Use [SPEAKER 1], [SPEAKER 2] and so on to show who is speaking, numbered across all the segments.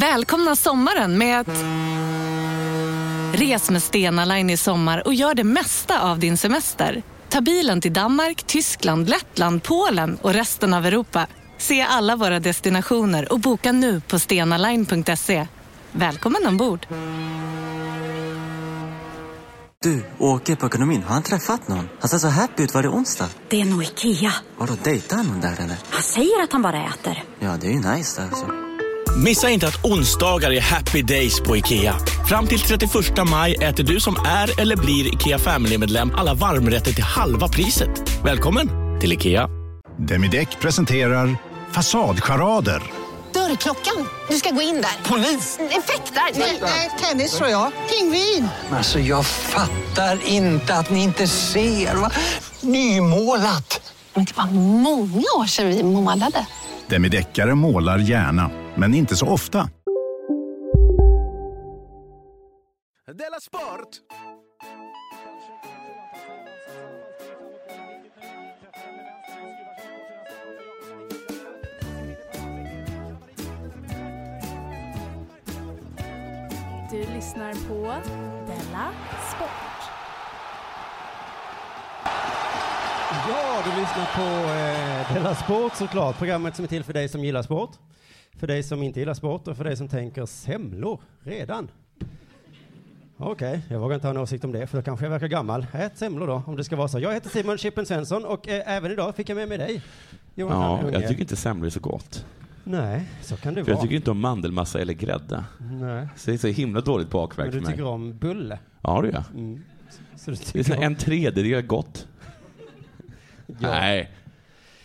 [SPEAKER 1] Välkomna sommaren med att... Res med Stena Line i sommar och gör det mesta av din semester. Ta bilen till Danmark, Tyskland, Lettland, Polen och resten av Europa. Se alla våra destinationer och boka nu på stenaline.se. Välkommen ombord!
[SPEAKER 2] Du, åker på ekonomin. Har han träffat någon? Han ser så happy ut. Var det onsdag?
[SPEAKER 3] Det är nog Ikea.
[SPEAKER 2] Har du dejtar han någon där eller?
[SPEAKER 3] Han säger att han bara äter.
[SPEAKER 2] Ja, det är ju nice där alltså.
[SPEAKER 4] Missa inte att onsdagar är happy days på IKEA. Fram till 31 maj äter du som är eller blir IKEA Family-medlem alla varmrätter till halva priset. Välkommen till IKEA.
[SPEAKER 5] Demideck presenterar Fasadcharader.
[SPEAKER 6] Dörrklockan. Du ska gå in där. Polis? Effektar? Nej, tennis tror jag. Pingvin.
[SPEAKER 7] Alltså jag fattar inte att ni inte ser. Va? Nymålat.
[SPEAKER 6] Men det var många år sedan vi målade.
[SPEAKER 5] Demideckare målar gärna, men inte så ofta.
[SPEAKER 8] Della Sport!
[SPEAKER 9] Du lyssnar på Della Sport.
[SPEAKER 10] Ja, du lyssnar på eh, Della Sport såklart. Programmet som är till för dig som gillar sport, för dig som inte gillar sport och för dig som tänker semlor redan. Okej, jag vågar inte ha en åsikt om det för då kanske jag verkar gammal. Ät semlor då, om det ska vara så. Jag heter Simon Chippen Svensson och eh, även idag fick jag med mig dig. Johan
[SPEAKER 11] Ja,
[SPEAKER 10] Hallunge.
[SPEAKER 11] jag tycker inte semlor är så gott.
[SPEAKER 10] Nej, så kan det
[SPEAKER 11] För jag
[SPEAKER 10] vara.
[SPEAKER 11] tycker inte om mandelmassa eller grädde.
[SPEAKER 10] Nej.
[SPEAKER 11] Så det är så himla dåligt bakverk
[SPEAKER 10] Men du
[SPEAKER 11] för mig.
[SPEAKER 10] tycker om bulle.
[SPEAKER 11] Ja, det gör jag.
[SPEAKER 10] Mm. Så du
[SPEAKER 11] Det är
[SPEAKER 10] tycker
[SPEAKER 11] så
[SPEAKER 10] om...
[SPEAKER 11] här en tredjedel gott. Nej.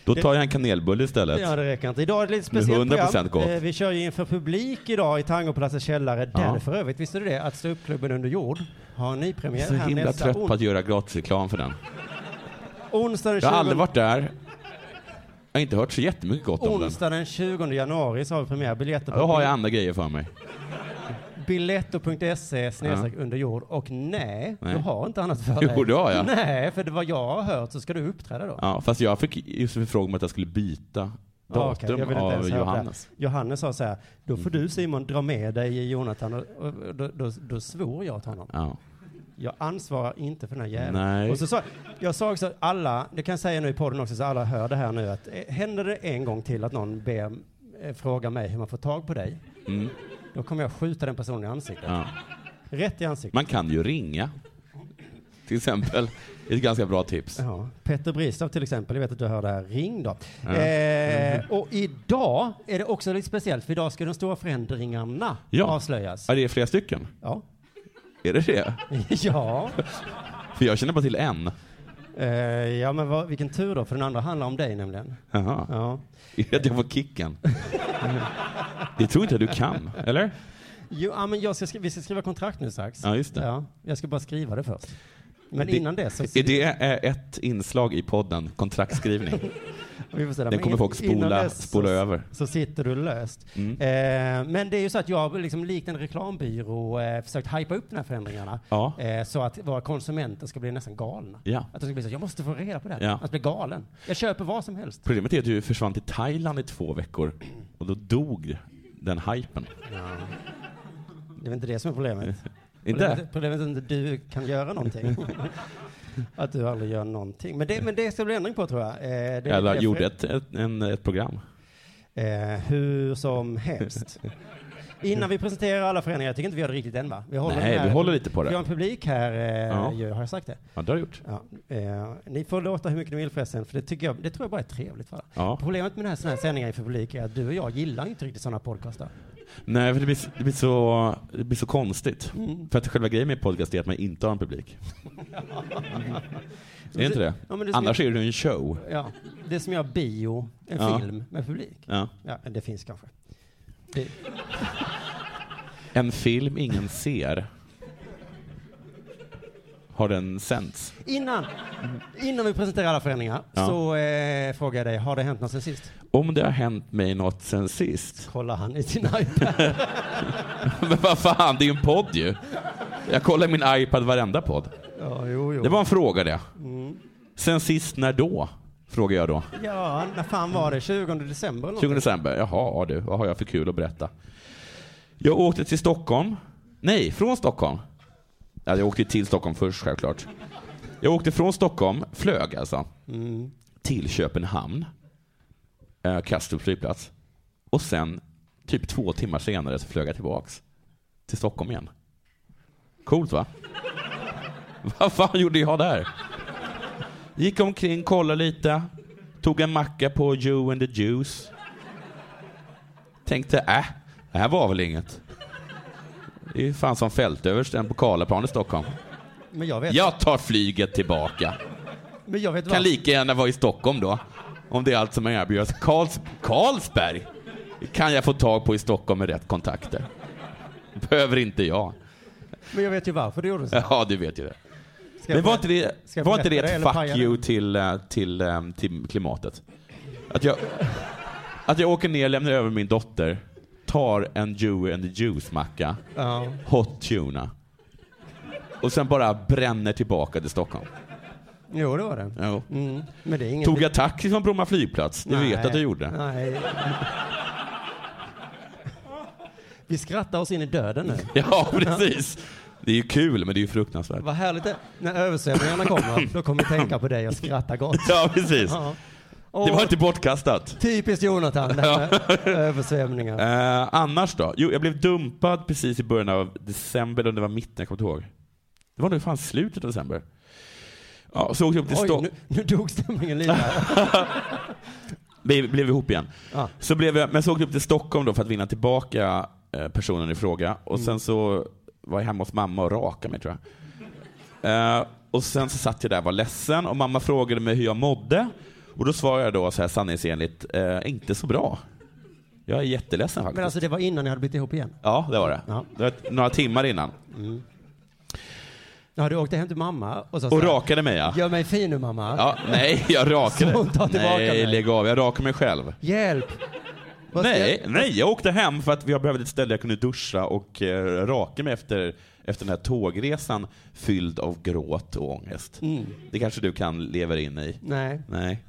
[SPEAKER 11] Då tar jag en kanelbulle istället.
[SPEAKER 10] Ja, det räcker inte. Idag är det lite
[SPEAKER 11] Med
[SPEAKER 10] speciellt
[SPEAKER 11] 100%
[SPEAKER 10] program.
[SPEAKER 11] gott.
[SPEAKER 10] Eh, Vi kör ju inför publik idag i Tangoplatsens källare. Där
[SPEAKER 11] Ja.
[SPEAKER 10] för övrigt, visste du det? Att Ståuppklubben under jord har ny
[SPEAKER 11] Jag
[SPEAKER 10] premiär
[SPEAKER 11] är så
[SPEAKER 10] här
[SPEAKER 11] himla
[SPEAKER 10] nästa
[SPEAKER 11] trött på
[SPEAKER 10] on-
[SPEAKER 11] att göra gratisreklam för den.
[SPEAKER 10] onsdag, den
[SPEAKER 11] Jag har
[SPEAKER 10] 20...
[SPEAKER 11] aldrig varit där. Jag har inte hört så jättemycket gott om den.
[SPEAKER 10] onsdag den 20 januari så har vi premiär. Biljetter
[SPEAKER 11] Ja, Då har jag andra grejer för mig.
[SPEAKER 10] Biletto.se E snedstreck under jord. Och nej,
[SPEAKER 11] Nej.
[SPEAKER 10] du har inte annat för
[SPEAKER 11] Jo,
[SPEAKER 10] dig.
[SPEAKER 11] det har jag.
[SPEAKER 10] Nej, för det vad jag har hört så ska du uppträda då.
[SPEAKER 11] Ja, fast jag fick just en förfrågan om att jag skulle byta
[SPEAKER 10] Ja, okej,
[SPEAKER 11] datum
[SPEAKER 10] jag vill inte
[SPEAKER 11] av
[SPEAKER 10] ens höra det.
[SPEAKER 11] Johannes. Mm.
[SPEAKER 10] Johannes sa så här, då får du Simon dra med dig Jonathan och, och, och då, då, då svor jag åt honom.
[SPEAKER 11] Ja.
[SPEAKER 10] Jag ansvarar inte för den här jäveln.
[SPEAKER 11] Nej.
[SPEAKER 10] Och så sa, jag sa också att alla, det kan jag säga nu i podden också så alla hör det här nu, att eh, händer det en gång till att någon ber, eh, frågar mig hur man får tag på dig,
[SPEAKER 11] Mm.
[SPEAKER 10] då kommer jag skjuta den personen i ansiktet.
[SPEAKER 11] Ja.
[SPEAKER 10] Rätt i ansiktet.
[SPEAKER 11] Man kan ju ringa. Till exempel. Det är ett ganska bra tips.
[SPEAKER 10] Ja, Petter Bristav till exempel, jag vet att du hör det här, ring då.
[SPEAKER 11] Ja.
[SPEAKER 10] Eh, och idag är det också lite speciellt, för idag ska de stora förändringarna
[SPEAKER 11] Ja.
[SPEAKER 10] avslöjas.
[SPEAKER 11] Ja, det är flera stycken.
[SPEAKER 10] Ja.
[SPEAKER 11] Är det det?
[SPEAKER 10] ja.
[SPEAKER 11] För jag känner bara till en.
[SPEAKER 10] Eh, ja, men vad, vilken tur då, för den andra handlar om dig nämligen.
[SPEAKER 11] Jaha.
[SPEAKER 10] Ja.
[SPEAKER 11] Är det att jag får kicken? Det tror inte jag du kan, eller?
[SPEAKER 10] Jo, ja, men jag ska, skri- vi ska skriva kontrakt nu strax.
[SPEAKER 11] Ja, just det.
[SPEAKER 10] Ja, jag ska bara skriva det först. Men innan det så...
[SPEAKER 11] Är det eh, ett inslag i podden, kontraktskrivning?
[SPEAKER 10] vi får se,
[SPEAKER 11] Den
[SPEAKER 10] men
[SPEAKER 11] kommer
[SPEAKER 10] in-
[SPEAKER 11] folk
[SPEAKER 10] innan
[SPEAKER 11] spola,
[SPEAKER 10] dess så-
[SPEAKER 11] spola över.
[SPEAKER 10] Så sitter du löst.
[SPEAKER 11] Mm.
[SPEAKER 10] Eh, men det är ju så att jag, liksom, likt en reklambyrå, eh, försökt hypa upp de här förändringarna.
[SPEAKER 11] Ja.
[SPEAKER 10] Eh, så att våra konsumenter ska bli nästan galna.
[SPEAKER 11] Ja.
[SPEAKER 10] Att de ska bli så jag måste få reda på det här.
[SPEAKER 11] Ja.
[SPEAKER 10] Att bli galen. Jag köper vad som helst.
[SPEAKER 11] Problemet är att du försvann till Thailand i två veckor och då dog den hypen.
[SPEAKER 10] Det är väl inte det som är problemet.
[SPEAKER 11] Inte?
[SPEAKER 10] Problemet, problemet är att inte du kan göra någonting. att du aldrig gör någonting. Men det, men det ska bli ändring på tror jag. Eh, det är
[SPEAKER 11] Eller
[SPEAKER 10] det-
[SPEAKER 11] gjorde ett, ett, en, ett program.
[SPEAKER 10] Eh, hur som helst. Innan vi presenterar alla förändringar, jag tycker inte vi gör det riktigt än va? Vi
[SPEAKER 11] Nej,
[SPEAKER 10] här,
[SPEAKER 11] vi håller lite på det.
[SPEAKER 10] Vi har en publik här, eh,
[SPEAKER 11] Ja.
[SPEAKER 10] ju, har jag sagt det?
[SPEAKER 11] Ja, det har jag gjort.
[SPEAKER 10] Ja, eh, ni får låta hur mycket ni vill förresten, för det, tycker jag, det tror jag bara är trevligt för alla.
[SPEAKER 11] Ja.
[SPEAKER 10] Problemet med den här, såna här sändningen inför publik är att du och jag gillar inte riktigt sådana podcaster.
[SPEAKER 11] Nej, för det blir, det blir, så, det blir så konstigt. För att själva grejen med podcast är att man inte har en publik. Är det inte det?
[SPEAKER 10] Ja, men det är
[SPEAKER 11] Annars
[SPEAKER 10] som-
[SPEAKER 11] är det ju en show.
[SPEAKER 10] Ja, det är som jag bio, en
[SPEAKER 11] Ja.
[SPEAKER 10] film med publik.
[SPEAKER 11] Ja.
[SPEAKER 10] Ja, det finns kanske. Det,
[SPEAKER 11] En film ingen ser. Har den sänts?
[SPEAKER 10] innan, innan vi presenterar alla förändringar
[SPEAKER 11] Ja.
[SPEAKER 10] så eh, frågar jag dig, har det hänt något sen sist?
[SPEAKER 11] Om det har hänt mig något sen sist?
[SPEAKER 10] Kollar han i sin iPad?
[SPEAKER 11] Men vad fan, det är ju en podd ju. Jag kollar min iPad varenda podd.
[SPEAKER 10] ja, jo, jo.
[SPEAKER 11] Det var en fråga det. Sen sist när då? Frågar jag då.
[SPEAKER 10] Ja, när fan var det? 20 december eller
[SPEAKER 11] 20
[SPEAKER 10] någonting?
[SPEAKER 11] december. Jaha, ja, du. Vad har jag för kul att berätta? Jag åkte till Stockholm. Nej, från Stockholm. Ja, jag åkte till Stockholm först självklart. Jag åkte från Stockholm, flög alltså,
[SPEAKER 10] Mm.
[SPEAKER 11] till Köpenhamn. Eh, Kastrup flygplats. Och sen, typ två timmar senare, så flög jag tillbaks till Stockholm igen. Coolt va? Vad fan gjorde jag där? Gick omkring, kollade lite. Tog en macka på Joe and the Juice. Tänkte, äh, det här var väl inget. Det är ju fan som fältöversten på Karlaplan i Stockholm.
[SPEAKER 10] Men jag vet,
[SPEAKER 11] Jag tar flyget tillbaka.
[SPEAKER 10] men jag vet
[SPEAKER 11] Kan
[SPEAKER 10] vad.
[SPEAKER 11] lika gärna vara i Stockholm då. Om det är allt som erbjuds. Karls Karlsberg kan jag få tag på i Stockholm med rätt kontakter. Behöver inte jag.
[SPEAKER 10] Men jag vet ju varför du gjorde så.
[SPEAKER 11] Ja, du vet ju det.
[SPEAKER 10] Ska jag
[SPEAKER 11] Men var
[SPEAKER 10] berätta-
[SPEAKER 11] inte det,
[SPEAKER 10] ska jag
[SPEAKER 11] var inte det
[SPEAKER 10] berätta
[SPEAKER 11] ett
[SPEAKER 10] eller paja
[SPEAKER 11] fuck
[SPEAKER 10] det?
[SPEAKER 11] you till, eh, till, eh, till klimatet? Att jag, att jag åker ner, lämnar över min dotter, tar en Joey and the Juice-macka,
[SPEAKER 10] Ja.
[SPEAKER 11] hot tuna och sen bara bränner tillbaka till Stockholm.
[SPEAKER 10] Jo, det var det.
[SPEAKER 11] Jo.
[SPEAKER 10] Mm. Men det är inget...
[SPEAKER 11] Tog jag taxi från Bromma flygplats? Ni vet att jag gjorde.
[SPEAKER 10] Nej. Vi skrattar oss in i döden nu.
[SPEAKER 11] Ja, precis. Det är ju kul, men det är ju fruktansvärt.
[SPEAKER 10] Vad härligt det När översvämningarna kommer, då kommer vi tänka på dig och skratta gott.
[SPEAKER 11] Ja, precis.
[SPEAKER 10] Ja.
[SPEAKER 11] Det var
[SPEAKER 10] Och
[SPEAKER 11] inte bortkastat.
[SPEAKER 10] Typiskt Jonathan, det här med översvämningar.
[SPEAKER 11] Eh, annars då? Jo, jag blev dumpad precis i början av december, eller om det var mitten, jag kommer inte ihåg. Det var nog fan slutet av december. Ja, så åkte jag upp till
[SPEAKER 10] Oj,
[SPEAKER 11] Stockholm.
[SPEAKER 10] nu, nu dog stämningen lite. här.
[SPEAKER 11] Vi blev ihop igen.
[SPEAKER 10] Ja.
[SPEAKER 11] Så blev jag, men så åkte jag upp till Stockholm då för att vinna tillbaka eh, personen i fråga. Och sen så var jag hemma hos mamma och rakade mig tror jag. Eh, och sen så satt jag där och var ledsen och mamma frågade mig hur jag mådde. Och då svarade jag då så här sanningsenligt, eh, inte så bra. Jag är jätteledsen faktiskt.
[SPEAKER 10] Men alltså det var innan ni hade blivit ihop igen?
[SPEAKER 11] Ja, det var det.
[SPEAKER 10] Ja. Mm.
[SPEAKER 11] det var några timmar innan.
[SPEAKER 10] Ja, du åkte hem till mamma och sa
[SPEAKER 11] Och
[SPEAKER 10] så här,
[SPEAKER 11] rakade mig ja.
[SPEAKER 10] Gör mig fin nu mamma.
[SPEAKER 11] ja nej, jag rakade.
[SPEAKER 10] Så hon tar tillbaka
[SPEAKER 11] nej,
[SPEAKER 10] mig.
[SPEAKER 11] lägg av. Jag rakade mig själv.
[SPEAKER 10] Hjälp! Vad ska
[SPEAKER 11] Nej,
[SPEAKER 10] jag-
[SPEAKER 11] nej, jag åkte hem för att jag behövde ett ställe där jag kunde duscha och eh, raka mig efter, efter den här tågresan fylld av gråt och ångest. Det kanske du kan leva in i?
[SPEAKER 10] Mm. Nej.
[SPEAKER 11] Nej,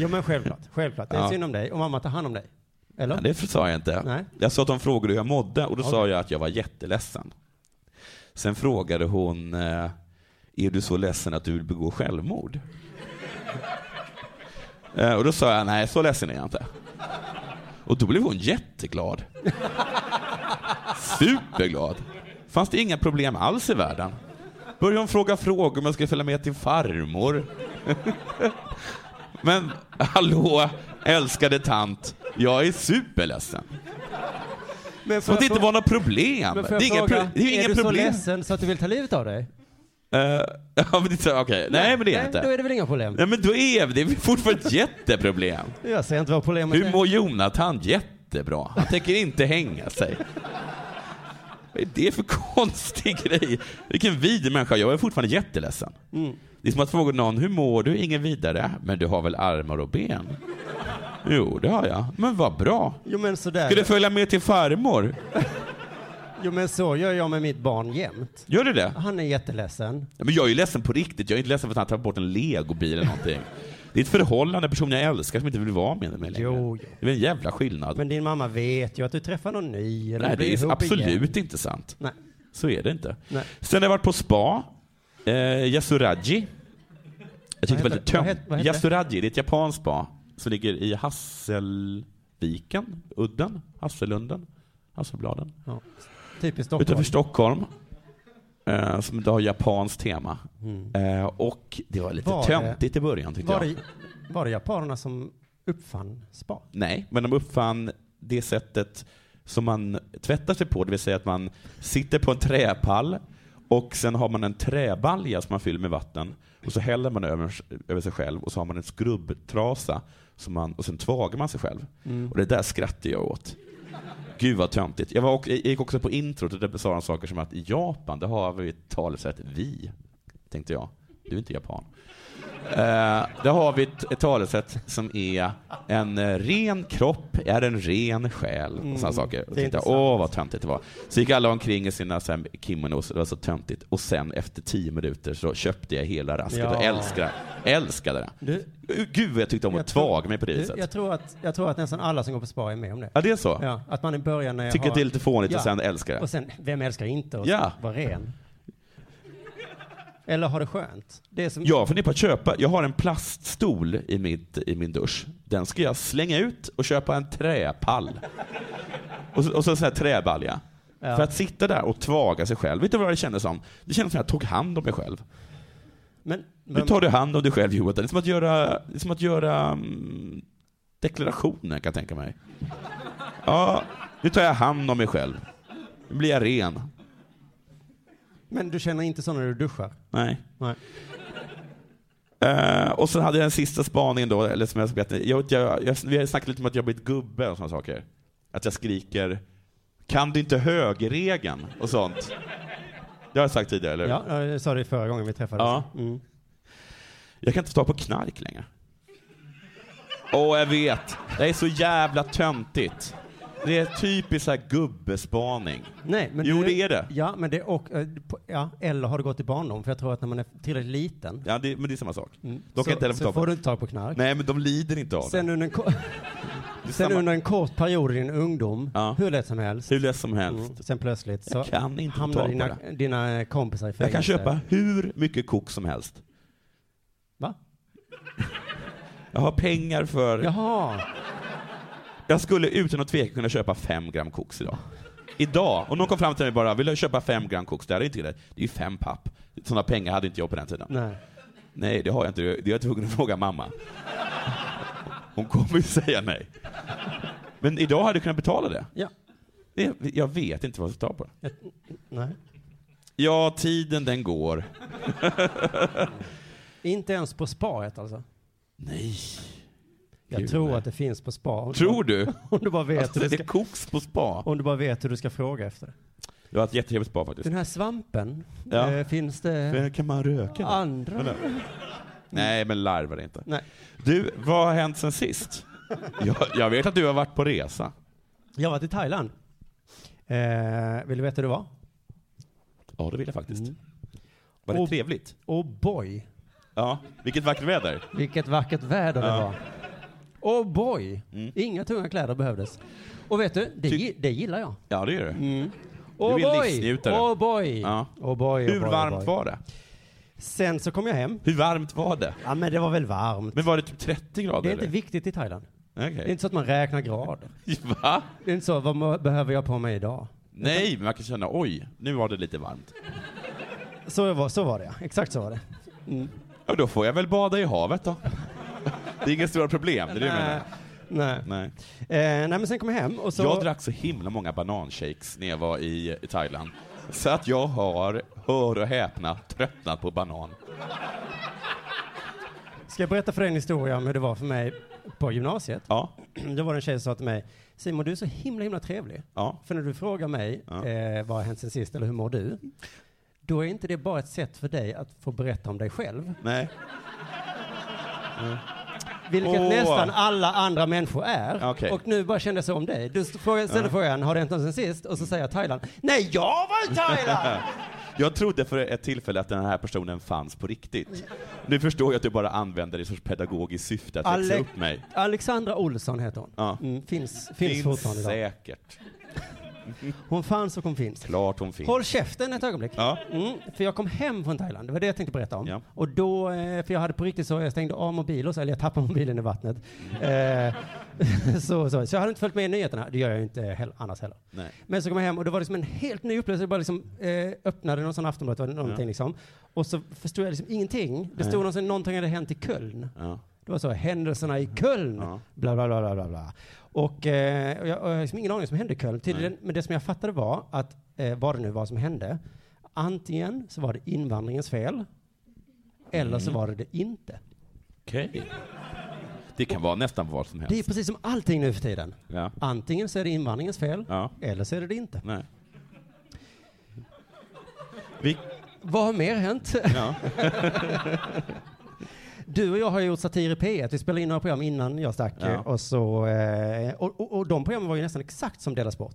[SPEAKER 10] Jo men självklart, självklart. Det är
[SPEAKER 11] Ja.
[SPEAKER 10] synd om dig och mamma tar hand om dig. Eller?
[SPEAKER 11] Nej, det sa jag inte.
[SPEAKER 10] Nej.
[SPEAKER 11] Jag sa att hon frågade hur jag mådde och då
[SPEAKER 10] Okej.
[SPEAKER 11] sa jag att jag var jätteledsen. Sen frågade hon, eh, är du så ledsen att du vill begå självmord? Eh, och då sa jag, nej så ledsen är jag inte. Och då blev hon jätteglad. Superglad. Fanns det inga problem alls i världen. Började hon fråga frågor om jag skulle följa med till farmor. Men hallå, älskade tant. Jag är superledsen.
[SPEAKER 10] Men
[SPEAKER 11] Som att det inte var något problem.
[SPEAKER 10] Men
[SPEAKER 11] Det
[SPEAKER 10] får
[SPEAKER 11] är
[SPEAKER 10] jag
[SPEAKER 11] inga,
[SPEAKER 10] fråga,
[SPEAKER 11] pro- det är inga
[SPEAKER 10] är du så
[SPEAKER 11] problem.
[SPEAKER 10] ledsen så att du vill ta livet av dig?
[SPEAKER 11] Eh, ja, men det är så- Okej, nej men det är
[SPEAKER 10] Nej,
[SPEAKER 11] inte.
[SPEAKER 10] Då är det väl inga problem?
[SPEAKER 11] Nej men då är det, det är fortfarande ett jätteproblem.
[SPEAKER 10] Jag ser inte vad problemet
[SPEAKER 11] Hur
[SPEAKER 10] är.
[SPEAKER 11] mår Jonathan? Jättebra. Han tänker inte hänga sig. Vad är det för konstig grej? Vilken vidrig människa. Jag är fortfarande jätteledsen.
[SPEAKER 10] Mm.
[SPEAKER 11] Det är som att fråga någon, hur mår du? Ingen vidare. Men du har väl armar och ben? Jo, det har jag. Men vad bra.
[SPEAKER 10] Jo men sådär.
[SPEAKER 11] Ska du följa med till farmor?
[SPEAKER 10] Jo men så gör jag med mitt barn jämt.
[SPEAKER 11] Gör du det?
[SPEAKER 10] Han är jätteledsen.
[SPEAKER 11] Ja, Men jag är ju ledsen på riktigt. Jag är inte ledsen för att han tar bort en legobil eller någonting. Det är ett förhållande, en person jag älskar som inte vill vara med mig längre.
[SPEAKER 10] Jo, jo.
[SPEAKER 11] Det är en jävla skillnad.
[SPEAKER 10] Men din mamma vet ju att du träffar någon ny. Eller
[SPEAKER 11] Nej,
[SPEAKER 10] blir
[SPEAKER 11] det är
[SPEAKER 10] ihop
[SPEAKER 11] absolut
[SPEAKER 10] Igen.
[SPEAKER 11] inte sant.
[SPEAKER 10] Nej.
[SPEAKER 11] Så är det inte.
[SPEAKER 10] Nej.
[SPEAKER 11] Sen har jag varit på spa. Eh, Yasuraji. Jag tyckte det var
[SPEAKER 10] heter-
[SPEAKER 11] lite
[SPEAKER 10] vad heter- vad
[SPEAKER 11] tönt.
[SPEAKER 10] heter det?
[SPEAKER 11] Yasuraji, det är ett japanskt spa som ligger i Hasselviken, udden, Hasselunden, Hasselbladen.
[SPEAKER 10] Ja. Typiskt Stockholm.
[SPEAKER 11] Utanför Stockholm. Eh, som då har japanskt tema. Eh, och det var lite
[SPEAKER 10] Mm. Var det-
[SPEAKER 11] töntigt i början tyckte
[SPEAKER 10] Var
[SPEAKER 11] jag.
[SPEAKER 10] det, var det japanerna som uppfann spa?
[SPEAKER 11] Nej, men de uppfann det sättet som man tvättar sig på, det vill säga att man sitter på en träpall och sen har man en träbalja som man fyller med vatten och så häller man över, över sig själv och så har man en skrubbtrasa som man, och sen tvagar man sig själv.
[SPEAKER 10] Mm.
[SPEAKER 11] Och det där skrattar jag åt. Gud vad töntigt. Jag, var också, jag gick också på introt och där sa de saker som att i Japan, där har vi ett talesätt vi, tänkte jag. Du är inte japan. Eh, där har vi ett, ett talesätt som är en eh, ren kropp är en ren själ.
[SPEAKER 10] Mm,
[SPEAKER 11] Och såna saker. Och
[SPEAKER 10] det
[SPEAKER 11] tänkte,
[SPEAKER 10] är
[SPEAKER 11] jag,
[SPEAKER 10] intressant.
[SPEAKER 11] åh vad töntigt det var. Så gick alla omkring i sina så här, kimonos, det var så töntigt. Och sen efter tio minuter så köpte jag hela rasket
[SPEAKER 10] Ja.
[SPEAKER 11] och älskade, älskade det.
[SPEAKER 10] Du-
[SPEAKER 11] Gud vad jag tyckte om att tvaga mig på det
[SPEAKER 10] Du,
[SPEAKER 11] viset.
[SPEAKER 10] Jag tror, att, jag tror att nästan alla som går på spa är med om det.
[SPEAKER 11] Ja, det är så?
[SPEAKER 10] Ja, att man i början när jag
[SPEAKER 11] Tycker
[SPEAKER 10] har...
[SPEAKER 11] att det är lite fånigt och sen älskar det.
[SPEAKER 10] Och sen, vem älskar inte att
[SPEAKER 11] Ja.
[SPEAKER 10] vara ren? Eller har det skönt? Det är som...
[SPEAKER 11] Jag funderar på att köpa, jag har en plaststol i, mitt, i min dusch. Den ska jag slänga ut och köpa en träpall. Och så, och så en sån här träbalja.
[SPEAKER 10] Ja.
[SPEAKER 11] För att sitta där och tvaga sig själv. Vet du vad det kändes som? Det kändes som att jag tog hand om mig själv.
[SPEAKER 10] Men,
[SPEAKER 11] Nu tar du hand om dig själv Johan. Det är som att göra, det är som att göra mm, deklarationer kan jag tänka mig. Ja, nu tar jag hand om mig själv. Nu blir jag ren.
[SPEAKER 10] men du känner inte så när du duschar?
[SPEAKER 11] Nej.
[SPEAKER 10] Nej.
[SPEAKER 11] Eh, och sen hade jag en sista spaning då, eller som jag vet jag, jag, jag, Vi har snackat lite om att jag har blivit gubbe och sådana saker. Att jag skriker Kan du inte högerregeln? och sånt. Det har jag sagt tidigare, eller hur?
[SPEAKER 10] Ja, ja, det sa du förra gången vi träffades.
[SPEAKER 11] Ja.
[SPEAKER 10] Mm.
[SPEAKER 11] Jag kan inte få tag på knark längre. Åh, jag vet. Det är så jävla töntigt. Det är typiskt så här gubbespaning.
[SPEAKER 10] Nej, men
[SPEAKER 11] jo,
[SPEAKER 10] du-
[SPEAKER 11] det är det.
[SPEAKER 10] Ja, men det och, eh, på- ja, eller har det gått i barndom? För jag tror att när man är tillräckligt liten
[SPEAKER 11] Ja, det, men det är samma sak.
[SPEAKER 10] Mm.
[SPEAKER 11] De
[SPEAKER 10] Så-
[SPEAKER 11] kan inte heller
[SPEAKER 10] så
[SPEAKER 11] få tag på
[SPEAKER 10] får du inte tag på knark.
[SPEAKER 11] Nej, men de lider inte av det.
[SPEAKER 10] Sen under en, ko-
[SPEAKER 11] Det är
[SPEAKER 10] sen
[SPEAKER 11] samma-
[SPEAKER 10] under en kort period i din ungdom, hur lätt som helst. Mm.
[SPEAKER 11] Hur lätt som helst.
[SPEAKER 10] Sen plötsligt så
[SPEAKER 11] Jag kan inte få
[SPEAKER 10] hamnar
[SPEAKER 11] tag på
[SPEAKER 10] dina, dina eh, kompisar i
[SPEAKER 11] Jag
[SPEAKER 10] fängelse.
[SPEAKER 11] kan köpa hur mycket kok som helst.
[SPEAKER 10] Va?
[SPEAKER 11] Jag har pengar för...
[SPEAKER 10] Jaha.
[SPEAKER 11] Jag skulle utan att tveka kunna köpa fem gram koks idag. Idag. Om någon kom fram till mig bara, vill du köpa fem gram koks? Det här är inte det. Det är ju fem papp. Sådana pengar hade inte jag på den tiden.
[SPEAKER 10] Nej.
[SPEAKER 11] Nej, det har jag inte. Det är jag tvungen att fråga mamma. Hon kommer ju säga nej. Men idag hade jag kunnat betala det.
[SPEAKER 10] Ja.
[SPEAKER 11] Det- Jag vet inte vad jag ska ta på det.
[SPEAKER 10] Nej.
[SPEAKER 11] Ja, tiden den går.
[SPEAKER 10] Inte ens på spaet alltså?
[SPEAKER 11] Nej.
[SPEAKER 10] Jag
[SPEAKER 11] Gud,
[SPEAKER 10] tror
[SPEAKER 11] nej.
[SPEAKER 10] att det finns på spa. Om
[SPEAKER 11] Tror
[SPEAKER 10] bara-
[SPEAKER 11] du?
[SPEAKER 10] Om du bara vet
[SPEAKER 11] Alltså,
[SPEAKER 10] hur
[SPEAKER 11] det
[SPEAKER 10] du
[SPEAKER 11] är koks på spa.
[SPEAKER 10] Om du bara vet hur du ska fråga efter det.
[SPEAKER 11] Det var ett jättetrevligt spa faktiskt.
[SPEAKER 10] Den här svampen,
[SPEAKER 11] Ja.
[SPEAKER 10] eh, finns det
[SPEAKER 11] Kan man röka?
[SPEAKER 10] andra?
[SPEAKER 11] Nej, men larva det inte.
[SPEAKER 10] Nej.
[SPEAKER 11] Du, vad har hänt sen sist? Jag, jag vet att du har varit på resa.
[SPEAKER 10] Jag har varit i Thailand. Eh, vill du veta hur det var? Mm.
[SPEAKER 11] Ja, det vill jag faktiskt. Var det
[SPEAKER 10] Och-
[SPEAKER 11] trevligt?
[SPEAKER 10] Oh boy,
[SPEAKER 11] Ja, vilket vackert väder.
[SPEAKER 10] vilket vackert väder det
[SPEAKER 11] Ja. Mm.
[SPEAKER 10] var. Oh boy, inga tunga kläder behövdes. Och vet du, det, gi- det gillar jag.
[SPEAKER 11] Ja, det gör det.
[SPEAKER 10] Oh
[SPEAKER 11] Du är en
[SPEAKER 10] boy.
[SPEAKER 11] livsnjutare.
[SPEAKER 10] Oh boy.
[SPEAKER 11] Ja.
[SPEAKER 10] Oh boy, oh
[SPEAKER 11] Hur
[SPEAKER 10] boy, oh
[SPEAKER 11] varmt
[SPEAKER 10] boy.
[SPEAKER 11] var det?
[SPEAKER 10] Sen så kom jag hem.
[SPEAKER 11] Hur varmt var det?
[SPEAKER 10] Ja men det var väl varmt.
[SPEAKER 11] Men var det typ 30 grader?
[SPEAKER 10] Det är inte
[SPEAKER 11] eller?
[SPEAKER 10] viktigt i Thailand. Det är
[SPEAKER 11] Okej.
[SPEAKER 10] inte så att man räknar grader.
[SPEAKER 11] Va?
[SPEAKER 10] Det är inte så, vad må- behöver jag på mig idag?
[SPEAKER 11] Nej, men man kan känna oj, nu var det lite varmt.
[SPEAKER 10] Så var, så var det ja. exakt så var det.
[SPEAKER 11] Ja, då får jag väl bada i havet då. Det är inga stora problem, det är det du menar?
[SPEAKER 10] Eh, Nej.
[SPEAKER 11] Nej.
[SPEAKER 10] Eh, nej men sen kom jag hem och så...
[SPEAKER 11] Jag drack så himla många bananshakes när jag var i Thailand. Så att jag har, hör och häpna, tröttnat på banan.
[SPEAKER 10] Ska jag berätta för dig en historia om hur det var för mig på gymnasiet?
[SPEAKER 11] Ja.
[SPEAKER 10] Då var det en tjej som sa till mig, Simon du är så himla himla trevlig.
[SPEAKER 11] Ja.
[SPEAKER 10] För när du frågar mig eh, vad har hänt sen sist eller hur mår du? Då är inte det bara ett sätt för dig att få berätta om dig själv.
[SPEAKER 11] Nej.
[SPEAKER 10] Vilket
[SPEAKER 11] Åh.
[SPEAKER 10] nästan alla andra människor är.
[SPEAKER 11] Okej.
[SPEAKER 10] Och nu bara kände jag så om dig. Du frågar- ställer frågan, har det hänt något sen sist? Och så säger jag Thailand. Nej, jag var i Thailand!
[SPEAKER 11] Jag trodde för ett tillfälle att den här personen fanns på riktigt. Nu förstår jag att du bara använder det i sorts pedagogiskt syfte att växa
[SPEAKER 10] Ale-
[SPEAKER 11] upp mig.
[SPEAKER 10] Alexandra Olsson heter hon.
[SPEAKER 11] Ja.
[SPEAKER 10] Mm, finns, finns, fortfarande idag.
[SPEAKER 11] säkert.
[SPEAKER 10] Hon fanns och hon finns.
[SPEAKER 11] Klart hon finns.
[SPEAKER 10] Håll käften ett ögonblick.
[SPEAKER 11] Ja.
[SPEAKER 10] Mm, för jag kom hem från Thailand, det var det jag tänkte berätta om.
[SPEAKER 11] Ja.
[SPEAKER 10] Och då, eh, för jag hade på riktigt så, jag stängde av mobilen, så- eller jag tappade mobilen i vattnet. Eh, så, så, så jag hade inte följt med i nyheterna, det gör jag ju inte heller, annars heller.
[SPEAKER 11] Nej.
[SPEAKER 10] Men så kom jag hem och det var liksom en helt ny upplevelse. Jag bara liksom, eh, öppnade någon sån Aftonbladet, var det någonting
[SPEAKER 11] Ja.
[SPEAKER 10] liksom. Och så förstod jag liksom ingenting. Det stod någonting, någonting hade hänt i Köln.
[SPEAKER 11] Ja.
[SPEAKER 10] Det var så, händelserna i Köln,
[SPEAKER 11] Ja.
[SPEAKER 10] bla bla bla bla bla. bla. Och, eh, och jag, och jag har liksom ingen aning om vad som hände i Köln. Tydligen, men det som jag fattade var att, eh, vad det nu var som hände, antingen så var det invandringens fel, eller
[SPEAKER 11] Mm.
[SPEAKER 10] så var det det inte.
[SPEAKER 11] Okej. Det kan vara nästan vad som
[SPEAKER 10] Det är
[SPEAKER 11] helst.
[SPEAKER 10] precis som allting nu för tiden.
[SPEAKER 11] Ja.
[SPEAKER 10] Antingen så är det invandringens fel,
[SPEAKER 11] Ja.
[SPEAKER 10] eller så är det det inte.
[SPEAKER 11] Nej. Vi...
[SPEAKER 10] Vad har mer hänt?
[SPEAKER 11] Ja.
[SPEAKER 10] Du och jag har ju gjort satir i P1. Vi spelade in några program innan jag stack.
[SPEAKER 11] Ja.
[SPEAKER 10] ju. Och, så, eh, och, och, och de programmen var ju nästan exakt som Dela Sport.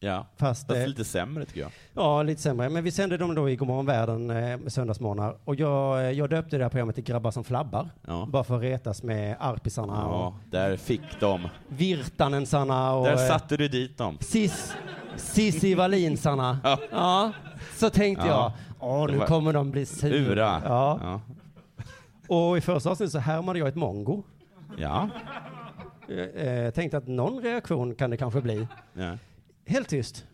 [SPEAKER 11] Ja,
[SPEAKER 10] Fast,
[SPEAKER 11] fast
[SPEAKER 10] eh,
[SPEAKER 11] lite sämre tycker jag.
[SPEAKER 10] Ja, lite sämre. Men vi sände dem då i Godmorgon Världen eh, söndagsmorgnar. Och jag, eh, jag döpte det här programmet till Grabbar som flabbar.
[SPEAKER 11] Ja.
[SPEAKER 10] Bara för att retas med arpisarna och
[SPEAKER 11] Ja, där fick de.
[SPEAKER 10] Virtanensarna och...
[SPEAKER 11] Där
[SPEAKER 10] eh,
[SPEAKER 11] satte du dit dem.
[SPEAKER 10] Sis, Cissi Wallinsarna. Ja. Så tänkte
[SPEAKER 11] Ja.
[SPEAKER 10] jag, åh
[SPEAKER 11] Det
[SPEAKER 10] nu
[SPEAKER 11] var-
[SPEAKER 10] kommer de bli sura.
[SPEAKER 11] Sura.
[SPEAKER 10] Ja.
[SPEAKER 11] Ja.
[SPEAKER 10] Och i första avsnittet så härmade jag ett mongo.
[SPEAKER 11] Ja.
[SPEAKER 10] Eh, Eh, tänkte att någon reaktion kan det kanske bli.
[SPEAKER 11] ja.
[SPEAKER 10] Helt tyst.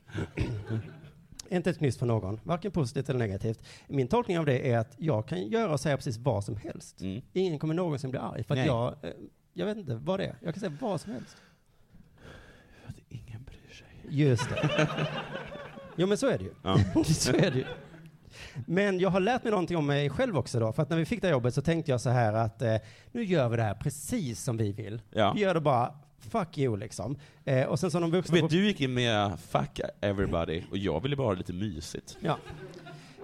[SPEAKER 10] Inte ett knyst för någon, varken positivt eller negativt. Min tolkning av det är att jag kan göra och säga precis vad som helst.
[SPEAKER 11] Mm.
[SPEAKER 10] Ingen kommer någonsin bli arg för att
[SPEAKER 11] Nej.
[SPEAKER 10] jag, eh, jag vet inte vad det är. Jag kan säga vad som helst.
[SPEAKER 11] Att ingen bryr sig.
[SPEAKER 10] Just det. jo men så är det ju.
[SPEAKER 11] Ja.
[SPEAKER 10] så är det ju. Men jag har lärt mig någonting om mig själv också då. För att när vi fick det här jobbet så tänkte jag så här att eh, nu gör vi det här precis som vi vill.
[SPEAKER 11] Ja.
[SPEAKER 10] Vi gör det bara fuck you liksom. Eh, och sen så de vuxna... på-
[SPEAKER 11] Vet, du gick in med 'fuck everybody' och jag ville bara ha lite mysigt.
[SPEAKER 10] Ja.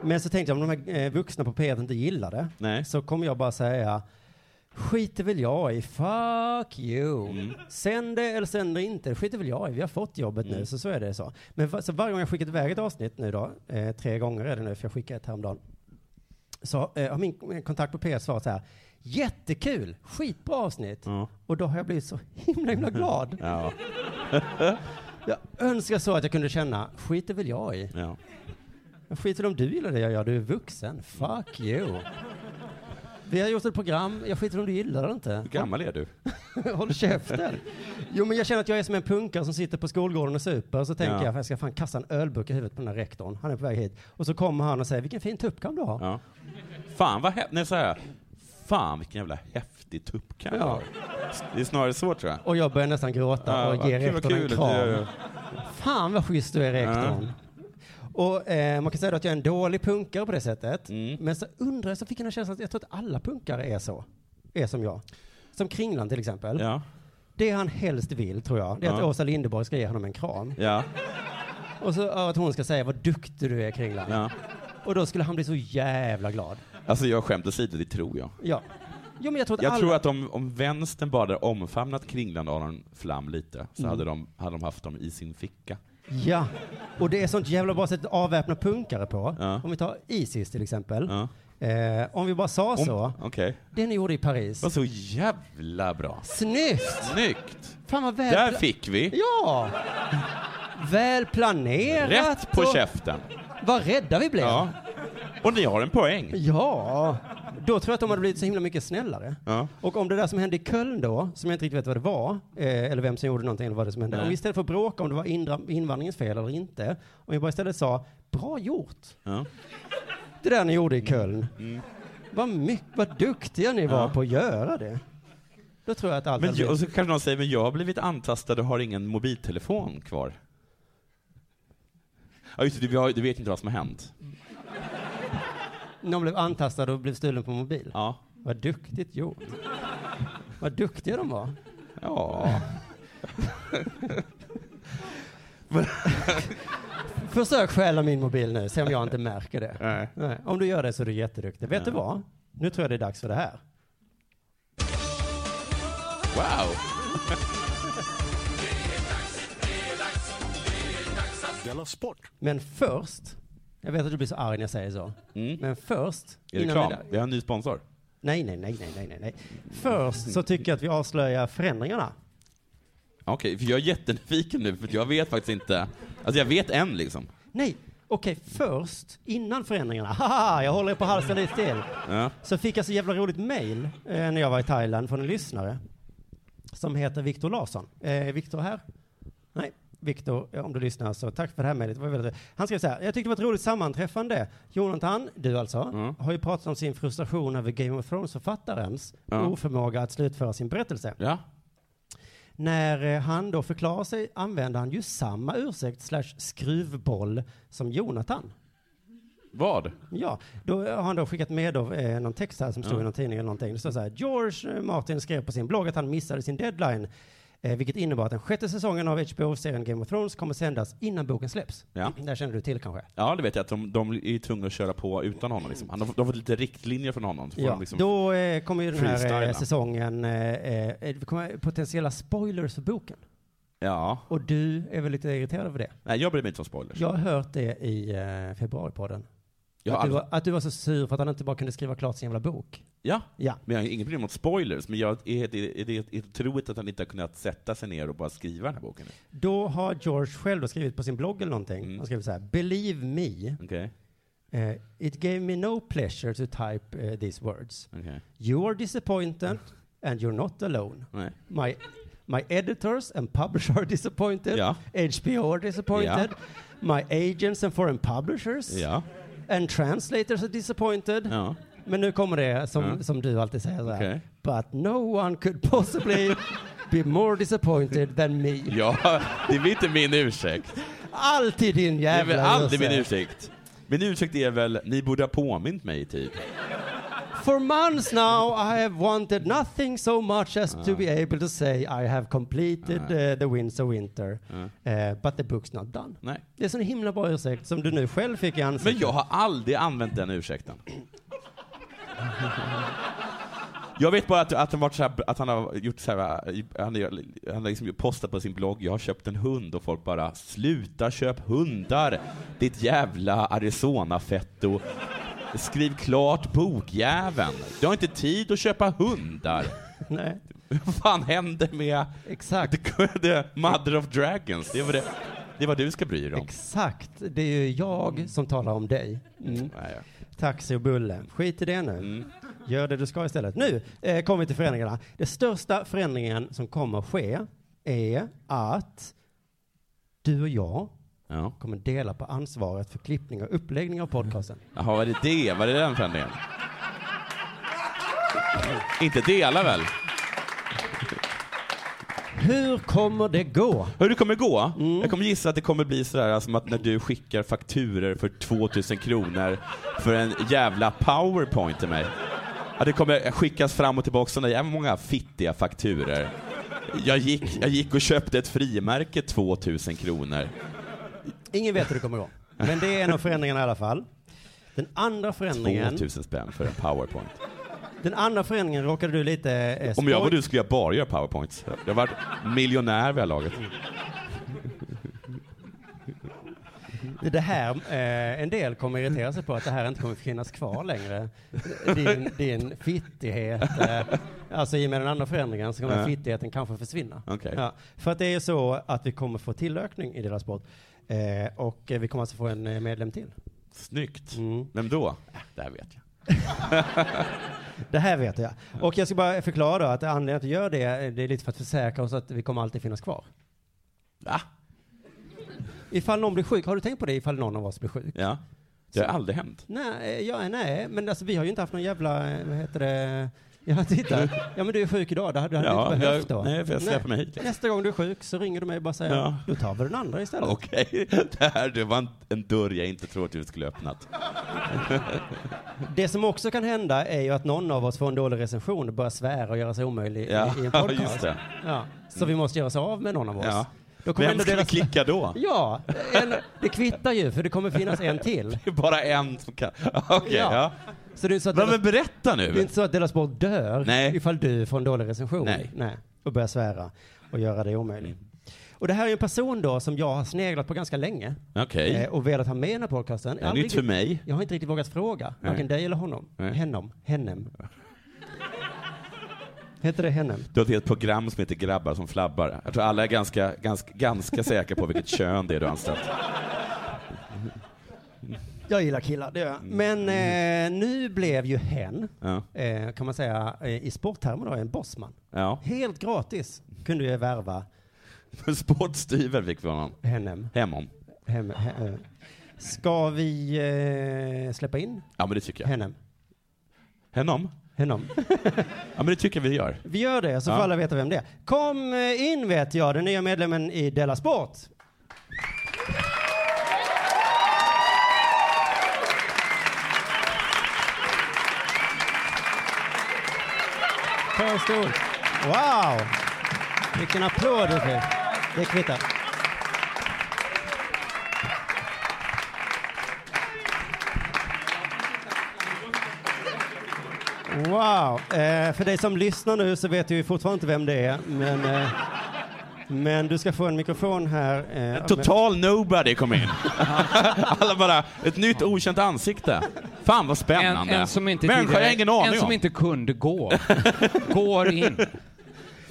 [SPEAKER 10] Men så tänkte jag om de här eh, vuxna på P1 inte gillar det.
[SPEAKER 11] Nej.
[SPEAKER 10] Så kommer jag bara säga skiter väl jag i, fuck you.
[SPEAKER 11] Mm.
[SPEAKER 10] Sänd det eller sänd det inte, skiter väl jag i, vi har fått jobbet
[SPEAKER 11] Mm.
[SPEAKER 10] nu, så så är det så. Men va- så varje gång jag skickat iväg ett avsnitt nu då, eh, tre gånger är det nu, för jag skickade ett häromdagen, så eh, har min min kontakt på P1 svarat så här, jättekul, skitbra avsnitt.
[SPEAKER 11] Ja.
[SPEAKER 10] Och då har jag blivit så himla, himla glad.
[SPEAKER 11] Ja.
[SPEAKER 10] Jag önskar så att jag kunde känna, skiter väl jag i.
[SPEAKER 11] ja.
[SPEAKER 10] Jag skiter om du gillar det jag gör, du är vuxen. Fuck you. Vi har gjort ett program, jag skiter om du gillar det inte.
[SPEAKER 11] Hur gammal är du?
[SPEAKER 10] Håll käften. Jo men jag känner att jag är som en punkare som sitter på skolgården och super. Så tänker
[SPEAKER 11] Ja.
[SPEAKER 10] jag, jag ska fan kasta en ölburk i huvudet på den här rektorn. Han är på väg hit. Och så kommer han och säger, vilken fin tuppkam du har.
[SPEAKER 11] Ja. Fan vad häftigt. Nej, så här. Fan vilken jävla häftig tuppkam
[SPEAKER 10] Ja.
[SPEAKER 11] ja. Det är snarare så tror jag.
[SPEAKER 10] Och jag börjar nästan gråta och
[SPEAKER 11] vad
[SPEAKER 10] ger
[SPEAKER 11] kul, vad
[SPEAKER 10] rektorn en
[SPEAKER 11] kul.
[SPEAKER 10] kram.
[SPEAKER 11] Det-
[SPEAKER 10] Fan vad schysst du är rektorn. Och eh, man kan säga då att jag är en dålig punkare på det sättet.
[SPEAKER 11] Mm.
[SPEAKER 10] Men så undrar jag, så fick jag en känsla att jag tror att alla punkare är så. Är som jag. Som Kringland till exempel.
[SPEAKER 11] Ja.
[SPEAKER 10] Det han helst vill, tror jag, det är att
[SPEAKER 11] Ja.
[SPEAKER 10] Åsa Linderborg ska ge honom en kram.
[SPEAKER 11] Ja.
[SPEAKER 10] Och så att hon ska säga vad duktig du är, Kringland.
[SPEAKER 11] ja.
[SPEAKER 10] Och då skulle han bli så jävla glad.
[SPEAKER 11] Alltså jag skämt åsido, det tror jag.
[SPEAKER 10] Ja. Jo, men jag tror att
[SPEAKER 11] Jag
[SPEAKER 10] alla...
[SPEAKER 11] tror att om, om vänstern bara hade omfamnat Kringland och Aron Flam lite, så hade, de, hade de haft dem i sin ficka.
[SPEAKER 10] Ja. Och det är sånt jävla bra sätt att avväpna punkare på.
[SPEAKER 11] Ja.
[SPEAKER 10] Om vi tar Isis till exempel.
[SPEAKER 11] Ja.
[SPEAKER 10] Eh, om vi bara sa
[SPEAKER 11] Om-
[SPEAKER 10] så.
[SPEAKER 11] Okej.
[SPEAKER 10] Det ni gjorde i Paris.
[SPEAKER 11] Det var så jävla bra.
[SPEAKER 10] Snyggt!
[SPEAKER 11] Snyggt!
[SPEAKER 10] Fan vad väl...
[SPEAKER 11] Där fick vi!
[SPEAKER 10] Ja! Väl planerat.
[SPEAKER 11] Rätt på
[SPEAKER 10] och-
[SPEAKER 11] käften.
[SPEAKER 10] Vad rädda vi blev.
[SPEAKER 11] Ja. Och ni har en poäng.
[SPEAKER 10] Ja, då tror jag att de hade blivit så himla mycket snällare.
[SPEAKER 11] Ja.
[SPEAKER 10] Och om det där som hände i Köln då, som jag inte riktigt vet vad det var, eh, eller vem som gjorde någonting eller vad det som hände.
[SPEAKER 11] Nej.
[SPEAKER 10] Om vi istället för att bråka om det var indra- invandringens fel eller inte, om vi bara istället sa bra gjort,
[SPEAKER 11] Ja. Mm.
[SPEAKER 10] det där ni gjorde i Köln. Vad, mycket, vad duktiga ni var
[SPEAKER 11] Ja.
[SPEAKER 10] på att göra det. Då tror jag att allt
[SPEAKER 11] Men,
[SPEAKER 10] hade
[SPEAKER 11] ju- och
[SPEAKER 10] blivit-
[SPEAKER 11] så kanske någon säger, men jag har blivit antastad och har ingen mobiltelefon kvar. Ja just det, du, har- du vet inte vad som har hänt.
[SPEAKER 10] någon blev antastad och blev stulen på mobil.
[SPEAKER 11] Ja.
[SPEAKER 10] Vad duktigt gjort. vad duktiga de var.
[SPEAKER 11] Ja.
[SPEAKER 10] Försök stjäla min mobil nu, se om jag inte märker det.
[SPEAKER 11] Nej.
[SPEAKER 10] Nej. Om du gör det så är du jätteduktig. Vet du vad? Nu tror jag det är dags för det här.
[SPEAKER 11] Wow.
[SPEAKER 8] Della Sport.
[SPEAKER 10] Men först, jag vet att du blir så arg när jag säger så. Men först,
[SPEAKER 11] Mm. Är det
[SPEAKER 10] vi-
[SPEAKER 11] reklam? Vi har en ny sponsor.
[SPEAKER 10] Nej, nej, nej, nej, nej, nej, nej. Först så tycker jag att vi avslöjar förändringarna.
[SPEAKER 11] Okej, för jag är jättenyfiken nu, för jag vet faktiskt inte. Alltså jag vet en liksom.
[SPEAKER 10] Nej, okej, först, innan förändringarna. Haha, jag håller er på halsen lite till.
[SPEAKER 11] Ja.
[SPEAKER 10] Så fick jag så jävla roligt mail eh, när jag var i Thailand från en lyssnare som heter Viktor Larsson. Eh, är Viktor här? Nej, Viktor, ja, om du lyssnar så tack för det här mejlet. Det var väldigt- Han skrev så här, jag tyckte det var ett roligt sammanträffande. Jonathan, du alltså, har ju pratat om sin frustration över Game of Thrones-författarens
[SPEAKER 11] Ja.
[SPEAKER 10] oförmåga att slutföra sin berättelse.
[SPEAKER 11] Ja.
[SPEAKER 10] När eh, han då förklarar sig använder han ju samma ursäkt slash skruvboll som Jonathan.
[SPEAKER 11] Vad?
[SPEAKER 10] Ja, då har han då skickat med då, eh, någon text här som stod i någon tidning eller någonting. Det står så här, George eh, Martin skrev på sin blogg att han missade sin deadline Eh, vilket innebar att den sjätte säsongen av HBO-serien Game of Thrones kommer sändas innan boken släpps.
[SPEAKER 11] Ja.
[SPEAKER 10] Där känner du till kanske?
[SPEAKER 11] Ja, det vet jag. Att de, de är tvungna att köra på utan honom. Liksom. Han har, de har fått lite riktlinjer från honom. Så får
[SPEAKER 10] Ja,
[SPEAKER 11] de liksom,
[SPEAKER 10] då eh, kommer ju den här eh,
[SPEAKER 11] freestyla.
[SPEAKER 10] säsongen eh, eh, det kommer potentiella spoilers för boken.
[SPEAKER 11] ja.
[SPEAKER 10] Och du är väl lite irriterad över det?
[SPEAKER 11] Nej, jag bryr mig inte om spoilers.
[SPEAKER 10] Jag har hört det i eh, februaripodden.
[SPEAKER 11] Jag har
[SPEAKER 10] Att, du
[SPEAKER 11] aldrig-
[SPEAKER 10] var- att du var så sur för att han inte bara kunde skriva klart sin jävla bok.
[SPEAKER 11] Ja.
[SPEAKER 10] Ja.
[SPEAKER 11] men jag har inget problem mot spoilers, men jag är, det, är, det är otroligt att han inte har kunnat sätta sig ner och bara skriva den här boken.
[SPEAKER 10] Då har George själv då skrivit på sin blogg eller någonting. Han skriver så här, believe me,
[SPEAKER 11] Mm. Okej?
[SPEAKER 10] eh, it gave me no pleasure to type eh, these words.
[SPEAKER 11] Okej.
[SPEAKER 10] You are disappointed and you're not alone.
[SPEAKER 11] Nej.
[SPEAKER 10] My, my editors and publishers are disappointed.
[SPEAKER 11] Ja.
[SPEAKER 10] HBO are disappointed. My agents and foreign publishers.
[SPEAKER 11] Ja.
[SPEAKER 10] And translators are disappointed.
[SPEAKER 11] Ja.
[SPEAKER 10] Men nu kommer det som,
[SPEAKER 11] Ja.
[SPEAKER 10] som du alltid säger så här.
[SPEAKER 11] Okej.
[SPEAKER 10] But no one could possibly be more disappointed than me.
[SPEAKER 11] Ja, det är väl inte min ursäkt.
[SPEAKER 10] Alltid din
[SPEAKER 11] Det är
[SPEAKER 10] jävla
[SPEAKER 11] väl aldrig min
[SPEAKER 10] Josse.
[SPEAKER 11] ursäkt. Min ursäkt är väl, ni borde ha påmint mig i tid.
[SPEAKER 10] For months now I have wanted nothing so much as to be able to say I have completed uh, the Windsor Winter. Uh, but the book's not done.
[SPEAKER 11] Nej.
[SPEAKER 10] Det är en sån himla bra ursäkt som du nu själv fick i ansiktet.
[SPEAKER 11] Men jag har aldrig använt den ursäkten. Jag vet bara att, att, han, varit så här, att han har gjort så här, han, har- han har liksom postat på sin blogg, jag har köpt en hund och folk bara sluta köp hundar, ditt jävla Arizona-fetto. Skriv klart bokjäveln. Du har inte tid att köpa hundar.
[SPEAKER 10] Nej,
[SPEAKER 11] Vad fan händer med
[SPEAKER 10] exakt.
[SPEAKER 11] the, the Mother of Dragons? Det var det, det är vad du ska bry dig om.
[SPEAKER 10] Exakt. Det är ju jag som talar om dig. Mm.
[SPEAKER 11] Nej, ja. Mm.
[SPEAKER 10] Taxi och bulle. Skit i det nu. Gör det du ska istället. Nu eh, kommer vi till förändringarna. Den största förändringen som kommer att ske är att du och jag
[SPEAKER 11] Ja.
[SPEAKER 10] kommer dela på ansvaret för klippning och uppläggning av podcasten.
[SPEAKER 11] Jaha, var det det? Var det den förändringen? Inte dela väl?
[SPEAKER 10] Hur kommer det gå?
[SPEAKER 11] Hur det kommer gå? Jag kommer gissa att det kommer bli sådär alltså, som att när du skickar fakturer för 2000 kronor för en jävla powerpoint till mig. Att det kommer skickas fram och tillbaka sådana jävla många fittiga fakturer. Jag gick, jag gick och köpte ett frimärke 2000 kronor.
[SPEAKER 10] Ingen vet hur det kommer gå. Men det är en av förändringarna i alla fall. Den andra förändringen,
[SPEAKER 11] 2000 spänn för en powerpoint.
[SPEAKER 10] den andra förändringen råkade du lite... Eh,
[SPEAKER 11] Om jag var
[SPEAKER 10] spoj-
[SPEAKER 11] du skulle jag bara göra powerpoints. Jag var miljonär vid det här laget.
[SPEAKER 10] Det här, eh, en del kommer irritera sig på att det här inte kommer finnas kvar längre. Din, din fittighet. Eh, alltså i och med den andra förändringen så kommer
[SPEAKER 11] Ja.
[SPEAKER 10] fittigheten kanske försvinna.
[SPEAKER 11] Okej.
[SPEAKER 10] Ja, för att det är så att vi kommer få tillökning i deras sport. Eh, och eh, vi kommer alltså få en eh, medlem till.
[SPEAKER 11] Snyggt.
[SPEAKER 10] Mm.
[SPEAKER 11] Vem då? Äh, Det här vet jag.
[SPEAKER 10] Det här vet jag. Och jag ska bara förklara att anledningen att vi gör det, det är lite för att försäkra oss att vi kommer alltid finnas kvar.
[SPEAKER 11] Va?
[SPEAKER 10] Ifall någon blir sjuk, har du tänkt på det ifall någon av oss blir sjuk?
[SPEAKER 11] Ja. Det har aldrig hänt.
[SPEAKER 10] Nej, eh, ja, nej, men alltså, vi har ju inte haft någon jävla, eh, vad heter det, ja titta, ja men du är sjuk idag, det hade du
[SPEAKER 11] Ja,
[SPEAKER 10] inte behövt
[SPEAKER 11] jag-
[SPEAKER 10] då.
[SPEAKER 11] nej, för jag släpper mig hit, liksom.
[SPEAKER 10] Nästa gång du är sjuk så ringer du mig och bara säger,
[SPEAKER 11] Ja.
[SPEAKER 10] då tar vi den andra istället.
[SPEAKER 11] Okej, det här det var en, en dörr jag inte trodde du skulle öppnat.
[SPEAKER 10] Det som också kan hända är ju att någon av oss får en dålig recension och börjar svära och göra sig omöjlig i-
[SPEAKER 11] Ja,
[SPEAKER 10] i en podcast.
[SPEAKER 11] just det.
[SPEAKER 10] Ja, så vi måste göra oss av med någon av oss.
[SPEAKER 11] Ja.
[SPEAKER 10] Då kommer
[SPEAKER 11] Vem
[SPEAKER 10] ändå
[SPEAKER 11] ska vi
[SPEAKER 10] deras-
[SPEAKER 11] klicka då?
[SPEAKER 10] Ja, en, det kvittar ju för det kommer finnas en till.
[SPEAKER 11] Det är bara en som kan... Okej, ja.
[SPEAKER 10] Så det är, så att
[SPEAKER 11] Men, men berätta
[SPEAKER 10] det är
[SPEAKER 11] nu!
[SPEAKER 10] inte så att Della Sport dör
[SPEAKER 11] Nej.
[SPEAKER 10] ifall du får en dålig recension.
[SPEAKER 11] Nej.
[SPEAKER 10] Och börjar svära och göra det omöjligt. Och det här är ju en person då som jag har sneglat på ganska länge
[SPEAKER 11] Okej.
[SPEAKER 10] eh, och velat ha med i den här podcasten. Jag har
[SPEAKER 11] nytt
[SPEAKER 10] aldrig-
[SPEAKER 11] för mig.
[SPEAKER 10] Jag har inte riktigt vågat fråga, varken dig eller honom.
[SPEAKER 11] Nej.
[SPEAKER 10] Hennom. Hennem. Heter det hennem?
[SPEAKER 11] Du har ett helt program som heter Grabbar som flabbar. Jag tror alla är ganska, ganska, ganska säkra på vilket kön det är du har anställt.
[SPEAKER 10] Jag gillar killar, det gör jag. Men eh, nu blev ju hen,
[SPEAKER 11] Mm. Ja.
[SPEAKER 10] eh, kan man säga, eh, i sporttermer då, en bossman.
[SPEAKER 11] Ja.
[SPEAKER 10] Helt gratis kunde jag värva
[SPEAKER 11] Sportstyver fick vi honom.
[SPEAKER 10] hennem.
[SPEAKER 11] Hemom.
[SPEAKER 10] Hem, he, eh. Ska vi eh, släppa in
[SPEAKER 11] Ja, men det tycker jag.
[SPEAKER 10] hennem?
[SPEAKER 11] Henom?
[SPEAKER 10] hennom?
[SPEAKER 11] Ja, men det tycker jag vi gör.
[SPEAKER 10] Vi gör det, så
[SPEAKER 11] Ja.
[SPEAKER 10] får alla veta vem det är. Kom eh, in vet jag, den nya medlemmen i Della Sport. Ta en stol. Wow! Vilken applåd du fick. Det kvittar. Wow. Eh, för dig som lyssnar nu så vet vi fortfarande inte vem det är. Men, eh, men du ska få en mikrofon här. Eh,
[SPEAKER 11] Total nobody kom in. Alla bara, ett nytt okänt ansikte. Fan vad spännande.
[SPEAKER 12] En, en som inte
[SPEAKER 11] Människor
[SPEAKER 12] tidigare-
[SPEAKER 11] jag ingen aning
[SPEAKER 12] En som
[SPEAKER 11] om.
[SPEAKER 12] inte kunde gå. Går in.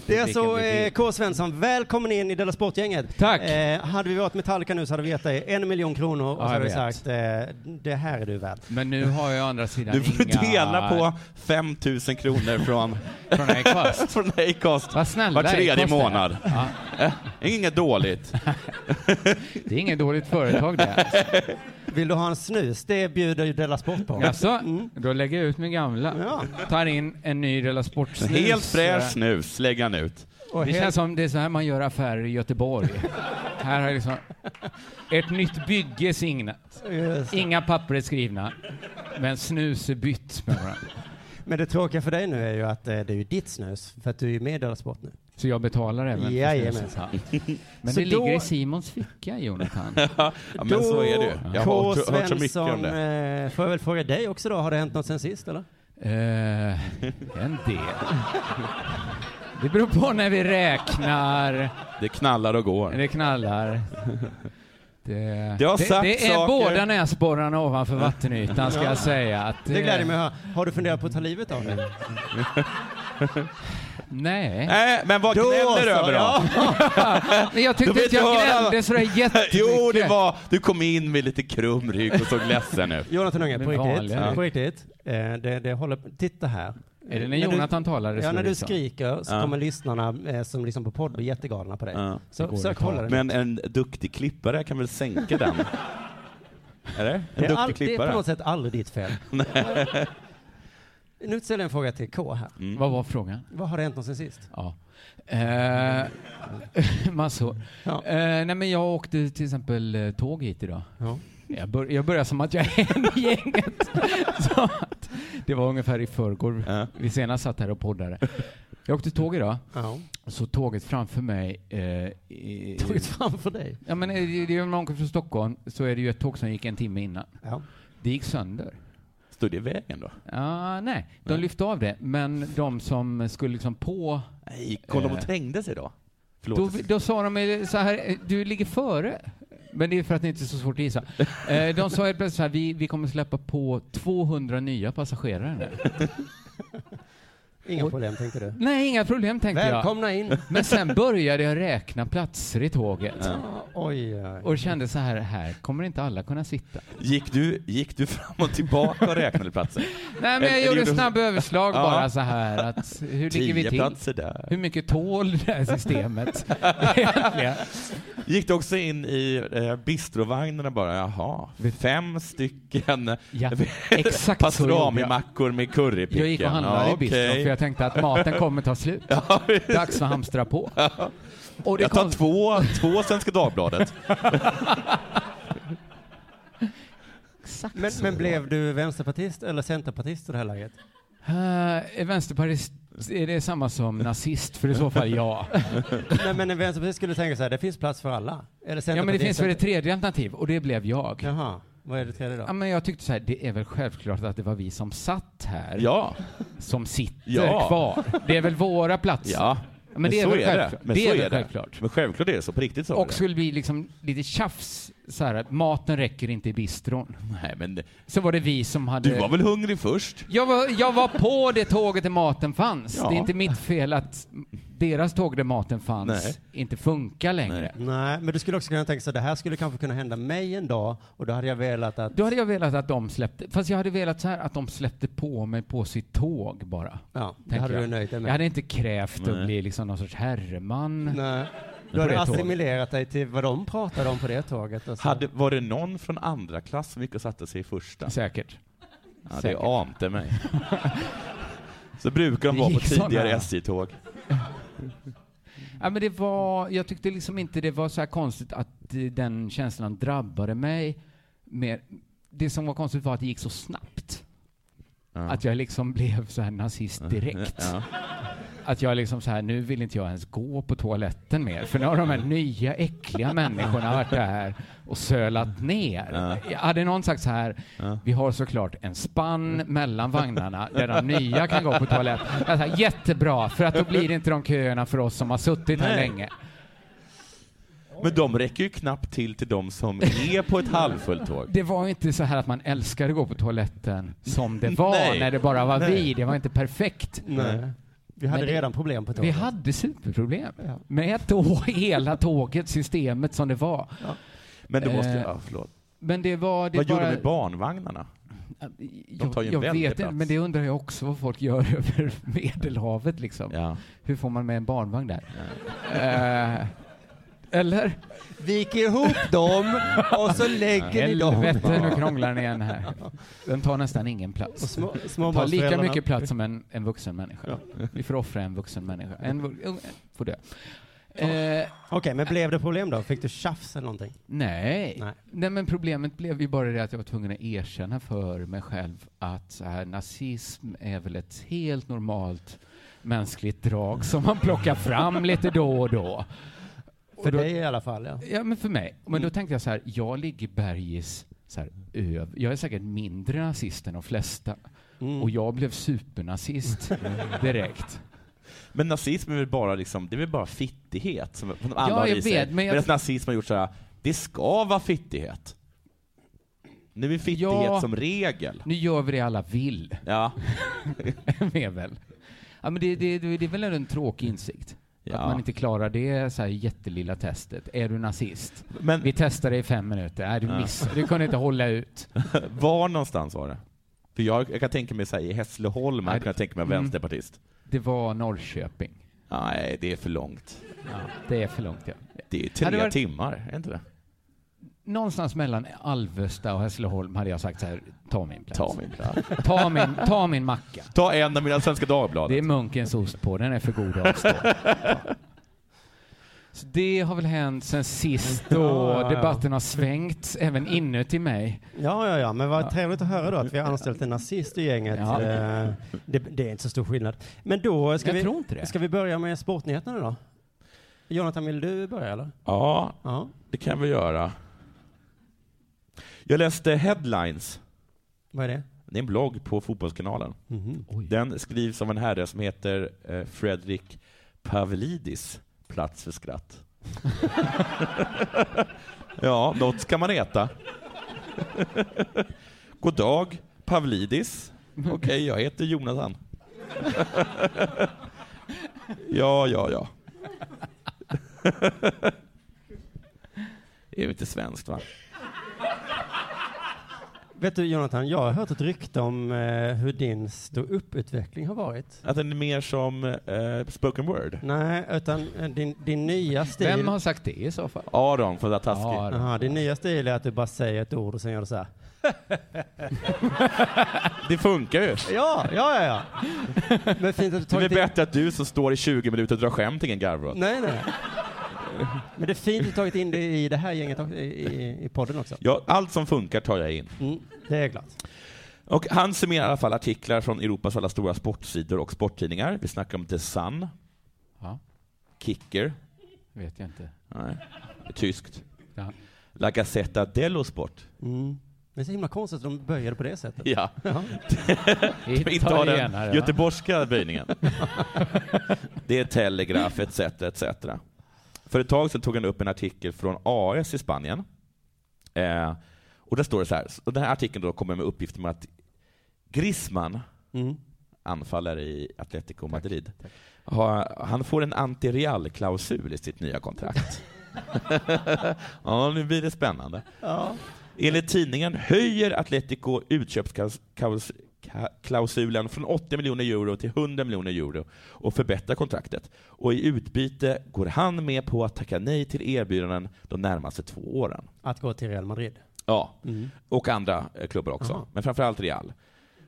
[SPEAKER 10] Det är
[SPEAKER 12] Vilken
[SPEAKER 10] så eh,
[SPEAKER 12] befrielse.
[SPEAKER 10] K. Svensson, välkommen in i Della Sport-gänget. Tack. Eh, hade vi varit Metallica nu så hade vi gett dig en miljon kronor och
[SPEAKER 12] Ja, jag
[SPEAKER 10] så hade vi
[SPEAKER 12] vet.
[SPEAKER 10] sagt eh, det här är du värd.
[SPEAKER 12] Men nu har jag å andra sidan
[SPEAKER 11] Du får
[SPEAKER 12] inga...
[SPEAKER 11] dela på 5 000 kronor från,
[SPEAKER 12] från Acast.
[SPEAKER 11] från Acast. Vad
[SPEAKER 12] snälla
[SPEAKER 11] Var tredje
[SPEAKER 12] Acast är.
[SPEAKER 11] månad. Eh, Inget dåligt.
[SPEAKER 12] Det är inget dåligt företag det.
[SPEAKER 10] Vill du ha en snus? Det bjuder ju Della Sport på.
[SPEAKER 12] Alltså,
[SPEAKER 11] Mm.
[SPEAKER 12] då lägger jag ut min gamla. Tar in en ny Rela Sport-snus.
[SPEAKER 11] Helt fräsch snus lägger han ut.
[SPEAKER 12] det känns som det är så här man gör affärer i Göteborg. här har liksom ett nytt bygge signat.
[SPEAKER 10] Just det.
[SPEAKER 12] Inga papper är skrivna, men snus är bytt med varandra.
[SPEAKER 10] Men det tråkiga för dig nu är ju att eh, det är ju ditt snus, för att du är ju med i Della Sport nu.
[SPEAKER 12] Så jag betalar även för
[SPEAKER 10] Jajamän.
[SPEAKER 12] snuset. Men
[SPEAKER 10] Så
[SPEAKER 12] det
[SPEAKER 10] då-
[SPEAKER 12] ligger i Simons ficka, Jonathan.
[SPEAKER 11] Ja, men så är det ju. Jag har
[SPEAKER 10] K.
[SPEAKER 11] hört, hört så mycket om
[SPEAKER 10] Svensson,
[SPEAKER 11] det.
[SPEAKER 10] eh, får jag väl fråga dig också då, har det hänt något sen sist eller?
[SPEAKER 12] Eh, en del. Det beror på när vi räknar.
[SPEAKER 11] Det knallar och går.
[SPEAKER 12] Det knallar. Det,
[SPEAKER 11] Det har sagt
[SPEAKER 12] det är
[SPEAKER 11] saker.
[SPEAKER 12] båda näsborrarna ovanför vattenytan ska
[SPEAKER 10] Ja.
[SPEAKER 12] jag säga. Att eh,
[SPEAKER 10] Det gläder mig att höra. Har du funderat på att ta livet av dig?
[SPEAKER 12] Nej.
[SPEAKER 11] Nej, men vad gnäller du över då?
[SPEAKER 12] Men jag
[SPEAKER 11] Du
[SPEAKER 12] tyckte
[SPEAKER 11] vill
[SPEAKER 12] att jag
[SPEAKER 11] inte höra.
[SPEAKER 12] gnällde sådär jättemycket.
[SPEAKER 11] Jo, det var... Du kom in med lite krum rygg och såg ledsen ut.
[SPEAKER 10] Jonathan Unge,
[SPEAKER 12] Men
[SPEAKER 10] på riktigt.
[SPEAKER 12] vanliga.
[SPEAKER 10] På riktigt. Eh, det, det håller, titta här.
[SPEAKER 12] Är det när
[SPEAKER 10] du-
[SPEAKER 12] Jonathan talar det
[SPEAKER 10] Ja,
[SPEAKER 12] slår
[SPEAKER 10] när
[SPEAKER 12] det
[SPEAKER 10] du
[SPEAKER 12] så?
[SPEAKER 10] skriker så
[SPEAKER 11] Ja.
[SPEAKER 10] kommer lyssnarna eh, som lyssnar på podd bli jättegalna på dig.
[SPEAKER 11] Ja.
[SPEAKER 10] Så
[SPEAKER 11] Det går
[SPEAKER 10] försök
[SPEAKER 11] inte.
[SPEAKER 10] hålla den.
[SPEAKER 11] Men en duktig klippare kan väl sänka den? Eller? En
[SPEAKER 10] det, är
[SPEAKER 11] duktig
[SPEAKER 10] all, det är
[SPEAKER 11] klippare.
[SPEAKER 10] på något sätt aldrig ditt fel. nu ställer jag en fråga till K här.
[SPEAKER 11] Mm.
[SPEAKER 12] Vad var frågan?
[SPEAKER 10] Vad har det hänt någonsin sist?
[SPEAKER 12] Ja. Eh, massor. Eh, nej men jag åkte till exempel eh, tåg hit idag.
[SPEAKER 10] Ja.
[SPEAKER 12] Jag, bör, jag börjar som att jag är en i gänget. Så att, det var ungefär i förrgår vi senast satt här och poddade. Jag åkte tåg idag.
[SPEAKER 10] Ja.
[SPEAKER 12] Så tåget framför mig... Eh, i,
[SPEAKER 10] Tagit framför dig?
[SPEAKER 12] Ja, men eh, det det är om man åker från Stockholm så är det ju ett tåg som gick en timme innan.
[SPEAKER 10] Ja.
[SPEAKER 12] Det gick sönder.
[SPEAKER 11] Stod det i vägen då?
[SPEAKER 12] Ah, nej, de lyfte av det. Men de som skulle liksom på...
[SPEAKER 11] Nej, kolla om
[SPEAKER 12] Eh.
[SPEAKER 11] hon trängde sig då.
[SPEAKER 12] Då,
[SPEAKER 11] Förlåt.
[SPEAKER 12] då sa de eh, så här, eh, du ligger före. Men det är för att det inte är så svårt att gissa. Eh, de sa helt plötsligt så här, vi, vi kommer släppa på 200 nya passagerare nu.
[SPEAKER 10] Inga problem tänkte du?
[SPEAKER 12] Nej, inga problem tänkte
[SPEAKER 10] Välkomna in.
[SPEAKER 12] jag. Men sen började jag räkna platser i tåget.
[SPEAKER 10] Oj, oj, oj.
[SPEAKER 12] Och kände så här, här kommer inte alla kunna sitta.
[SPEAKER 11] Gick, du, gick du fram och tillbaka och räknade platser?
[SPEAKER 12] Nej, men
[SPEAKER 11] Eller
[SPEAKER 12] jag gjorde
[SPEAKER 11] gjorde-
[SPEAKER 12] en snabb överslag
[SPEAKER 11] Ja.
[SPEAKER 12] bara så här att hur ligger vi
[SPEAKER 11] Tio
[SPEAKER 12] till?
[SPEAKER 11] platser där.
[SPEAKER 12] Hur mycket tål det här systemet? Egentligen.
[SPEAKER 11] Gick du också in i eh, bistrovagnarna bara? Jaha, fem stycken
[SPEAKER 12] Ja, exakt så gjorde jag.
[SPEAKER 11] pastramimackor med currypicken.
[SPEAKER 12] jag gick och handlade
[SPEAKER 11] Ja,
[SPEAKER 12] i bistron
[SPEAKER 11] okej.
[SPEAKER 12] för jag tänkte att maten kommer ta slut. Dags att hamstra på. Och det
[SPEAKER 11] Jag tar
[SPEAKER 12] kom-
[SPEAKER 11] två, två Svenska Dagbladet.
[SPEAKER 12] Exakt
[SPEAKER 10] Men,
[SPEAKER 12] så.
[SPEAKER 10] men blev du vänsterpartist eller centerpartist i det här läget?
[SPEAKER 12] Eh, är vänsterpartist, är det samma som nazist? För i så fall ja.
[SPEAKER 10] Nej, men en vänsterpartist skulle tänka så här, det finns plats för alla. Eller
[SPEAKER 12] Ja, men det finns väl ett
[SPEAKER 10] centerpartist-
[SPEAKER 12] tredje alternativ och det blev jag.
[SPEAKER 10] Jaha, vad är det tredje då?
[SPEAKER 12] Ja, men jag tyckte så här, det är väl självklart att det var vi som satt här
[SPEAKER 11] Ja,
[SPEAKER 12] som sitter
[SPEAKER 11] Ja.
[SPEAKER 12] kvar. Det är väl våra platser.
[SPEAKER 11] ja.
[SPEAKER 12] Men, det är
[SPEAKER 11] så
[SPEAKER 12] väl
[SPEAKER 11] är det.
[SPEAKER 12] självklart.
[SPEAKER 11] Men
[SPEAKER 12] det
[SPEAKER 11] så
[SPEAKER 12] är väl
[SPEAKER 11] det.
[SPEAKER 12] självklart.
[SPEAKER 11] Men självklart är det så. På riktigt så. är
[SPEAKER 12] Och
[SPEAKER 11] det.
[SPEAKER 12] skulle bli liksom lite tjafs, så här, att maten räcker inte i bistron.
[SPEAKER 11] Nej, men
[SPEAKER 12] Så var det vi som hade...
[SPEAKER 11] du var väl hungrig först?
[SPEAKER 12] jag, var, jag var på det tåget där maten fanns.
[SPEAKER 11] Ja.
[SPEAKER 12] Det är inte mitt fel att deras tåg där maten fanns
[SPEAKER 11] Nej.
[SPEAKER 12] inte funkar längre.
[SPEAKER 11] Nej.
[SPEAKER 10] Nej, men du skulle också kunna tänka så här, det här skulle kanske kunna hända mig en dag och då hade jag velat att...
[SPEAKER 12] Då hade jag velat att de släppte, fast jag hade velat så här att de släppte på mig på sitt tåg bara.
[SPEAKER 10] Ja, det
[SPEAKER 12] tänker
[SPEAKER 10] hade
[SPEAKER 12] jag.
[SPEAKER 10] du nöjt dig med.
[SPEAKER 12] Jag hade inte krävt
[SPEAKER 11] Nej.
[SPEAKER 12] att bli liksom någon sorts herreman.
[SPEAKER 10] Nej. eh, Du
[SPEAKER 12] På
[SPEAKER 10] hade
[SPEAKER 12] det tåget.
[SPEAKER 10] assimilerat dig till vad de pratade om på det tåget. alltså. och så.
[SPEAKER 11] Hade, var det någon från andra klass som gick och satte sig i första?
[SPEAKER 12] Säkert.
[SPEAKER 11] Ja, det
[SPEAKER 12] säkert.
[SPEAKER 11] ante mig. Så brukar de vara på
[SPEAKER 12] gick såna.
[SPEAKER 11] tidigare SJ-tåg.
[SPEAKER 12] Ja, men det var, jag tyckte liksom inte det var så här konstigt att eh, den känslan drabbade mig. Mer. Det som var konstigt var att det gick så snabbt. Att jag liksom blev så här nazist direkt.
[SPEAKER 11] Ja.
[SPEAKER 12] att jag liksom så här, nu vill inte jag ens gå på toaletten mer, för nu har de här nya äckliga människorna varit där och sölat ner. Hade någon sagt så här, vi har såklart en spann mellan vagnarna där de nya kan gå på toaletten. Jag sa, Jättebra, för att då blir det inte de köerna för oss som har suttit här
[SPEAKER 11] Nej.
[SPEAKER 12] länge.
[SPEAKER 11] Men de räcker ju knappt till till de som är på ett halvfullt tåg.
[SPEAKER 12] Det var ju inte så här att man älskade att gå på toaletten som det var
[SPEAKER 11] Nej.
[SPEAKER 12] när det bara var
[SPEAKER 11] Nej.
[SPEAKER 12] vi. Det var inte perfekt.
[SPEAKER 11] Nej.
[SPEAKER 10] Vi hade
[SPEAKER 12] Men det-
[SPEAKER 10] redan problem på tåget.
[SPEAKER 12] Vi hade superproblem med då hela tåget, systemet som det var.
[SPEAKER 11] Men då måste
[SPEAKER 12] Eh,
[SPEAKER 11] ja, förlåt.
[SPEAKER 12] Men det var... Det
[SPEAKER 11] Vad
[SPEAKER 12] bara,
[SPEAKER 11] gjorde de med barnvagnarna? De tar ju en
[SPEAKER 12] jag
[SPEAKER 11] väldig
[SPEAKER 12] vet inte,
[SPEAKER 11] plats.
[SPEAKER 12] men det undrar jag också vad folk gör över Medelhavet liksom. Hur får man med en barnvagn där? Eh, eller?
[SPEAKER 13] Vik ihop dem och så lägger ni dem.
[SPEAKER 12] Helvete, nu krånglar ni igen här. Den tar nästan ingen
[SPEAKER 10] Och
[SPEAKER 12] plats.
[SPEAKER 10] små-
[SPEAKER 12] tar lika
[SPEAKER 10] småbarnsföräldrarna-
[SPEAKER 12] mycket plats som en, en vuxen människa. Vi får offra en vuxen människa. En, vu- en får dö. Eh,
[SPEAKER 10] Okej, men blev det problem då? Fick du tjafs eller någonting?
[SPEAKER 12] Nej.
[SPEAKER 10] Nej.
[SPEAKER 12] Nej. men problemet blev ju bara det att jag var tvungen att erkänna för mig själv att så här, nazism är väl ett helt normalt mänskligt drag som man plockar fram lite då och då.
[SPEAKER 10] För dig i alla fall, ja. Mm.
[SPEAKER 12] Ja, men för mig. Men då tänkte jag så här, jag ligger bergis så här, öv. Jag är säkert mindre nazist än de flesta.
[SPEAKER 10] Mm.
[SPEAKER 12] Och jag blev supernazist direkt.
[SPEAKER 11] Men nazism är väl bara, liksom, det är väl bara fittighet som som alla
[SPEAKER 12] Ja,
[SPEAKER 11] har
[SPEAKER 12] jag
[SPEAKER 11] i sig.
[SPEAKER 12] vet, men jag-
[SPEAKER 11] Medan nazism har gjort så här, det ska vara fittighet. Nu är fittighet
[SPEAKER 12] Ja.
[SPEAKER 11] som regel.
[SPEAKER 12] Nu gör vi det alla vill.
[SPEAKER 11] Ja.
[SPEAKER 12] med väl. Ja, men det, det, det, det är väl ändå en tråkig insikt?
[SPEAKER 11] Ja.
[SPEAKER 12] Att man inte klarar det så här jättelilla testet. Är du nazist?
[SPEAKER 11] Men-
[SPEAKER 12] Vi testar dig i fem minuter. Nej, du
[SPEAKER 11] Ja.
[SPEAKER 12] missade. Du kunde inte hålla ut.
[SPEAKER 11] Var någonstans var det? För jag, jag kan tänka mig så här, i Hässleholm, jag kan tänka mig en
[SPEAKER 12] Mm.
[SPEAKER 11] vänsterpartist.
[SPEAKER 12] Det var Norrköping.
[SPEAKER 11] Nej, det är för långt.
[SPEAKER 12] det är för långt, ja.
[SPEAKER 11] Det är
[SPEAKER 12] Ja, det
[SPEAKER 11] tre
[SPEAKER 12] var-
[SPEAKER 11] timmar, är det inte det?
[SPEAKER 12] Någonstans mellan Alvesta och Hässleholm hade jag sagt så här, ta min plats.
[SPEAKER 11] Ta min plats.
[SPEAKER 12] ta min, ta min macka.
[SPEAKER 11] Ta en av mina Svenska Dagbladet.
[SPEAKER 12] Det är munkens ost på, den är för god att avstå. Ja. Så det har väl hänt sen sist då
[SPEAKER 10] Ja, ja, ja.
[SPEAKER 12] debatten har svängt, även inuti mig.
[SPEAKER 10] Ja, ja, ja, men vad trevligt att höra då att vi har anställt en nazist i gänget.
[SPEAKER 12] Ja.
[SPEAKER 10] Eh, Det, det är inte så stor skillnad. Men då ska,
[SPEAKER 12] Jag
[SPEAKER 10] vi,
[SPEAKER 12] tror inte det.
[SPEAKER 10] ska vi börja med sportnyheterna då? Jonathan, vill du börja eller?
[SPEAKER 11] Ja,
[SPEAKER 10] Ja.
[SPEAKER 11] det kan vi göra. Jag läste Headlines.
[SPEAKER 10] Vad är det?
[SPEAKER 11] Det är en blogg på Fotbollskanalen.
[SPEAKER 10] Mhm.
[SPEAKER 11] Den skrivs av en herre som heter eh, Fredrik Pavlidis. Plats för skratt. ja, något ska man äta. God dag, Pavlidis. Okej, jag heter Jonathan. ja, ja, ja. Det är ju inte svenskt, va?
[SPEAKER 10] Vet du Jonathan, jag har hört ett rykte om eh, hur din stå upp-utveckling har varit.
[SPEAKER 11] Att den är mer som eh, spoken word?
[SPEAKER 10] Nej, utan eh, din, din nya stil...
[SPEAKER 12] Vem har sagt det i så fall?
[SPEAKER 11] Aron för att vara taskig.
[SPEAKER 10] Aha, din nya stil är att du bara säger ett ord och sen gör du så här.
[SPEAKER 11] Det funkar ju.
[SPEAKER 10] Ja, ja, ja, ja. Men fint
[SPEAKER 11] Det
[SPEAKER 10] att du
[SPEAKER 11] är
[SPEAKER 10] tagit
[SPEAKER 11] väl
[SPEAKER 10] in...
[SPEAKER 11] bättre att du som står i 20 minuter och drar skämt ingen garvar åt.
[SPEAKER 10] Nej, nej. Men det är fint att du tagit in det i det här gänget, också, i, i, i podden också.
[SPEAKER 11] Ja, allt som funkar tar jag in.
[SPEAKER 10] Mm, det är klart.
[SPEAKER 11] Och han summerar i alla fall artiklar från Europas alla stora sportsidor och sporttidningar. Vi snackar om The Sun,
[SPEAKER 12] Ja,
[SPEAKER 11] Kicker,
[SPEAKER 12] vet jag inte.
[SPEAKER 11] nej, det är tyskt.
[SPEAKER 12] Ja.
[SPEAKER 11] La Gazzetta dello Sport.
[SPEAKER 10] Mm. Det är så himla konstigt att de böjer det på det sättet.
[SPEAKER 11] Ja.
[SPEAKER 10] Ja.
[SPEAKER 11] De inte har den göteborgska böjningen. det är Telegraf etc. etc. För ett tag sedan tog han upp en artikel från AS i Spanien. Eh, och där står det så här, och den här artikeln då kommer med uppgifter om att Griezmann,
[SPEAKER 10] Mm.
[SPEAKER 11] anfallare i Atletico Madrid, har- han får en anti-Real-klausul i sitt nya kontrakt. ja, nu blir det spännande.
[SPEAKER 10] Ja.
[SPEAKER 11] Enligt tidningen höjer Atletico utköpsklausulen från 80 miljoner euro till 100 miljoner euro och förbättrar kontraktet. Och i utbyte går han med på att tacka nej till erbjudanden de närmaste två åren.
[SPEAKER 10] Att gå till Real Madrid.
[SPEAKER 11] Ja,
[SPEAKER 10] Mm.
[SPEAKER 11] och andra eh, klubbar också,
[SPEAKER 10] Aha.
[SPEAKER 11] men framförallt Real.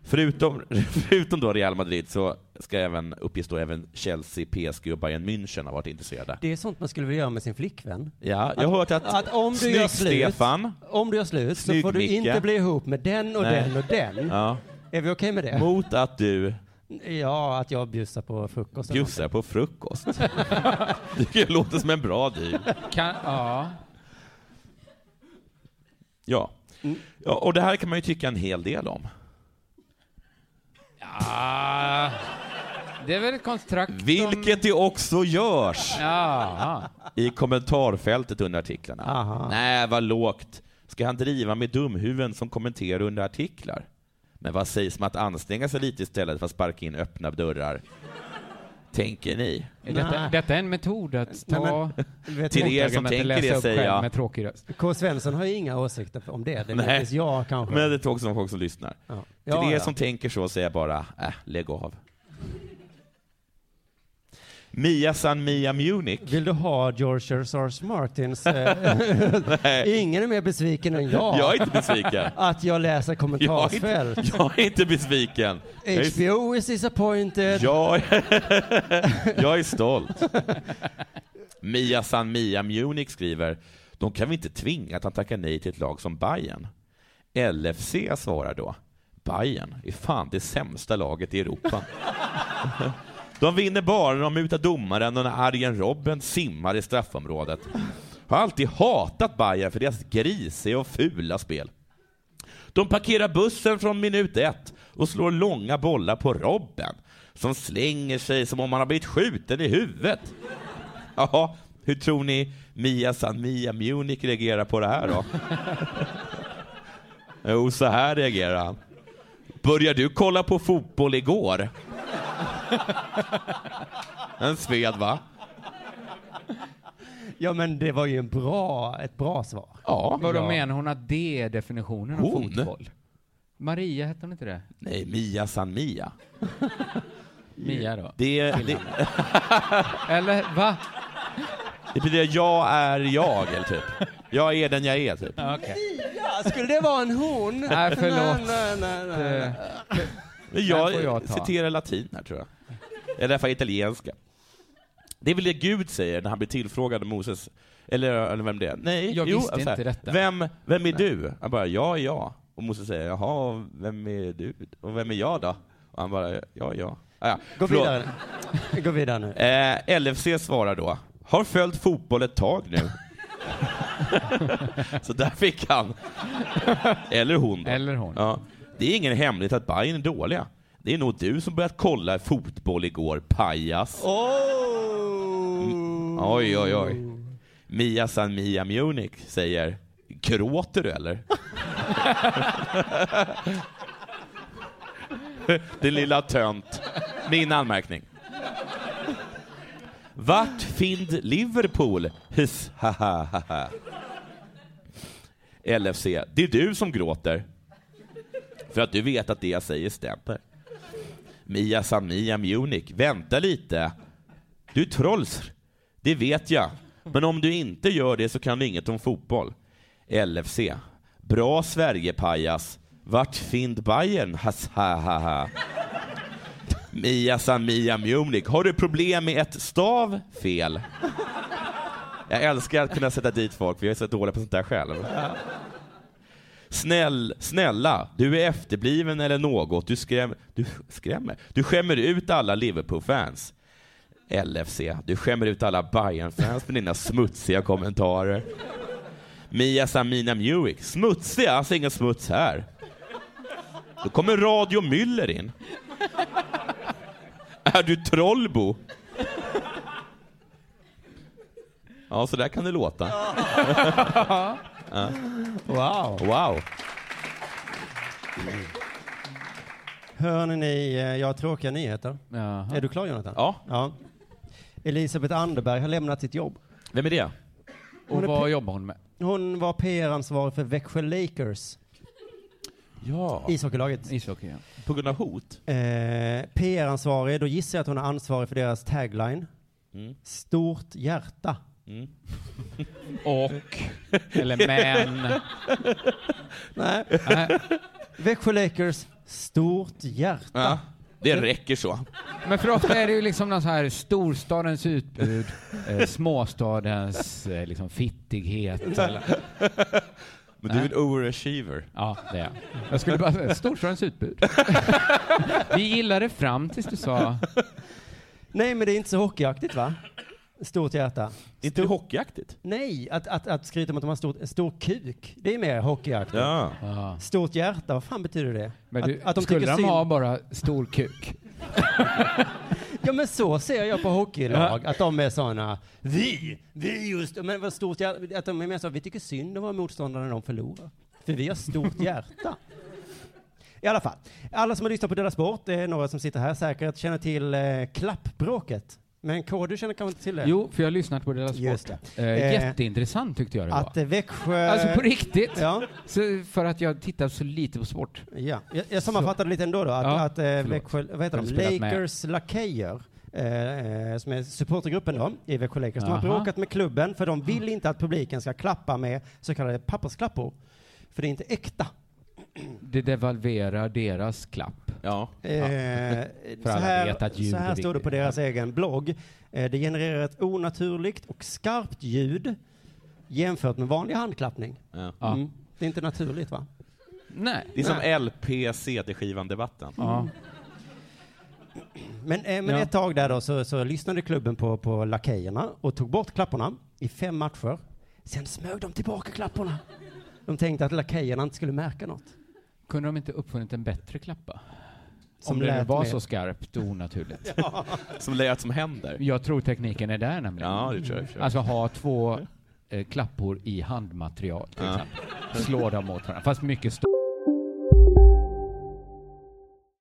[SPEAKER 11] Förutom, förutom då Real Madrid så ska även, uppges då även Chelsea, PSG och Bayern München ha varit intresserade.
[SPEAKER 10] Det är sånt man skulle vilja göra med sin flickvän.
[SPEAKER 11] Ja, jag har hört att,
[SPEAKER 10] att om du
[SPEAKER 11] snyggt
[SPEAKER 10] gör slut,
[SPEAKER 11] Stefan.
[SPEAKER 10] Om du gör slut så
[SPEAKER 11] Snygg,
[SPEAKER 10] får du
[SPEAKER 11] Micke.
[SPEAKER 10] inte bli ihop med den och
[SPEAKER 11] Nej.
[SPEAKER 10] den och den.
[SPEAKER 11] Ja.
[SPEAKER 10] Är vi okej med det?
[SPEAKER 11] Mot att du
[SPEAKER 10] Ja, att jag bjussar på frukost.
[SPEAKER 12] Bjussar på frukost? det låter som en bra deal.
[SPEAKER 13] Kan, ja.
[SPEAKER 12] Ja. ja. Och det här kan man ju tycka en hel del om.
[SPEAKER 13] ja. Det är väl ett kontrakt som...
[SPEAKER 12] Vilket det också görs
[SPEAKER 13] Ja.
[SPEAKER 12] i kommentarfältet under artiklarna. Nej, vad lågt. Ska han driva med dumhuven som kommenterar under artiklar? Men vad sägs om att anstränga sig lite istället för att sparka in öppna dörrar? Tänker ni?
[SPEAKER 13] Är Detta, detta är en metod att ta...
[SPEAKER 10] Nej, men, vet
[SPEAKER 12] Till
[SPEAKER 10] du,
[SPEAKER 12] er som
[SPEAKER 13] mottagarna att
[SPEAKER 12] tänker
[SPEAKER 13] läsa
[SPEAKER 12] det
[SPEAKER 13] upp
[SPEAKER 12] säger
[SPEAKER 13] själv
[SPEAKER 12] jag.
[SPEAKER 13] med tråkig röst.
[SPEAKER 10] K. Svensson har ju inga åsikter om det. Det är möjligtvis jag kanske.
[SPEAKER 12] Men det är också folk som lyssnar.
[SPEAKER 10] Ja,
[SPEAKER 12] Till er
[SPEAKER 10] ja.
[SPEAKER 12] som tänker så säger jag bara, äh, lägg av. Mia San Mia Munich.
[SPEAKER 10] Vill du ha George R. R. Martins... eh, Ingen är mer besviken än jag.
[SPEAKER 12] Jag är inte besviken.
[SPEAKER 10] Att jag läser
[SPEAKER 12] Jag är,
[SPEAKER 10] kommentarsfält.
[SPEAKER 12] inte, jag är inte besviken. Jag är,
[SPEAKER 10] HBO is disappointed.
[SPEAKER 12] jag, är- jag är stolt. Mia San Mia Munich skriver, de kan vi inte tvinga att han tackar nej till ett lag som Bayern. LFC svarar då, Bayern är fan det sämsta laget i Europa. De vinner bara när de mutar domaren och när Arjen Robben simmar i straffområdet. Har alltid hatat Bayern för deras grisiga och fula spel. De parkerar bussen från minut ett och slår långa bollar på Robben som slänger sig som om han har blivit skjuten i huvudet. Jaha, hur tror ni Mia San Mia Munich reagerar på det här då? jo, så här reagerar han. Börjar du kolla på fotboll igår? En sved va?
[SPEAKER 10] Ja, men det var ju en bra, ett bra svar.
[SPEAKER 12] Ja.
[SPEAKER 13] Vadå menar hon att det är definitionen av
[SPEAKER 12] Hon?
[SPEAKER 13] fotboll? Maria hette hon inte det?
[SPEAKER 12] Nej, Mia San Mia.
[SPEAKER 13] Mia då?
[SPEAKER 12] Det, det,
[SPEAKER 13] Eller va?
[SPEAKER 12] det betyder jag är jag, eller typ. Jag är den jag är, typ.
[SPEAKER 10] Ja, skulle det vara en hon?
[SPEAKER 12] Äh.
[SPEAKER 13] Nej, förlåt.
[SPEAKER 10] Nej, nej, nej, nej.
[SPEAKER 12] Men
[SPEAKER 13] Den
[SPEAKER 12] jag,
[SPEAKER 13] får jag ta.
[SPEAKER 12] citerar latin här, tror jag. Eller i alla fall italienska. Det är väl det Gud säger när han blir tillfrågad av Moses, eller, eller vem det är. Nej, alltså,
[SPEAKER 13] Jag visste
[SPEAKER 12] så här,
[SPEAKER 13] inte detta.
[SPEAKER 12] Vem, vem är du? Han bara, jag är jag. Och Moses säger, jaha, vem är du? Och vem är jag då? Och han bara, jag är jag. Ah, ja.
[SPEAKER 10] Gå
[SPEAKER 12] Förlåt.
[SPEAKER 10] vidare. Gå vidare nu.
[SPEAKER 12] Eh, LFC svarar då, har följt fotboll ett tag nu. Så där fick han. Eller hon. Då.
[SPEAKER 13] Eller hon.
[SPEAKER 12] Ja. Det är ingen hemlighet att Bayern är dåliga. Det är nog du som börjat kolla fotboll igår, pajas. Mm. Oj, oj, oj. Mia San Mia Munich säger, gråter du eller? Det lilla tönt. Min anmärkning. Vart find Liverpool? Hiss, ha, ha, ha, ha. LFC, det är du som gråter. För att du vet att det jag säger stämmer. Mia San Mia Munich, vänta lite. Du trolls, det vet jag. Men om du inte gör det så kan du inget om fotboll. LFC, bra Sverigepajas. Vart find Bayern? Has, ha, ha, ha. Mia San Mia Munich, har du problem med ett stav? Fel. Jag älskar att kunna sätta dit folk, för jag är så dålig på sånt där själv. Snäll, snälla, du är efterbliven eller något. Du, skräm, du skrämmer. Du skämmer ut alla Liverpool-fans. LFC, du skämmer ut alla Bayern-fans med dina smutsiga kommentarer. Mia Samina Mewik, smutsiga? Alltså ingen smuts här. Då kommer Radio Müller in. Är du Trollbo? Ja, så där kan det låta. Ja.
[SPEAKER 10] Wow.
[SPEAKER 12] Wow.
[SPEAKER 10] Hörni, ni, eh, jag har tråkiga nyheter.
[SPEAKER 13] Jaha.
[SPEAKER 10] Är du klar Jonathan?
[SPEAKER 12] Ja.
[SPEAKER 10] Elisabeth Anderberg har lämnat sitt jobb.
[SPEAKER 12] Vem är det?
[SPEAKER 10] Hon
[SPEAKER 13] Och
[SPEAKER 10] är
[SPEAKER 13] vad
[SPEAKER 10] pe-
[SPEAKER 13] jobbar hon med?
[SPEAKER 10] Hon var PR-ansvarig för Växjö Lakers,
[SPEAKER 12] Ja.
[SPEAKER 10] ishockeylaget.
[SPEAKER 13] Ishockey, ja.
[SPEAKER 12] På grund av hot?
[SPEAKER 10] Eh, PR-ansvarig, då gissar jag att hon är ansvarig för deras tagline.
[SPEAKER 12] Mm.
[SPEAKER 10] Stort hjärta.
[SPEAKER 12] Mm.
[SPEAKER 13] Och, eller men.
[SPEAKER 10] Nej.
[SPEAKER 13] Nej.
[SPEAKER 10] Växjö Lakers, stort hjärta.
[SPEAKER 12] Ja, det räcker så.
[SPEAKER 13] Men för ofta är det ju liksom någon så här storstadens utbud, eh, småstadens eh, liksom fittighet. Eller,
[SPEAKER 11] Men du är en overachiever.
[SPEAKER 13] Ja, det är jag. Jag skulle bara säga, Storsjöns utbud. Vi gillade fram tills du sa...
[SPEAKER 10] Nej, men det är inte så hockeyaktigt va? Stort hjärta.
[SPEAKER 11] Inte hockeyaktigt?
[SPEAKER 10] Nej, att, att, att skryta om att de har stort, stor kuk, det är mer hockeyaktigt.
[SPEAKER 11] Ja.
[SPEAKER 10] Stort hjärta, vad fan betyder det?
[SPEAKER 13] Men du,
[SPEAKER 10] att, att de
[SPEAKER 13] skulle
[SPEAKER 10] tycker
[SPEAKER 13] de
[SPEAKER 10] synd-
[SPEAKER 13] ha bara stor kuk?
[SPEAKER 10] Ja men så ser jag på hockeylag, att de är såna vi, vi just, men vad stort hjärta, att de är mer så, vi tycker synd om våra motståndare när de förlorar. För vi har stort hjärta. I alla fall, alla som har lyssnat på Della Sport, det är några som sitter här säkert, känner till eh, klappbråket. Men K, du känner kanske inte till det?
[SPEAKER 13] Jo, för jag har lyssnat på deras
[SPEAKER 10] Just
[SPEAKER 13] sport.
[SPEAKER 10] det.
[SPEAKER 13] Eh,
[SPEAKER 10] Eh,
[SPEAKER 13] jätteintressant tyckte jag det
[SPEAKER 10] Att
[SPEAKER 13] var.
[SPEAKER 10] eh, Växjö...
[SPEAKER 13] Alltså på riktigt.
[SPEAKER 10] Ja.
[SPEAKER 13] Så för att jag tittar så lite på sport.
[SPEAKER 10] Ja, jag, jag sammanfattade lite ändå då, att,
[SPEAKER 13] Ja,
[SPEAKER 10] att eh,
[SPEAKER 13] förlåt.
[SPEAKER 10] Växjö, vad heter
[SPEAKER 13] Jag har
[SPEAKER 10] de?
[SPEAKER 13] spelat med.
[SPEAKER 10] Lakers Lakejer, eh, eh, som är supportergruppen då, i Växjö Lakers, de har
[SPEAKER 13] Aha.
[SPEAKER 10] bråkat med klubben för de vill inte att publiken ska klappa med så kallade pappersklappor. För det är inte äkta.
[SPEAKER 13] Det devalverar deras klapp.
[SPEAKER 11] Ja.
[SPEAKER 10] Eh,
[SPEAKER 13] för
[SPEAKER 10] så
[SPEAKER 13] alla
[SPEAKER 10] här,
[SPEAKER 13] vet att ljud
[SPEAKER 10] så här
[SPEAKER 13] är
[SPEAKER 10] står det på
[SPEAKER 13] viktigt.
[SPEAKER 10] deras egen blogg. Eh, det genererar ett onaturligt och skarpt ljud jämfört med vanlig handklappning.
[SPEAKER 11] Ja.
[SPEAKER 10] Mm. Det är inte naturligt va?
[SPEAKER 13] Nej.
[SPEAKER 11] Det är
[SPEAKER 10] Nej.
[SPEAKER 11] som LP-CD-skivan-debatten.
[SPEAKER 10] Ja. Men, eh, men
[SPEAKER 11] Ja.
[SPEAKER 10] ett tag där då så, så lyssnade klubben på, på lakejerna och tog bort klapporna i fem matcher. Sen smög de tillbaka klapporna. De tänkte att lakejerna inte skulle märka något.
[SPEAKER 13] Kunde de inte uppfunnit en bättre klappa?
[SPEAKER 10] Som
[SPEAKER 13] Om det nu
[SPEAKER 10] lät
[SPEAKER 13] var
[SPEAKER 10] mer-
[SPEAKER 13] så skarpt och onaturligt.
[SPEAKER 11] Som lät som händer.
[SPEAKER 13] Jag tror tekniken är där nämligen.
[SPEAKER 11] Ja, det tror jag i och för sig.
[SPEAKER 13] Alltså ha två eh, klappor i handmaterial till
[SPEAKER 11] Ja.
[SPEAKER 13] exempel. Slå dem mot varandra. Fast mycket stort.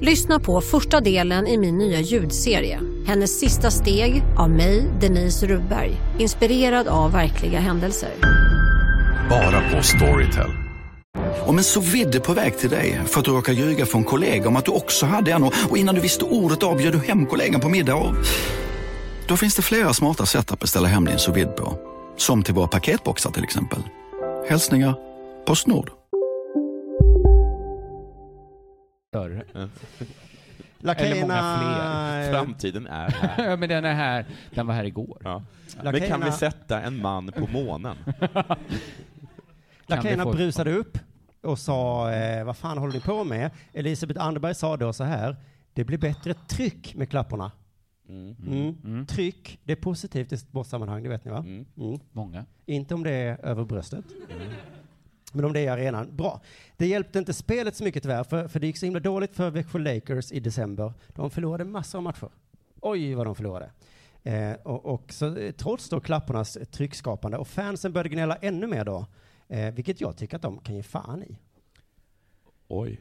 [SPEAKER 14] Lyssna på första delen i min nya ljudserie. Hennes sista steg av mig, Denise Rubberg. Inspirerad av verkliga händelser.
[SPEAKER 15] Bara på Storytel.
[SPEAKER 16] Om en så vidde på väg till dig för att du råkar ljuga från kollega om att du också hade en och och innan du visste ordet av bjöd du hem kollegan på middag och... Då finns det flera smarta sätt att beställa hem din sous vide på. Som till våra paketboxar till exempel. Hälsningar Postnord.
[SPEAKER 13] Större. Eller många
[SPEAKER 11] Lakejerna...
[SPEAKER 13] fler.
[SPEAKER 11] Framtiden är här.
[SPEAKER 13] ja, men den är här. Den var här igår.
[SPEAKER 11] Ja. Men
[SPEAKER 13] Lakejerna-
[SPEAKER 11] kan vi sätta en man på månen?
[SPEAKER 10] Lakejerna brusade upp och sa, eh, vad fan håller ni på med? Elisabeth Anderberg sa då så här, det blir bättre tryck med klapporna.
[SPEAKER 11] Mm.
[SPEAKER 10] Mm. Tryck, det är positivt i sportsammanhang, det vet ni va? Mm.
[SPEAKER 13] Många.
[SPEAKER 10] Inte om det är över bröstet. Men om det är i arenan, bra. Det hjälpte inte spelet så mycket tyvärr, för, för det gick så himla dåligt för Växjö Lakers i december. De förlorade massor av matcher. Oj, vad de förlorade. Eh, och, och så, eh, trots då klappornas tryckskapande, och fansen började gnälla ännu mer då, eh, vilket jag tycker att de kan ge fan i.
[SPEAKER 11] Oj.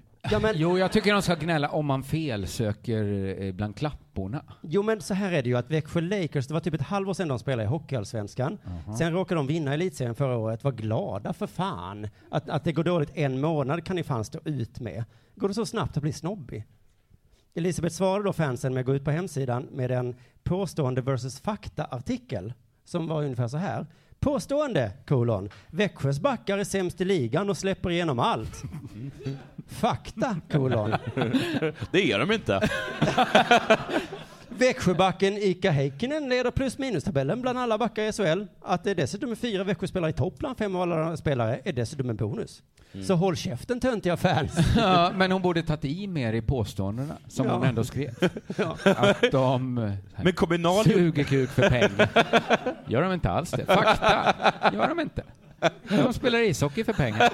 [SPEAKER 13] Jo, jag tycker de ska gnälla om man felsöker eh, bland klapporna.
[SPEAKER 10] Jo men så här är det ju att Växjö Lakers, det var typ ett halvår sedan de spelade i Hockeyallsvenskan.
[SPEAKER 13] Jaha.
[SPEAKER 10] Sen råkade de vinna elitserien förra året. Var glada för fan. Att, att det går dåligt en månad kan ni fan stå ut med. Går det så snabbt att bli snobbig? Elisabeth svarade då fansen med att gå ut på hemsidan med en påstående versus fakta-artikel som var ungefär så här. Påstående, kolon. Växjös backar är sämst i ligan och släpper igenom allt. Fakta, kolon.
[SPEAKER 11] Det är de inte.
[SPEAKER 10] Växjöbacken Ika Heikkinen leder plus minus-tabellen bland alla backar i SHL. Att det dessutom är fyra Växjöspelare i topp bland fem av alla spelare är dessutom en bonus.
[SPEAKER 11] Mm.
[SPEAKER 10] Så håll käften töntiga fans.
[SPEAKER 13] ja, men hon borde tagit i mer i påståendena, som
[SPEAKER 10] Ja.
[SPEAKER 13] hon ändå skrev. Att de eh,
[SPEAKER 11] Men kommunal...
[SPEAKER 13] suger kuk för pengar. Gör de inte alls det? Fakta. Gör de inte. De spelar ishockey för pengar.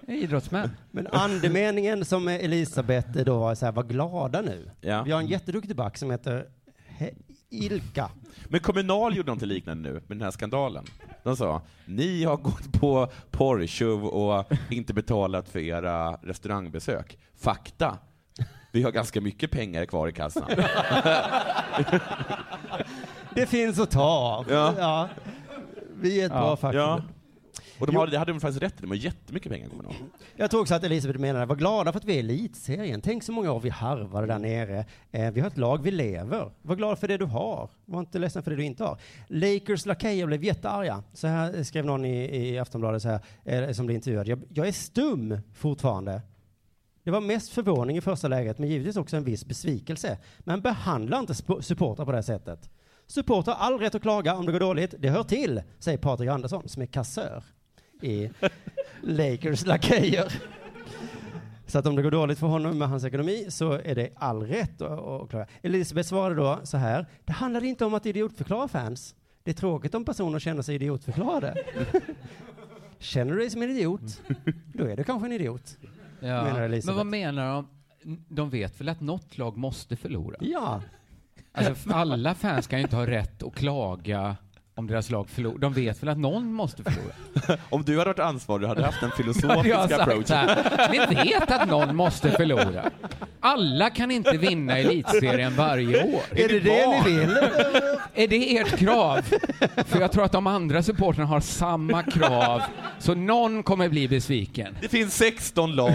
[SPEAKER 13] Det är Idrottsmän.
[SPEAKER 10] Men andemeningen som Elisabeth då var så här, var glada nu. Vi har en jätteduktig back som heter He- Ilka.
[SPEAKER 11] Men Kommunal gjorde något liknande nu med den här skandalen. De sa, ni har gått på porrtjuv och inte betalat för era restaurangbesök. Fakta. Vi har ganska mycket pengar kvar i kassan.
[SPEAKER 10] Det finns att ta av.
[SPEAKER 11] Ja.
[SPEAKER 10] Vi är ett bra fack.
[SPEAKER 11] Ja. Och de hade, det hade de faktiskt rätt i, de har jättemycket pengar kommer jag ihåg.
[SPEAKER 10] Jag tror också att Elisabeth menade, var glada för att vi är elitserien. Tänk så många år vi harvade där nere. Eh, vi har ett lag, vi lever. Var glad för det du har. Var inte ledsen för det du inte har. Lakers lakejer blev jättearga. Så här skrev någon i, i Aftonbladet så här, eh, som blev intervjuad. Jag, jag är stum fortfarande. Det var mest förvåning i första läget, men givetvis också en viss besvikelse. Men behandla inte sp- supportrar på det här sättet. Supportrar har all rätt att klaga om det går dåligt. Det hör till, säger Patrik Andersson som är kassör i Lakers lakejer. Så att om det går dåligt för honom med hans ekonomi så är det all rätt att, att klaga. Elisabeth svarade då så här. Det handlar inte om att idiotförklara fans. Det är tråkigt om personer känner sig idiotförklarade. känner du dig som en idiot, då är du kanske en idiot.
[SPEAKER 13] Ja.
[SPEAKER 10] menar Elisabeth.
[SPEAKER 13] Men vad menar de? De vet väl att något lag måste förlora?
[SPEAKER 10] Ja.
[SPEAKER 13] Alltså, alla fans kan ju inte ha rätt att klaga om deras lag förlorar. De vet väl att någon måste förlora?
[SPEAKER 11] Om du hade varit ansvarig hade du haft en
[SPEAKER 13] Hade
[SPEAKER 11] filosofisk
[SPEAKER 13] jag sagt
[SPEAKER 11] approach.
[SPEAKER 13] så här, Ni vet att någon måste förlora. Alla kan inte vinna Elitserien varje år.
[SPEAKER 10] Är det det ni vill?
[SPEAKER 13] Är det ert krav? För jag tror att de andra supportrarna har samma krav, så någon kommer bli besviken.
[SPEAKER 11] Det finns 16 lag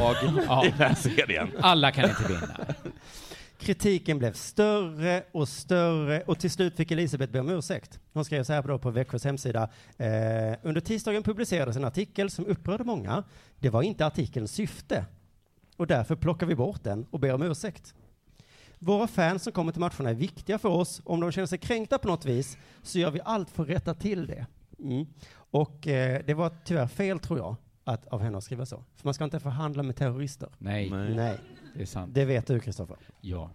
[SPEAKER 13] Ja.
[SPEAKER 11] i den här serien.
[SPEAKER 13] Alla kan inte vinna.
[SPEAKER 10] Kritiken blev större och större och till slut fick Elisabeth be om ursäkt. Hon skrev så här då på Växjös hemsida. Eh, under tisdagen publicerades en artikel som upprörde många. Det var inte artikelns syfte och därför plockar vi bort den och ber om ursäkt. Våra fans som kommer till matcherna är viktiga för oss. Om de känner sig kränkta på något vis så gör vi allt för att rätta till det. Mm. Och eh, det var tyvärr fel, tror jag, att, av henne att skriva så. För man ska inte förhandla med terrorister.
[SPEAKER 13] Nej.
[SPEAKER 10] Nej.
[SPEAKER 13] Det är sant.
[SPEAKER 10] Det vet du, Kristoffer.
[SPEAKER 13] Ja.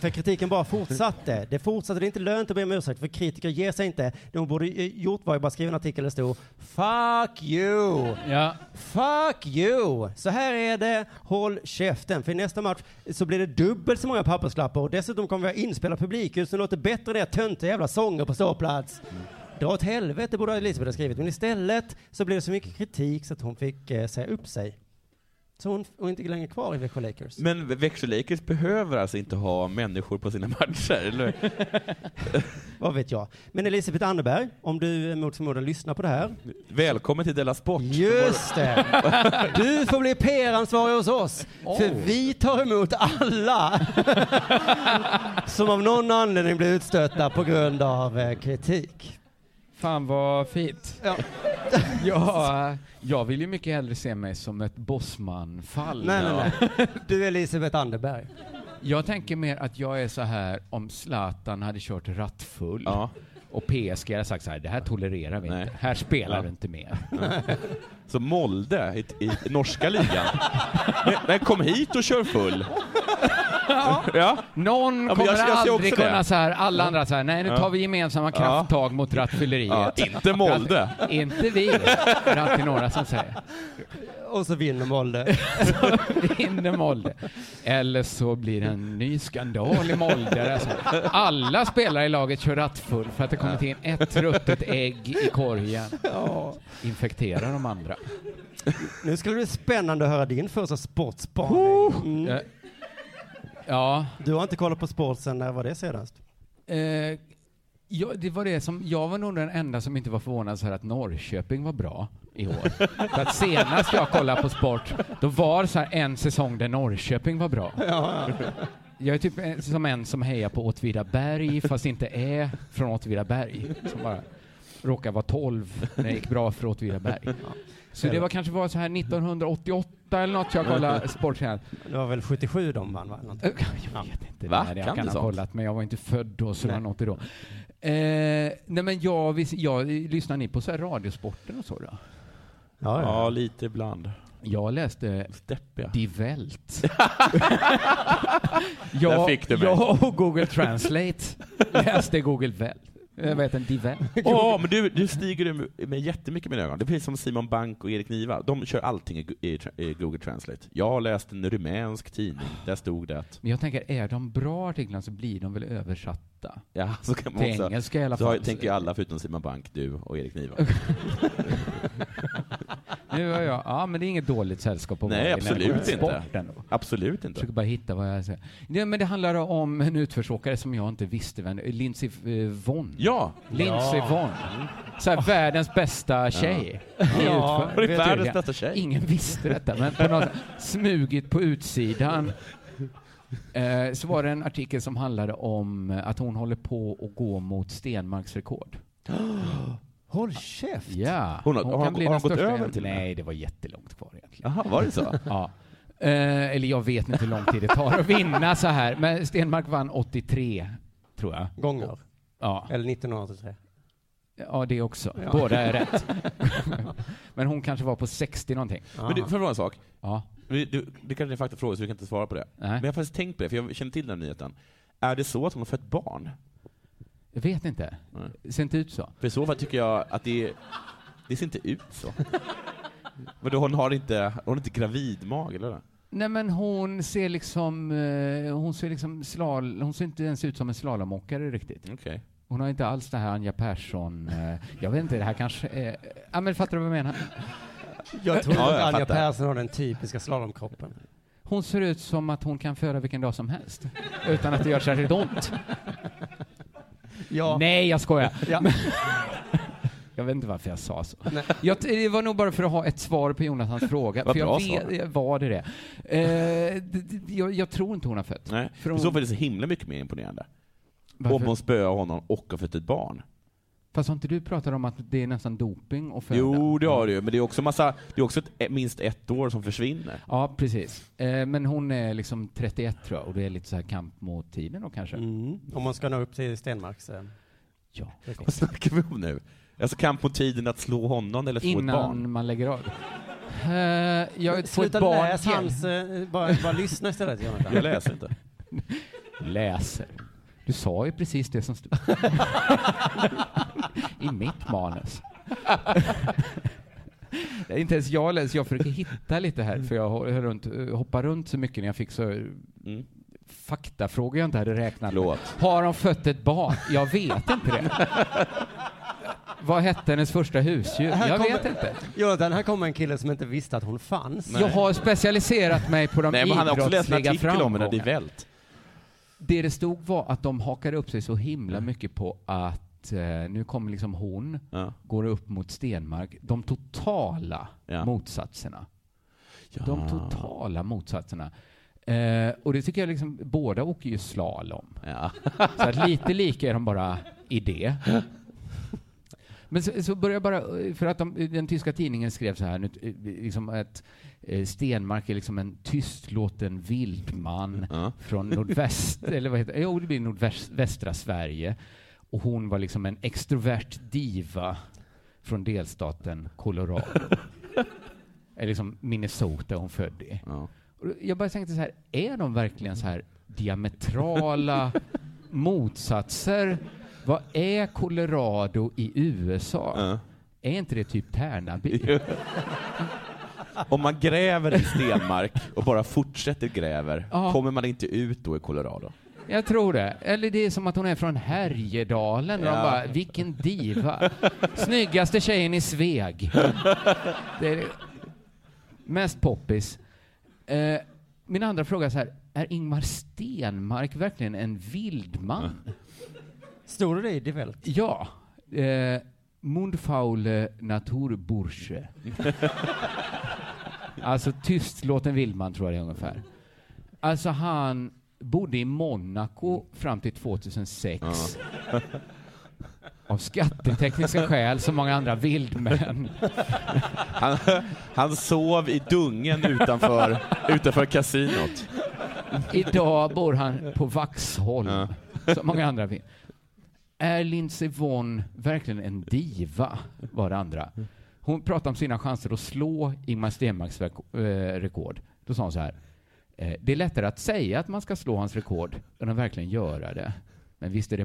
[SPEAKER 10] För kritiken bara fortsatte. Det fortsatte. Det är inte lönt att be om ursäkt, för kritiker ger sig inte. Det hon borde eh, gjort var ju bara skriva en artikel där det stod Fuck you!
[SPEAKER 13] Ja.
[SPEAKER 10] Fuck you! Så här är det. Håll käften. För i nästa match så blir det dubbelt så många pappersklappar och dessutom kommer vi ha inspelad publikljud så det låter bättre än era töntiga jävla sånger på ståplats. Dra åt helvete borde Elisabeth ha skrivit, men istället så blev det så mycket kritik så att hon fick eh, säga upp sig. Så hon, hon är inte längre kvar i Växjö Lakers.
[SPEAKER 11] Men Växjö Lakers behöver alltså inte ha människor på sina matcher, eller hur?
[SPEAKER 10] Vad vet jag. Men Elisabeth Anderberg, om du eh, mot förmodan lyssnar på det här.
[SPEAKER 11] Välkommen till Della Sport.
[SPEAKER 10] Just det! Du får bli PR-ansvarig hos oss. För vi tar emot alla som av någon anledning blir utstötta på grund av eh, kritik.
[SPEAKER 13] Fan vad fint.
[SPEAKER 10] Ja.
[SPEAKER 13] Jag, jag vill ju mycket hellre se mig som ett bossmanfall.
[SPEAKER 10] Nej, nej, nej. Du är Elisabeth Anderberg.
[SPEAKER 13] Jag tänker mer att jag är så här om Zlatan hade kört rattfull och PSG hade sagt så här, det här tolererar vi inte. Här spelar
[SPEAKER 11] Ja.
[SPEAKER 13] du inte mer.
[SPEAKER 11] Ja. Så Molde i, i norska ligan. Men, men kom hit och kör full. Ja.
[SPEAKER 13] Någon
[SPEAKER 11] men
[SPEAKER 13] kommer
[SPEAKER 11] jag- jag ser också
[SPEAKER 13] aldrig
[SPEAKER 11] det.
[SPEAKER 13] kunna så här, alla andra så här, nej nu
[SPEAKER 11] Ja.
[SPEAKER 13] tar vi gemensamma
[SPEAKER 11] Ja.
[SPEAKER 13] krafttag mot
[SPEAKER 11] Ja,
[SPEAKER 13] rattfylleriet.
[SPEAKER 11] inte Molde.
[SPEAKER 13] Ratt- inte vi, det är alltid några som säger.
[SPEAKER 10] Och så vinner Molde.
[SPEAKER 13] vinner Molde. Eller så blir det en ny skandal i Molde. Alltså, alla spelare i laget kör rattfull för att det kommit in ett ruttet ägg i korgen. Infekterar de andra.
[SPEAKER 10] Nu skulle det bli spännande att höra din första sportspaning.
[SPEAKER 13] Eh,
[SPEAKER 10] Mm.
[SPEAKER 13] Ja.
[SPEAKER 10] Du har inte kollat på sport sen när var det senast?
[SPEAKER 13] Eh, ja, det var det som, jag var nog den enda som inte var förvånad så här att Norrköping var bra i år. för att senast jag kollade på sport, då var det så här en säsong där Norrköping var bra. Jag är typ en- som en som hejar på Åtvidaberg fast inte är från Åtvidaberg. Som bara råkar vara 12 när det gick bra för Åtvidaberg. Så det var kanske var så här 1988 eller något jag kollade sport senast.
[SPEAKER 10] Det var väl 77 de vann, va? Någonting.
[SPEAKER 13] Jag vet inte.
[SPEAKER 11] Va?
[SPEAKER 13] Nej, jag
[SPEAKER 11] Kan
[SPEAKER 13] kan,
[SPEAKER 11] du
[SPEAKER 13] ha
[SPEAKER 11] sånt?
[SPEAKER 13] kollat, men jag var inte född då, så det var något då. Eh, nej men jag, visst, jag, lyssnar ni på så här radiosporten och så då?
[SPEAKER 10] Ja, ja.
[SPEAKER 11] Ja, lite ibland.
[SPEAKER 13] Jag läste
[SPEAKER 11] Deppiga.
[SPEAKER 13] Die Welt.
[SPEAKER 11] Där
[SPEAKER 13] jag,
[SPEAKER 11] fick du mig.
[SPEAKER 13] jag och Google Translate läste Google Eh, Welt. Jag vet inte, Die Welt.
[SPEAKER 11] Åh, men du, du stiger med, med jättemycket i mina ögon. Det är precis som Simon Bank och Erik Niva. De kör allting i, Gu- i, tra- i Google Translate. Jag har läst en rumänsk tidning. Där stod det att...
[SPEAKER 13] Men jag tänker, är de bra artiklarna så blir de väl översatta?
[SPEAKER 11] Ja, så kan man
[SPEAKER 13] Till
[SPEAKER 11] också.
[SPEAKER 13] engelska i alla
[SPEAKER 11] Så har-
[SPEAKER 13] fall.
[SPEAKER 11] tänker ju alla förutom Simon Bank, du och Erik Niva.
[SPEAKER 12] Nu har jag, ja men det är inget dåligt sällskap att vara
[SPEAKER 11] Nej,
[SPEAKER 12] i när det
[SPEAKER 11] absolut
[SPEAKER 12] kommer till
[SPEAKER 11] inte.
[SPEAKER 12] sporten.
[SPEAKER 11] Absolut inte.
[SPEAKER 12] försöker bara hitta vad jag säger. Nej, men det handlar om en utförsåkare som jag inte visste vem Lindsey eh, Vonn.
[SPEAKER 11] Ja!
[SPEAKER 12] Lindsey
[SPEAKER 11] Ja.
[SPEAKER 12] Vonn. Så här, världens bästa tjej.
[SPEAKER 11] Ja.
[SPEAKER 12] I
[SPEAKER 11] Ja,
[SPEAKER 12] utför-
[SPEAKER 11] det är
[SPEAKER 12] vet
[SPEAKER 11] världens
[SPEAKER 12] du,
[SPEAKER 11] bästa tjej.
[SPEAKER 12] Ingen visste detta, men på något, smugit på utsidan eh, så var det en artikel som handlade om att hon håller på att gå mot Stenmarks rekord.
[SPEAKER 10] Håll käft!
[SPEAKER 12] Ja.
[SPEAKER 11] Hon har- har- har
[SPEAKER 12] den
[SPEAKER 11] gått
[SPEAKER 12] största
[SPEAKER 11] över
[SPEAKER 12] igen.
[SPEAKER 11] till det?
[SPEAKER 12] Nej, det var jättelångt kvar egentligen.
[SPEAKER 11] Jaha, var det så?
[SPEAKER 12] ja. Eh, eller jag vet inte hur lång tid det tar att vinna så här. Men Stenmark vann 83, tror jag.
[SPEAKER 10] Gånger.
[SPEAKER 12] Ja.
[SPEAKER 10] Eller 1983.
[SPEAKER 12] Ja, det också.
[SPEAKER 10] Ja.
[SPEAKER 12] Båda är rätt. men hon kanske var på 60 någonting.
[SPEAKER 11] Men du, får jag fråga en sak?
[SPEAKER 12] Ja.
[SPEAKER 11] Vi, du, det kanske är en faktafråga så vi kan inte svara på det. Men jag har faktiskt tänkt på det, för jag känner till den här nyheten. Är det så att hon har fött barn?
[SPEAKER 12] Jag vet inte. Ser inte ut så.
[SPEAKER 11] För i så fall tycker jag att det, det ser inte ut så. Men då, hon har inte, hon har inte gravidmag, eller?
[SPEAKER 12] Nej men hon ser liksom, eh, hon ser liksom slal, hon ser inte ens ut som en slalomåkare riktigt.
[SPEAKER 11] Okej.
[SPEAKER 12] Hon har inte alls det här Anja Persson, eh, jag vet inte, det här kanske är, ja men fattar du vad jag menar?
[SPEAKER 10] Jag tror att Anja Persson har den typiska slalomkroppen.
[SPEAKER 12] Hon ser ut som att hon kan föda vilken dag som helst, utan att det gör särskilt ont. Nej, jag skojar. Jag vet inte varför jag sa så. Jag, t- det var nog bara för att ha ett svar på Jonathans fråga.
[SPEAKER 11] Vad
[SPEAKER 12] för jag
[SPEAKER 11] bra svar.
[SPEAKER 12] eh, Var det det? Eh, d- d- jag, jag tror inte hon har fött.
[SPEAKER 11] Nej.
[SPEAKER 12] För
[SPEAKER 11] I
[SPEAKER 12] hon,
[SPEAKER 11] så fall är det så himla mycket mer imponerande.
[SPEAKER 12] Varför?
[SPEAKER 11] Om hon spöar honom och har fött ett barn.
[SPEAKER 12] Fast har inte du pratat om att det är nästan doping och föda?
[SPEAKER 11] Jo, det har du ju, men det är också, massa, det är också ett, eh, minst ett år som försvinner.
[SPEAKER 12] Ja, precis. Eh, men hon är liksom 31 tror jag och det är lite så här kamp mot tiden då kanske.
[SPEAKER 10] Om man ska nå upp till Stenmarks... eh,
[SPEAKER 12] Ja.
[SPEAKER 10] rekord.
[SPEAKER 11] Vad snackar vi om nu? Alltså kamp mot tiden att slå honom eller få ett barn?
[SPEAKER 12] Innan man lägger av. Eh, jag får ett
[SPEAKER 10] Sluta
[SPEAKER 12] barn
[SPEAKER 10] läs
[SPEAKER 12] till.
[SPEAKER 10] hans... eh, Bara, bara lyssna istället, Jonathan.
[SPEAKER 11] Jag läser inte.
[SPEAKER 12] Läser. Du sa ju precis det som stod i mitt manus. Nej, Inte ens jag läser, jag försöker hitta lite här för jag ho- hör runt, hoppar runt så mycket när jag fick så Eh, faktafrågor jag inte hade räknat med. Har de fött ett barn? Jag vet inte det. Vad hette hennes första husdjur?
[SPEAKER 10] Här
[SPEAKER 12] Jag
[SPEAKER 10] kommer-
[SPEAKER 12] vet inte.
[SPEAKER 10] Jonathan, här kommer en kille som inte visste att hon fanns.
[SPEAKER 12] Jag har specialiserat mig på de
[SPEAKER 10] Nej, men han har också läst en
[SPEAKER 12] idrottsliga
[SPEAKER 10] artikel om henne, det är
[SPEAKER 12] framgångarna. Det det stod var att de hakade upp sig så himla mycket på att eh, nu kommer liksom hon, går upp mot Stenmark. De totala motsatserna. De totala motsatserna. Eh, och det tycker jag liksom, båda åker ju slalom. Så att lite lika är de bara i det. Men så, så börjar jag bara, för att de, den tyska tidningen skrev så här, nu, eh, liksom att eh, Stenmark är liksom en tystlåten vildman från nordväst, eller vad heter det? Jo, det blir nordvästra Sverige. Och hon var liksom en extrovert diva från delstaten Colorado. eller liksom Minnesota hon född i. Och Jag bara tänkte så här, är de verkligen så här diametrala motsatser? Vad är Colorado i USA? Är inte det typ Tärnaby?
[SPEAKER 11] Om man gräver i Stenmark och bara fortsätter gräver,
[SPEAKER 12] Ja.
[SPEAKER 11] kommer man inte ut då i Colorado?
[SPEAKER 12] Jag tror det. Eller det är som att hon är från Härjedalen och de
[SPEAKER 11] Ja.
[SPEAKER 12] bara, vilken diva. Snyggaste tjejen i Sveg. Det är mest poppis. Eh, min andra fråga är så här, är Ingmar Stenmark verkligen en vildman?
[SPEAKER 10] Stod det i Die Welt?
[SPEAKER 12] Ja. Eh, Mundfaule Naturbursche. alltså tystlåten Vildman tror jag det är ungefär. Alltså han bodde i Monaco fram till 2006. Av skattetekniska skäl, som många andra vildmän.
[SPEAKER 11] Han, han sov i dungen utanför, utanför kasinot.
[SPEAKER 12] Idag bor han på Vaxholm, som många andra vill. Är Lindsey Vonn verkligen en diva? Var det andra. Hon pratade om sina chanser att slå Ingmar Stenmarks verk- eh, rekord. Då sa hon så här. eh, Det är lättare att säga att man ska slå hans rekord än att verkligen göra det. Men visst är det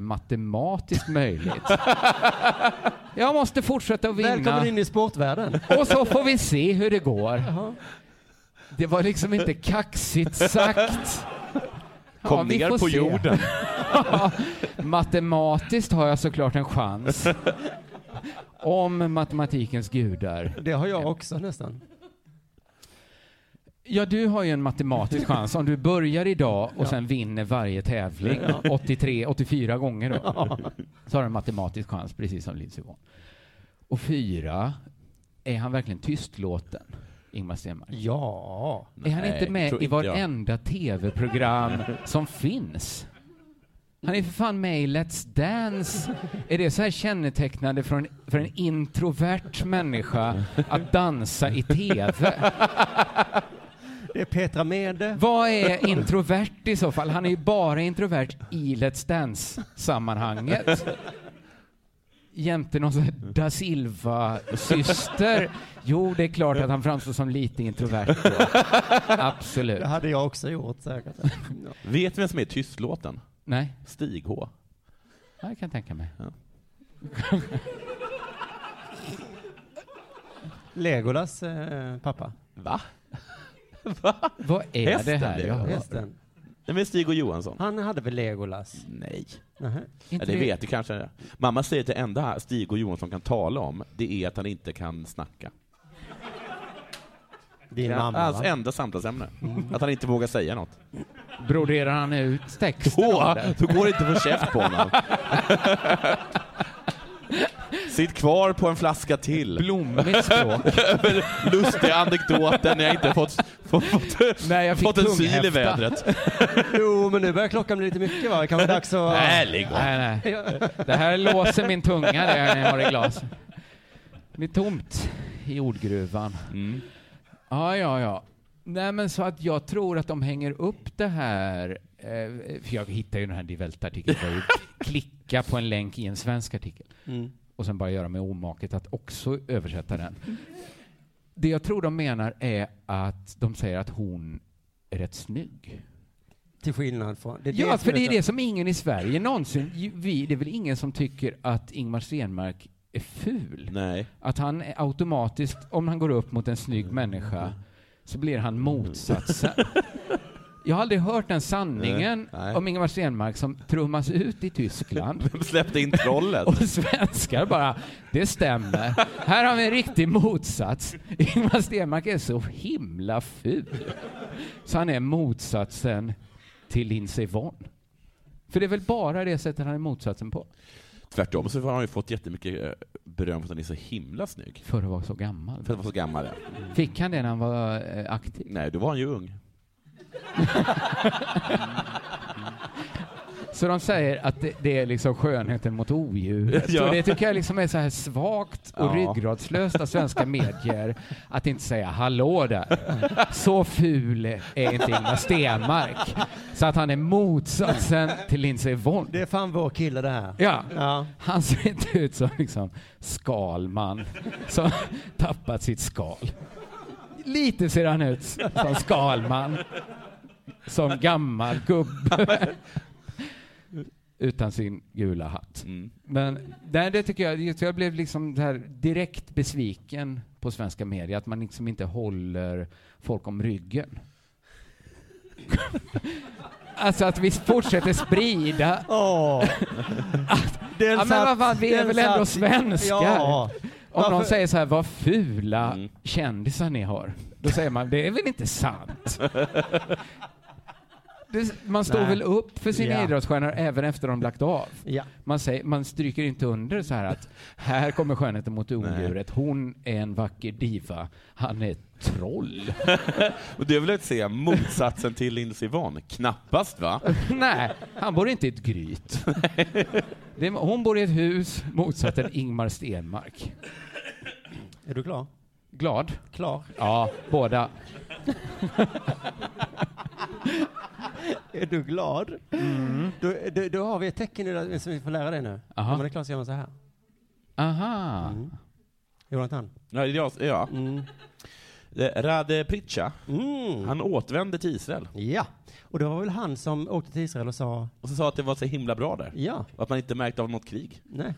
[SPEAKER 12] matematiskt möjligt? Jag måste fortsätta att vinna.
[SPEAKER 10] Välkommen in i sportvärlden.
[SPEAKER 12] Och så får vi se hur det går. Det var liksom inte kaxigt sagt.
[SPEAKER 11] Kom
[SPEAKER 12] vi
[SPEAKER 11] ner
[SPEAKER 12] får
[SPEAKER 11] på
[SPEAKER 12] se.
[SPEAKER 11] jorden.
[SPEAKER 12] Ja, Matematiskt har jag såklart en chans. om matematikens gudar.
[SPEAKER 10] Det har jag också nästan.
[SPEAKER 12] Ja, du har ju en matematisk chans om du börjar idag och sen vinner varje tävling
[SPEAKER 10] Ja.
[SPEAKER 12] 83, 84 gånger då. Så har du en matematisk chans, precis som Lindsey Vonn. Och fyra, är han verkligen tystlåten, Ingmar Stenmark?
[SPEAKER 10] Ja.
[SPEAKER 12] Är han inte med i varenda tv-program som finns? Han är för fan med i Let's Dance. Är det så här kännetecknande för en, för en introvert människa att dansa i tv?
[SPEAKER 10] Det är Petra Mede.
[SPEAKER 12] Vad är introvert i så fall? Han är ju bara introvert i Let's Dance-sammanhanget. Jämte någon sån här da Silva-syster. Jo, det är klart att han framstår som lite introvert då. Absolut.
[SPEAKER 10] Det hade jag också gjort säkert.
[SPEAKER 11] Vet du vem som är tystlåten?
[SPEAKER 12] Nej.
[SPEAKER 11] Stig H.
[SPEAKER 12] Ja, jag kan tänka mig.
[SPEAKER 10] Legolas eh, pappa.
[SPEAKER 11] Va?
[SPEAKER 10] Va?
[SPEAKER 12] Vad
[SPEAKER 11] är det Hästen här det jag var. hör?
[SPEAKER 10] Hästen.
[SPEAKER 11] Nej, men Stig och Johansson.
[SPEAKER 10] Han hade väl Legolas?
[SPEAKER 11] Nej.
[SPEAKER 10] Nähä.
[SPEAKER 11] Ja, det vet du kanske. Mamma säger att det enda Stig och Johansson kan tala om, det är att han inte kan snacka.
[SPEAKER 10] Din
[SPEAKER 11] Ja,
[SPEAKER 10] mamma,
[SPEAKER 11] Hans
[SPEAKER 10] va?
[SPEAKER 11] enda samtalsämne.
[SPEAKER 12] Mm.
[SPEAKER 11] Att han inte vågar säga något.
[SPEAKER 12] Broderar han ut texten?
[SPEAKER 11] Då,
[SPEAKER 12] om det?
[SPEAKER 11] då går det inte att få käft på honom. Sitt kvar på en flaska till.
[SPEAKER 12] Blommigt språk.
[SPEAKER 11] Över lustiga anekdoten när jag inte fått, fått, fått,
[SPEAKER 12] Nej, jag fick
[SPEAKER 11] fått en syl i
[SPEAKER 12] tunghäfta.
[SPEAKER 11] vädret.
[SPEAKER 10] jo, men nu börjar klockan bli lite mycket va? Det kan vara dags att...
[SPEAKER 11] Nej, lägg av.
[SPEAKER 12] Nej, nej. Det här låser min tunga det här när jag har i glas. Det blir tomt i ordgruvan.
[SPEAKER 11] Mm.
[SPEAKER 12] Ja, ja, ja. Nej, men så att jag tror att de hänger upp det här. eh, För jag hittade ju den här Divelta-artikeln. där jag Klicka på en länk i en svensk artikel.
[SPEAKER 10] Mm.
[SPEAKER 12] Och sen bara göra mig omaket att också översätta den. Det jag tror de menar är att de säger att hon är rätt snygg.
[SPEAKER 10] Till skillnad från... det är
[SPEAKER 12] Ja,
[SPEAKER 10] som
[SPEAKER 12] för det är
[SPEAKER 10] så-
[SPEAKER 12] det som ingen i Sverige någonsin... ju- Vi, det är väl ingen som tycker att Ingmar Stenmark är ful?
[SPEAKER 11] Nej.
[SPEAKER 12] Att han är automatiskt, om han går upp mot en snygg människa, så blir han motsatsen. Jag har aldrig hört den sanningen
[SPEAKER 11] Nej, nej.
[SPEAKER 12] om Ingmar Stenmark som trummas ut i Tyskland.
[SPEAKER 11] De släppte in trollet.
[SPEAKER 12] Och svenskar bara, det stämmer. Här har vi en riktig motsats. Ingmar Stenmark är så himla ful. Så han är motsatsen till Lindsey Vonn. För det är väl bara det sättet han är motsatsen på?
[SPEAKER 11] Tvärtom så har han ju fått jättemycket eh, beröm för att han är så himla snygg.
[SPEAKER 12] För att vara så gammal.
[SPEAKER 11] För att vara så gammal, ja.
[SPEAKER 12] Fick han det när han var eh, aktiv?
[SPEAKER 11] Nej, då var han ju ung.
[SPEAKER 12] Så de säger att det, det är liksom skönheten mot odjuret.
[SPEAKER 11] Ja.
[SPEAKER 12] Och det tycker jag liksom är så här svagt och
[SPEAKER 11] Ja.
[SPEAKER 12] ryggradslöst av svenska medier att inte säga hallå där. Så ful är inte Ingmar Stenmark. Så att han är motsatsen till Lindsey Vonn.
[SPEAKER 10] Det är fan vår kille det här.
[SPEAKER 12] Ja. Han ser inte ut som liksom Skalman som tappat sitt skal. Lite ser han ut som Skalman. Som gammal gubbe. Utan sin gula hatt. Men nej, det tycker jag, just jag blev liksom det här direkt besviken på svenska medier, att man liksom inte håller folk om ryggen. alltså att vi fortsätter sprida
[SPEAKER 10] Åh. Den
[SPEAKER 12] ja, men vad
[SPEAKER 10] satt-
[SPEAKER 12] fan, vi är
[SPEAKER 10] den
[SPEAKER 12] väl ändå
[SPEAKER 10] satt-
[SPEAKER 12] svenskar?
[SPEAKER 10] Ja.
[SPEAKER 12] Om
[SPEAKER 10] Varför-
[SPEAKER 12] någon säger så här, vad fula kändisar ni har. Då säger man, det är väl inte sant? Det, man står
[SPEAKER 10] Nej.
[SPEAKER 12] väl upp för sina
[SPEAKER 10] Ja.
[SPEAKER 12] idrottsstjärnor även efter de lagt av.
[SPEAKER 10] Ja.
[SPEAKER 12] Man, säger, man stryker inte under så här att här kommer skönheten mot odjuret. Hon är en vacker diva. Han är ett troll.
[SPEAKER 11] Och det vill jag säga motsatsen till Lindsey Vonn. Knappast va?
[SPEAKER 12] Nej, han bor inte i ett gryt. Det, är- hon bor i ett hus, motsatsen Ingmar Stenmark.
[SPEAKER 10] Är du klar?
[SPEAKER 12] Glad?
[SPEAKER 10] Klar.
[SPEAKER 12] Ja, båda.
[SPEAKER 10] Är du glad?
[SPEAKER 12] Mm.
[SPEAKER 10] Då, då, då har vi ett tecken idag som vi får lära dig nu.
[SPEAKER 12] Aha.
[SPEAKER 10] Om man är klar så gör man så här.
[SPEAKER 12] Aha.
[SPEAKER 11] Mm.
[SPEAKER 10] Jonathan.
[SPEAKER 11] Ja, det är jag, ja. Eh, Rade Pritcha, han återvände till Israel.
[SPEAKER 10] Ja. Och det var väl han som åkte till Israel och sa
[SPEAKER 11] Och så sa att det var så himla bra där.
[SPEAKER 10] Ja.
[SPEAKER 11] Och att man inte märkte av något krig.
[SPEAKER 10] nej.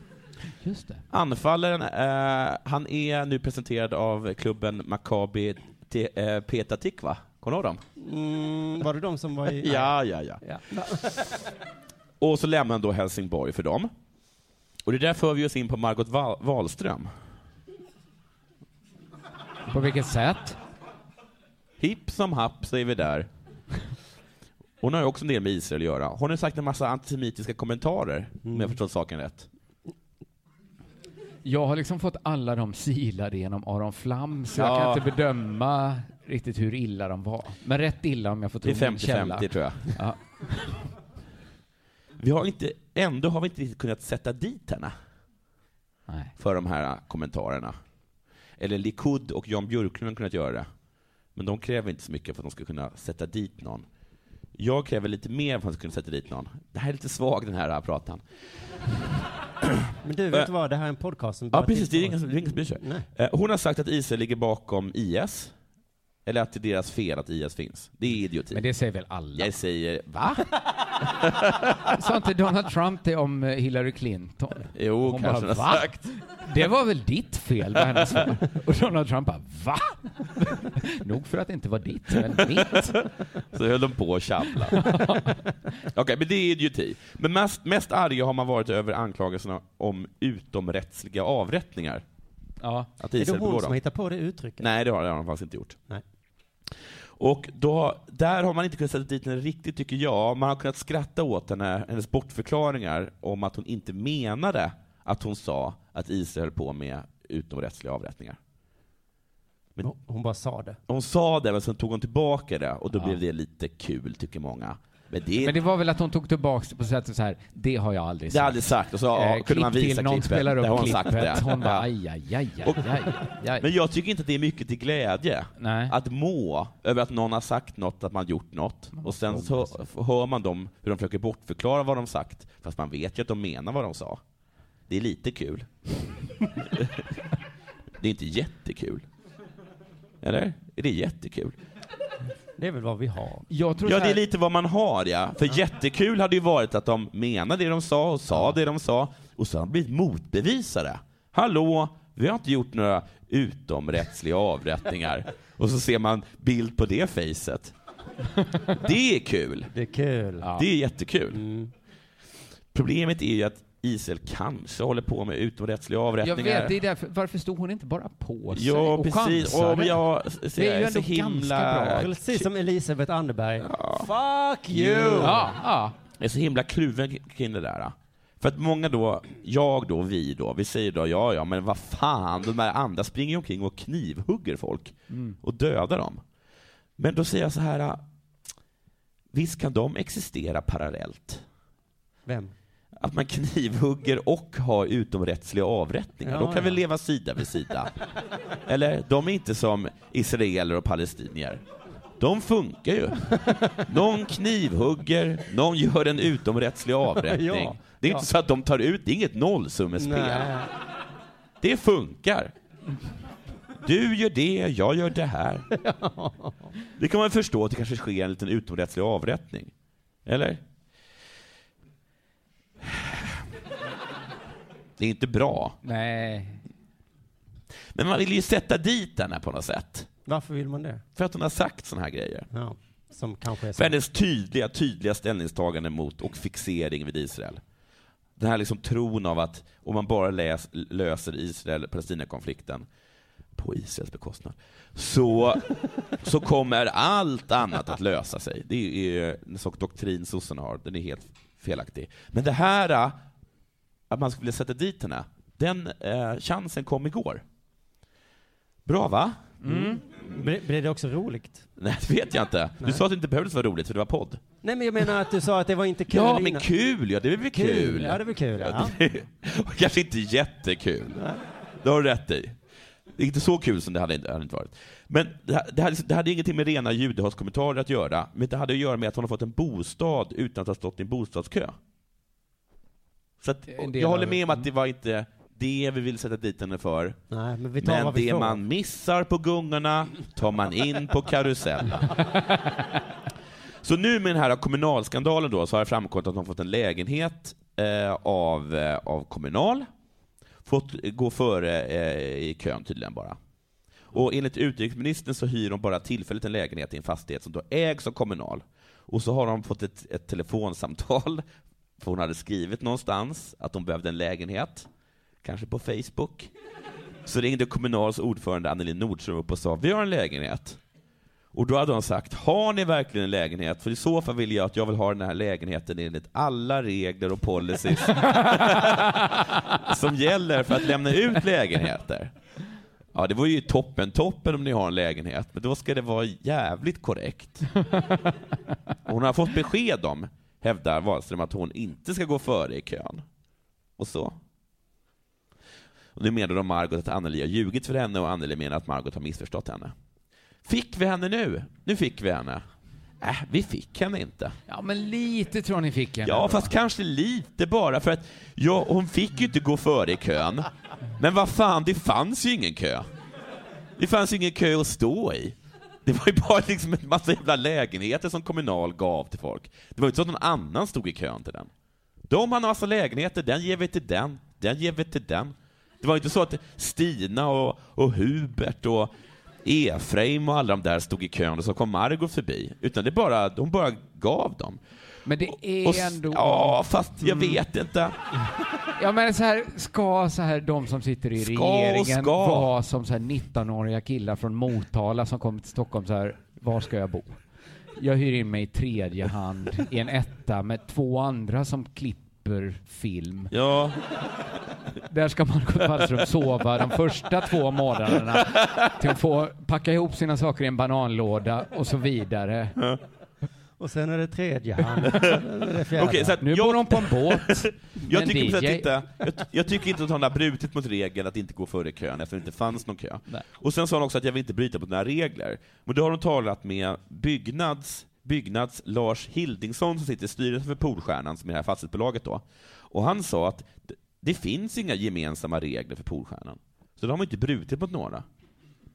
[SPEAKER 12] Just det.
[SPEAKER 11] Anfallaren, eh, han är nu presenterad av klubben Maccabi Te- eh, Peta Tikva. Kommer du ihåg dem?
[SPEAKER 10] Mm, var det de som var i...
[SPEAKER 11] Ja, ja, ja.
[SPEAKER 10] Ja.
[SPEAKER 11] Och så lämnar han då Helsingborg för dem. Och det där för vi oss in på Margot Wall- Wahlström.
[SPEAKER 13] På vilket sätt?
[SPEAKER 11] Hipp som happ säger vi där. Hon har ju också en del med Israel att göra. Hon har sagt en massa antisemitiska kommentarer, om jag förstått saken rätt.
[SPEAKER 13] Jag har liksom fått alla de silade genom Aron Flam, så jag
[SPEAKER 11] Ja.
[SPEAKER 13] kan inte bedöma riktigt hur illa de var. Men rätt illa om jag får
[SPEAKER 11] Det
[SPEAKER 13] tro
[SPEAKER 11] är
[SPEAKER 13] min källa.
[SPEAKER 11] 50-50 tror jag.
[SPEAKER 13] Ja.
[SPEAKER 11] Vi har inte, ändå har vi inte riktigt kunnat sätta dit henne.
[SPEAKER 13] Nej.
[SPEAKER 11] För de här kommentarerna. Eller Likud och Jan Björklund har kunnat göra det. Men de kräver inte så mycket för att de ska kunna sätta dit någon. Jag kräver lite mer för att kunna sätta dit någon. Det här är lite svag den här, här pratan.
[SPEAKER 10] Men du, vet du vad? Det här är en podcast som
[SPEAKER 11] Ja,
[SPEAKER 10] bara
[SPEAKER 11] precis. Det är
[SPEAKER 10] tillför-
[SPEAKER 11] ingen som det är ingen som bryr sig.
[SPEAKER 10] Nej.
[SPEAKER 11] Eh, Hon har sagt att Israel ligger bakom IS. Eller att det är deras fel att IS finns. Det är idioti. Men
[SPEAKER 13] det säger väl alla?
[SPEAKER 11] Jag säger, va?
[SPEAKER 13] Sa inte Donald Trump det om eh, Hillary Clinton?
[SPEAKER 11] Jo,
[SPEAKER 13] Hon
[SPEAKER 11] kanske
[SPEAKER 13] bara,
[SPEAKER 11] han har
[SPEAKER 13] "Va?
[SPEAKER 11] sagt."
[SPEAKER 13] Det var väl ditt fel, var hennes svar. Och Donald Trump bara, va? Nog för att det inte var ditt, men mitt.
[SPEAKER 11] Så höll de på att tjabbla. Okej, men det är idioti. Men mest, mest arga har man varit över anklagelserna om utomrättsliga avrättningar.
[SPEAKER 13] Ja.
[SPEAKER 11] Att
[SPEAKER 10] Är det
[SPEAKER 11] Israel begår
[SPEAKER 10] hon som
[SPEAKER 11] dem.
[SPEAKER 10] har hittat på det uttrycket?
[SPEAKER 11] Nej, det har, det har de faktiskt inte gjort.
[SPEAKER 10] Nej.
[SPEAKER 11] Och då, där har man inte kunnat sätta dit henne riktigt, tycker jag. Man har kunnat skratta åt henne, hennes bortförklaringar om att hon inte menade att hon sa att Israel höll på med utomrättsliga avrättningar. Men
[SPEAKER 10] hon bara sa det.
[SPEAKER 11] Hon sa det, men sen tog hon tillbaka det, och då
[SPEAKER 13] Ja.
[SPEAKER 11] blev det lite kul, tycker många. Men det,
[SPEAKER 13] Men det var väl att hon tog tillbaka det på sättet så här, det har jag aldrig
[SPEAKER 11] Det
[SPEAKER 13] sagt. Eh,
[SPEAKER 11] har jag aldrig sagt. Och så, ja, kunde
[SPEAKER 13] klipp
[SPEAKER 11] man visa
[SPEAKER 13] till, någon
[SPEAKER 11] klippet.
[SPEAKER 13] spelar upp
[SPEAKER 11] Där har hon
[SPEAKER 13] klippet.
[SPEAKER 11] sagt det.
[SPEAKER 13] Hon bara,
[SPEAKER 11] Ja.
[SPEAKER 13] aj, aj, aj, aj,
[SPEAKER 11] Och-
[SPEAKER 13] aj, aj.
[SPEAKER 11] Men jag tycker inte att det är mycket till glädje. Att må över att någon har sagt något, att man gjort något. Och sen så
[SPEAKER 13] liksom.
[SPEAKER 11] hör man dem, hur de försöker bortförklara vad de sagt, fast man vet ju att de menar vad de sa. Det är lite kul. det är inte jättekul. Eller? Är det jättekul?
[SPEAKER 10] Det är väl vad vi har.
[SPEAKER 13] Jag tror
[SPEAKER 11] Ja,
[SPEAKER 13] så
[SPEAKER 11] det
[SPEAKER 13] här-
[SPEAKER 11] är lite vad man har ja. För jättekul hade ju varit att de menade det de sa och sa det de sa och så har de blivit motbevisade. Hallå, vi har inte gjort några utomrättsliga avrättningar. Och så ser man bild på det facet. Det är kul.
[SPEAKER 10] Det är kul.
[SPEAKER 11] Det är jättekul.
[SPEAKER 13] Mm.
[SPEAKER 11] Problemet är ju att Israel kanske håller på med utomrättsliga
[SPEAKER 13] Jag
[SPEAKER 11] avrättningar.
[SPEAKER 13] vet, det är därför, varför stod hon inte bara på sig
[SPEAKER 11] Ja,
[SPEAKER 13] och
[SPEAKER 11] precis.
[SPEAKER 13] chansade?
[SPEAKER 11] Om jag-
[SPEAKER 13] det är ju
[SPEAKER 11] så
[SPEAKER 13] ändå
[SPEAKER 11] himla-
[SPEAKER 13] ganska bra.
[SPEAKER 10] Precis som Elisabeth Anderberg. Fuck
[SPEAKER 11] Jag är så himla kluven kring det där. då. För att många då, jag då, vi då, vi säger då ja, ja, men vad fan, de där andra springer ju omkring och knivhugger folk
[SPEAKER 13] Mm.
[SPEAKER 11] och dödar dem. Men då säger jag så här, visst kan de existera parallellt?
[SPEAKER 10] Vem?
[SPEAKER 11] Att man knivhugger och har utomrättsliga avrättningar.
[SPEAKER 10] Ja,
[SPEAKER 11] då kan
[SPEAKER 10] ja.
[SPEAKER 11] vi leva sida vid sida. Eller, de är inte som israeler och palestinier. De funkar ju. Någon knivhugger, någon gör en utomrättslig avrättning.
[SPEAKER 10] Ja,
[SPEAKER 11] det är
[SPEAKER 10] ja.
[SPEAKER 11] inte så att de tar ut, det är inget nollsummespel.
[SPEAKER 10] Nej.
[SPEAKER 11] Det funkar. Du gör det, jag gör det här. Det kan man förstå att det kanske sker en liten utomrättslig avrättning. Eller? Det är inte bra.
[SPEAKER 13] Nej.
[SPEAKER 11] Men man vill ju sätta dit henne på något sätt.
[SPEAKER 10] Varför vill man det?
[SPEAKER 11] För att hon har sagt såna här grejer.
[SPEAKER 10] Ja, som kanske är
[SPEAKER 11] För
[SPEAKER 10] så.
[SPEAKER 11] hennes tydliga, tydliga ställningstagande mot och fixering vid Israel. Den här liksom tron av att om man bara läs, löser Israel-Palestina-konflikten på Israels bekostnad, så, så kommer allt annat att lösa sig. Det är en sorts doktrin sossarna har, den är helt felaktig. Men det här, äh, att man skulle vilja sätta dit henne, den eh, chansen kom igår. Bra va?
[SPEAKER 10] Mm. Blir blir det också roligt?
[SPEAKER 11] Nej, det vet jag inte. Du
[SPEAKER 10] Nej.
[SPEAKER 11] sa att det inte behövdes vara roligt för det var podd.
[SPEAKER 10] Nej, men jag menar att du sa att det var inte kul
[SPEAKER 11] Ja, men
[SPEAKER 10] innan.
[SPEAKER 11] kul! Ja, det är väl kul?
[SPEAKER 10] Kul, ja, det är väl kul, ja.
[SPEAKER 11] det- och Kanske inte jättekul. Det har du rätt i. Det är inte så kul som det hade, hade inte varit. Men det, här- det, hade, det hade ingenting med rena judehatskommentarer att göra, men det hade att göra med att hon har fått en bostad utan att ha stått i en bostadskö. Så att,
[SPEAKER 10] En del
[SPEAKER 11] jag håller
[SPEAKER 10] av-
[SPEAKER 11] med om att det var inte det vi vill sätta dit henne för.
[SPEAKER 10] Nej, men vi tar vad vi
[SPEAKER 11] det
[SPEAKER 10] får.
[SPEAKER 11] man missar på gungorna tar man in på karusellen. Så nu med den här kommunalskandalen då så har det framkommit att de fått en lägenhet eh, av, eh, av Kommunal. Fått gå före eh, i kön tydligen bara. Och enligt utrikesministern så hyr de bara tillfälligt en lägenhet i en fastighet som då ägs av Kommunal. Och så har de fått ett, ett telefonsamtal För hon hade skrivit någonstans att hon behövde en lägenhet, kanske på Facebook. Så ringde Kommunals ordförande Anneli Nordström upp och sa vi har en lägenhet. Och då hade hon sagt, har ni verkligen en lägenhet? För i så fall vill jag att jag vill ha den här lägenheten enligt alla regler och policies som gäller för att lämna ut lägenheter. Ja, det var ju toppen, toppen om ni har en lägenhet, men då ska det vara jävligt korrekt. Och hon har fått besked om, hävdar Wahlström, att hon inte ska gå före i kön. Och så. Och nu menar då Margot att Anneli har ljugit för henne och Anneli menar att Margot har missförstått henne. Fick vi henne nu? Nu fick vi henne. Äh, vi fick henne inte.
[SPEAKER 13] Ja, men lite tror jag ni fick henne.
[SPEAKER 11] Ja,
[SPEAKER 13] då.
[SPEAKER 11] fast kanske lite bara för att ja, hon fick ju inte gå före i kön. Men vad fan, det fanns ju ingen kö. Det fanns ju ingen kö att stå i. Det var ju bara liksom en massa jävla lägenheter som Kommunal gav till folk. Det var ju inte så att någon annan stod i kön till den. De hade en massa lägenheter, den ger vi till den, den ger vi till den. Det var ju inte så att Stina och, och Hubert och Efraim och alla de där stod i kön och så kom Margot förbi. Utan det bara, de bara gav dem.
[SPEAKER 13] Men det är
[SPEAKER 11] Och s-
[SPEAKER 13] ändå... Mm.
[SPEAKER 11] Ja, fast jag vet inte.
[SPEAKER 13] Ja men så här, ska så här de som sitter i
[SPEAKER 11] Ska och
[SPEAKER 13] regeringen
[SPEAKER 11] ska.
[SPEAKER 13] vara som så här 19-åriga killar från Motala som kommer till Stockholm så här, var ska jag bo? Jag hyr in mig i tredje hand i en etta med två andra som klipper film.
[SPEAKER 11] Ja.
[SPEAKER 13] Där ska Margot Wallström sova de första två månaderna till att få packa ihop sina saker i en bananlåda och så vidare.
[SPEAKER 10] Och sen är det tredje hand. Det är det fjärde.
[SPEAKER 11] Okej, så att
[SPEAKER 13] nu
[SPEAKER 11] jag-
[SPEAKER 13] bor hon på en båt.
[SPEAKER 11] Jag
[SPEAKER 13] Men
[SPEAKER 11] tycker, precis att
[SPEAKER 13] DJ
[SPEAKER 11] inte, jag, jag tycker inte att hon har brutit mot regeln att inte gå före i kön eftersom det inte fanns någon kö. Och sen sa hon också att jag vill inte bryta mot några regler. Men då har hon talat med Byggnads, Byggnads Lars Hildingsson som sitter i styrelsen för Polstjärnan, som är det här fastighetsbolaget då. Och han sa att det, det finns inga gemensamma regler för Polstjärnan. Så de har inte brutit mot några.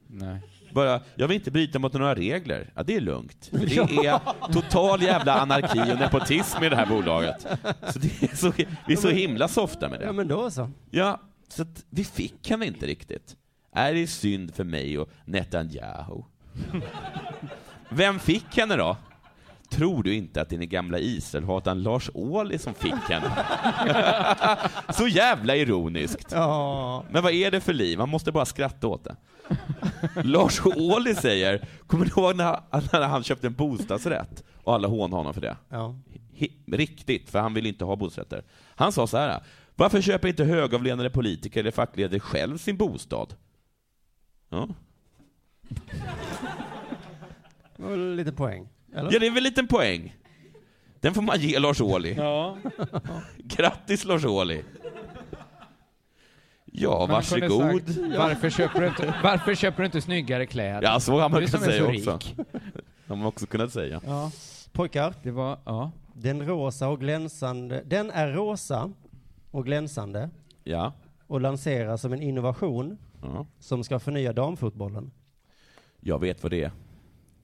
[SPEAKER 13] Nej.
[SPEAKER 11] Bara, jag vill inte bryta mot några regler. Ja, det är lugnt. För det är total jävla anarki och nepotism i det här bolaget. Så det är så, vi är så himla softa med det.
[SPEAKER 10] Ja, men då så.
[SPEAKER 11] Ja, så att vi fick henne inte riktigt. Är det synd för mig och Netanyahu? Vem fick henne då? Tror du inte att det är den gamla Israelhataren Lars Ohly som fick henne? Så jävla ironiskt. Men vad är det för liv? Man måste bara skratta åt det. Lars Ohly säger, kommer du ihåg när han, när han köpte en bostadsrätt och alla hånade honom för det?
[SPEAKER 10] Ja.
[SPEAKER 11] Hi- Riktigt, för han vill inte ha bostadsrätter. Han sa så här, varför köper inte högavlönade politiker eller fackledare själv sin bostad? Ja.
[SPEAKER 10] Det var väl lite poäng. Eller?
[SPEAKER 11] Ja, det är väl en liten poäng. Den får man ge Lars Ohly.
[SPEAKER 13] Ja.
[SPEAKER 11] Grattis Lars Ohly. Ja,
[SPEAKER 13] Man kunde
[SPEAKER 11] varsågod.
[SPEAKER 13] sagt, varför, köper du inte, varför köper du inte snyggare kläder?
[SPEAKER 11] Ja, så har man
[SPEAKER 13] Du
[SPEAKER 11] kunnat
[SPEAKER 13] som är
[SPEAKER 11] säga
[SPEAKER 13] så
[SPEAKER 11] också.
[SPEAKER 13] rik.
[SPEAKER 11] De har också kunnat säga.
[SPEAKER 10] Ja. Pojkar.
[SPEAKER 13] Det var, ja.
[SPEAKER 10] Den rosa och glänsande. Den är rosa och glänsande
[SPEAKER 11] Ja.
[SPEAKER 10] och lanseras som en innovation
[SPEAKER 11] Ja.
[SPEAKER 10] som ska förnya damfotbollen.
[SPEAKER 11] Jag vet vad det är.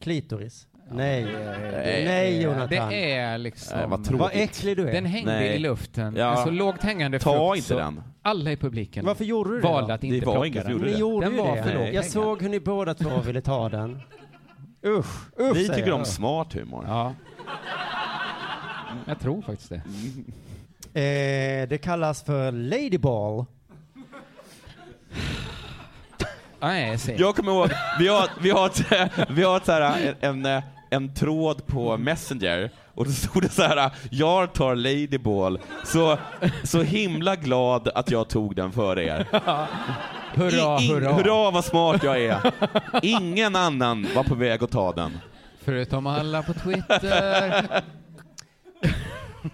[SPEAKER 10] Klitoris. Nej,
[SPEAKER 11] Nej.
[SPEAKER 10] nej Jonathan.
[SPEAKER 13] Det är liksom...
[SPEAKER 11] Nej, Eh, vad tråkigt.
[SPEAKER 10] Vad äcklig du är.
[SPEAKER 13] Den hängde
[SPEAKER 11] Nej.
[SPEAKER 13] i luften.
[SPEAKER 11] Ja.
[SPEAKER 13] En så lågt hängande
[SPEAKER 11] Ta
[SPEAKER 13] frukt
[SPEAKER 11] inte
[SPEAKER 13] så
[SPEAKER 11] den.
[SPEAKER 13] Alla i publiken
[SPEAKER 10] Varför gjorde du det
[SPEAKER 13] valde
[SPEAKER 10] då?
[SPEAKER 13] att inte
[SPEAKER 11] Det var
[SPEAKER 13] plocka
[SPEAKER 11] ingen som
[SPEAKER 13] den.
[SPEAKER 11] gjorde
[SPEAKER 10] Ni
[SPEAKER 11] det.
[SPEAKER 10] gjorde
[SPEAKER 13] den
[SPEAKER 10] ju
[SPEAKER 13] var
[SPEAKER 10] det.
[SPEAKER 13] för lågt
[SPEAKER 10] Jag
[SPEAKER 13] hängande.
[SPEAKER 10] såg hur ni båda två ville ta den. Usch, usch
[SPEAKER 11] Vi
[SPEAKER 10] säger
[SPEAKER 11] tycker
[SPEAKER 10] jag.
[SPEAKER 11] om smart humor.
[SPEAKER 13] Ja. Jag tror faktiskt det.
[SPEAKER 10] Eh, det kallas för ladyball.
[SPEAKER 13] Nej, säg.
[SPEAKER 11] Jag kommer ihåg, vi har, vi har, ett, vi har ett så här, en, en, en tråd på Messenger och då stod det så här, jag tar Ladyball, så, så himla glad att jag tog den före er.
[SPEAKER 13] Hurra,
[SPEAKER 11] I- in-
[SPEAKER 13] hurra.
[SPEAKER 11] hurra vad smart jag är. Ingen annan var på väg att ta den.
[SPEAKER 13] Förutom alla på Twitter.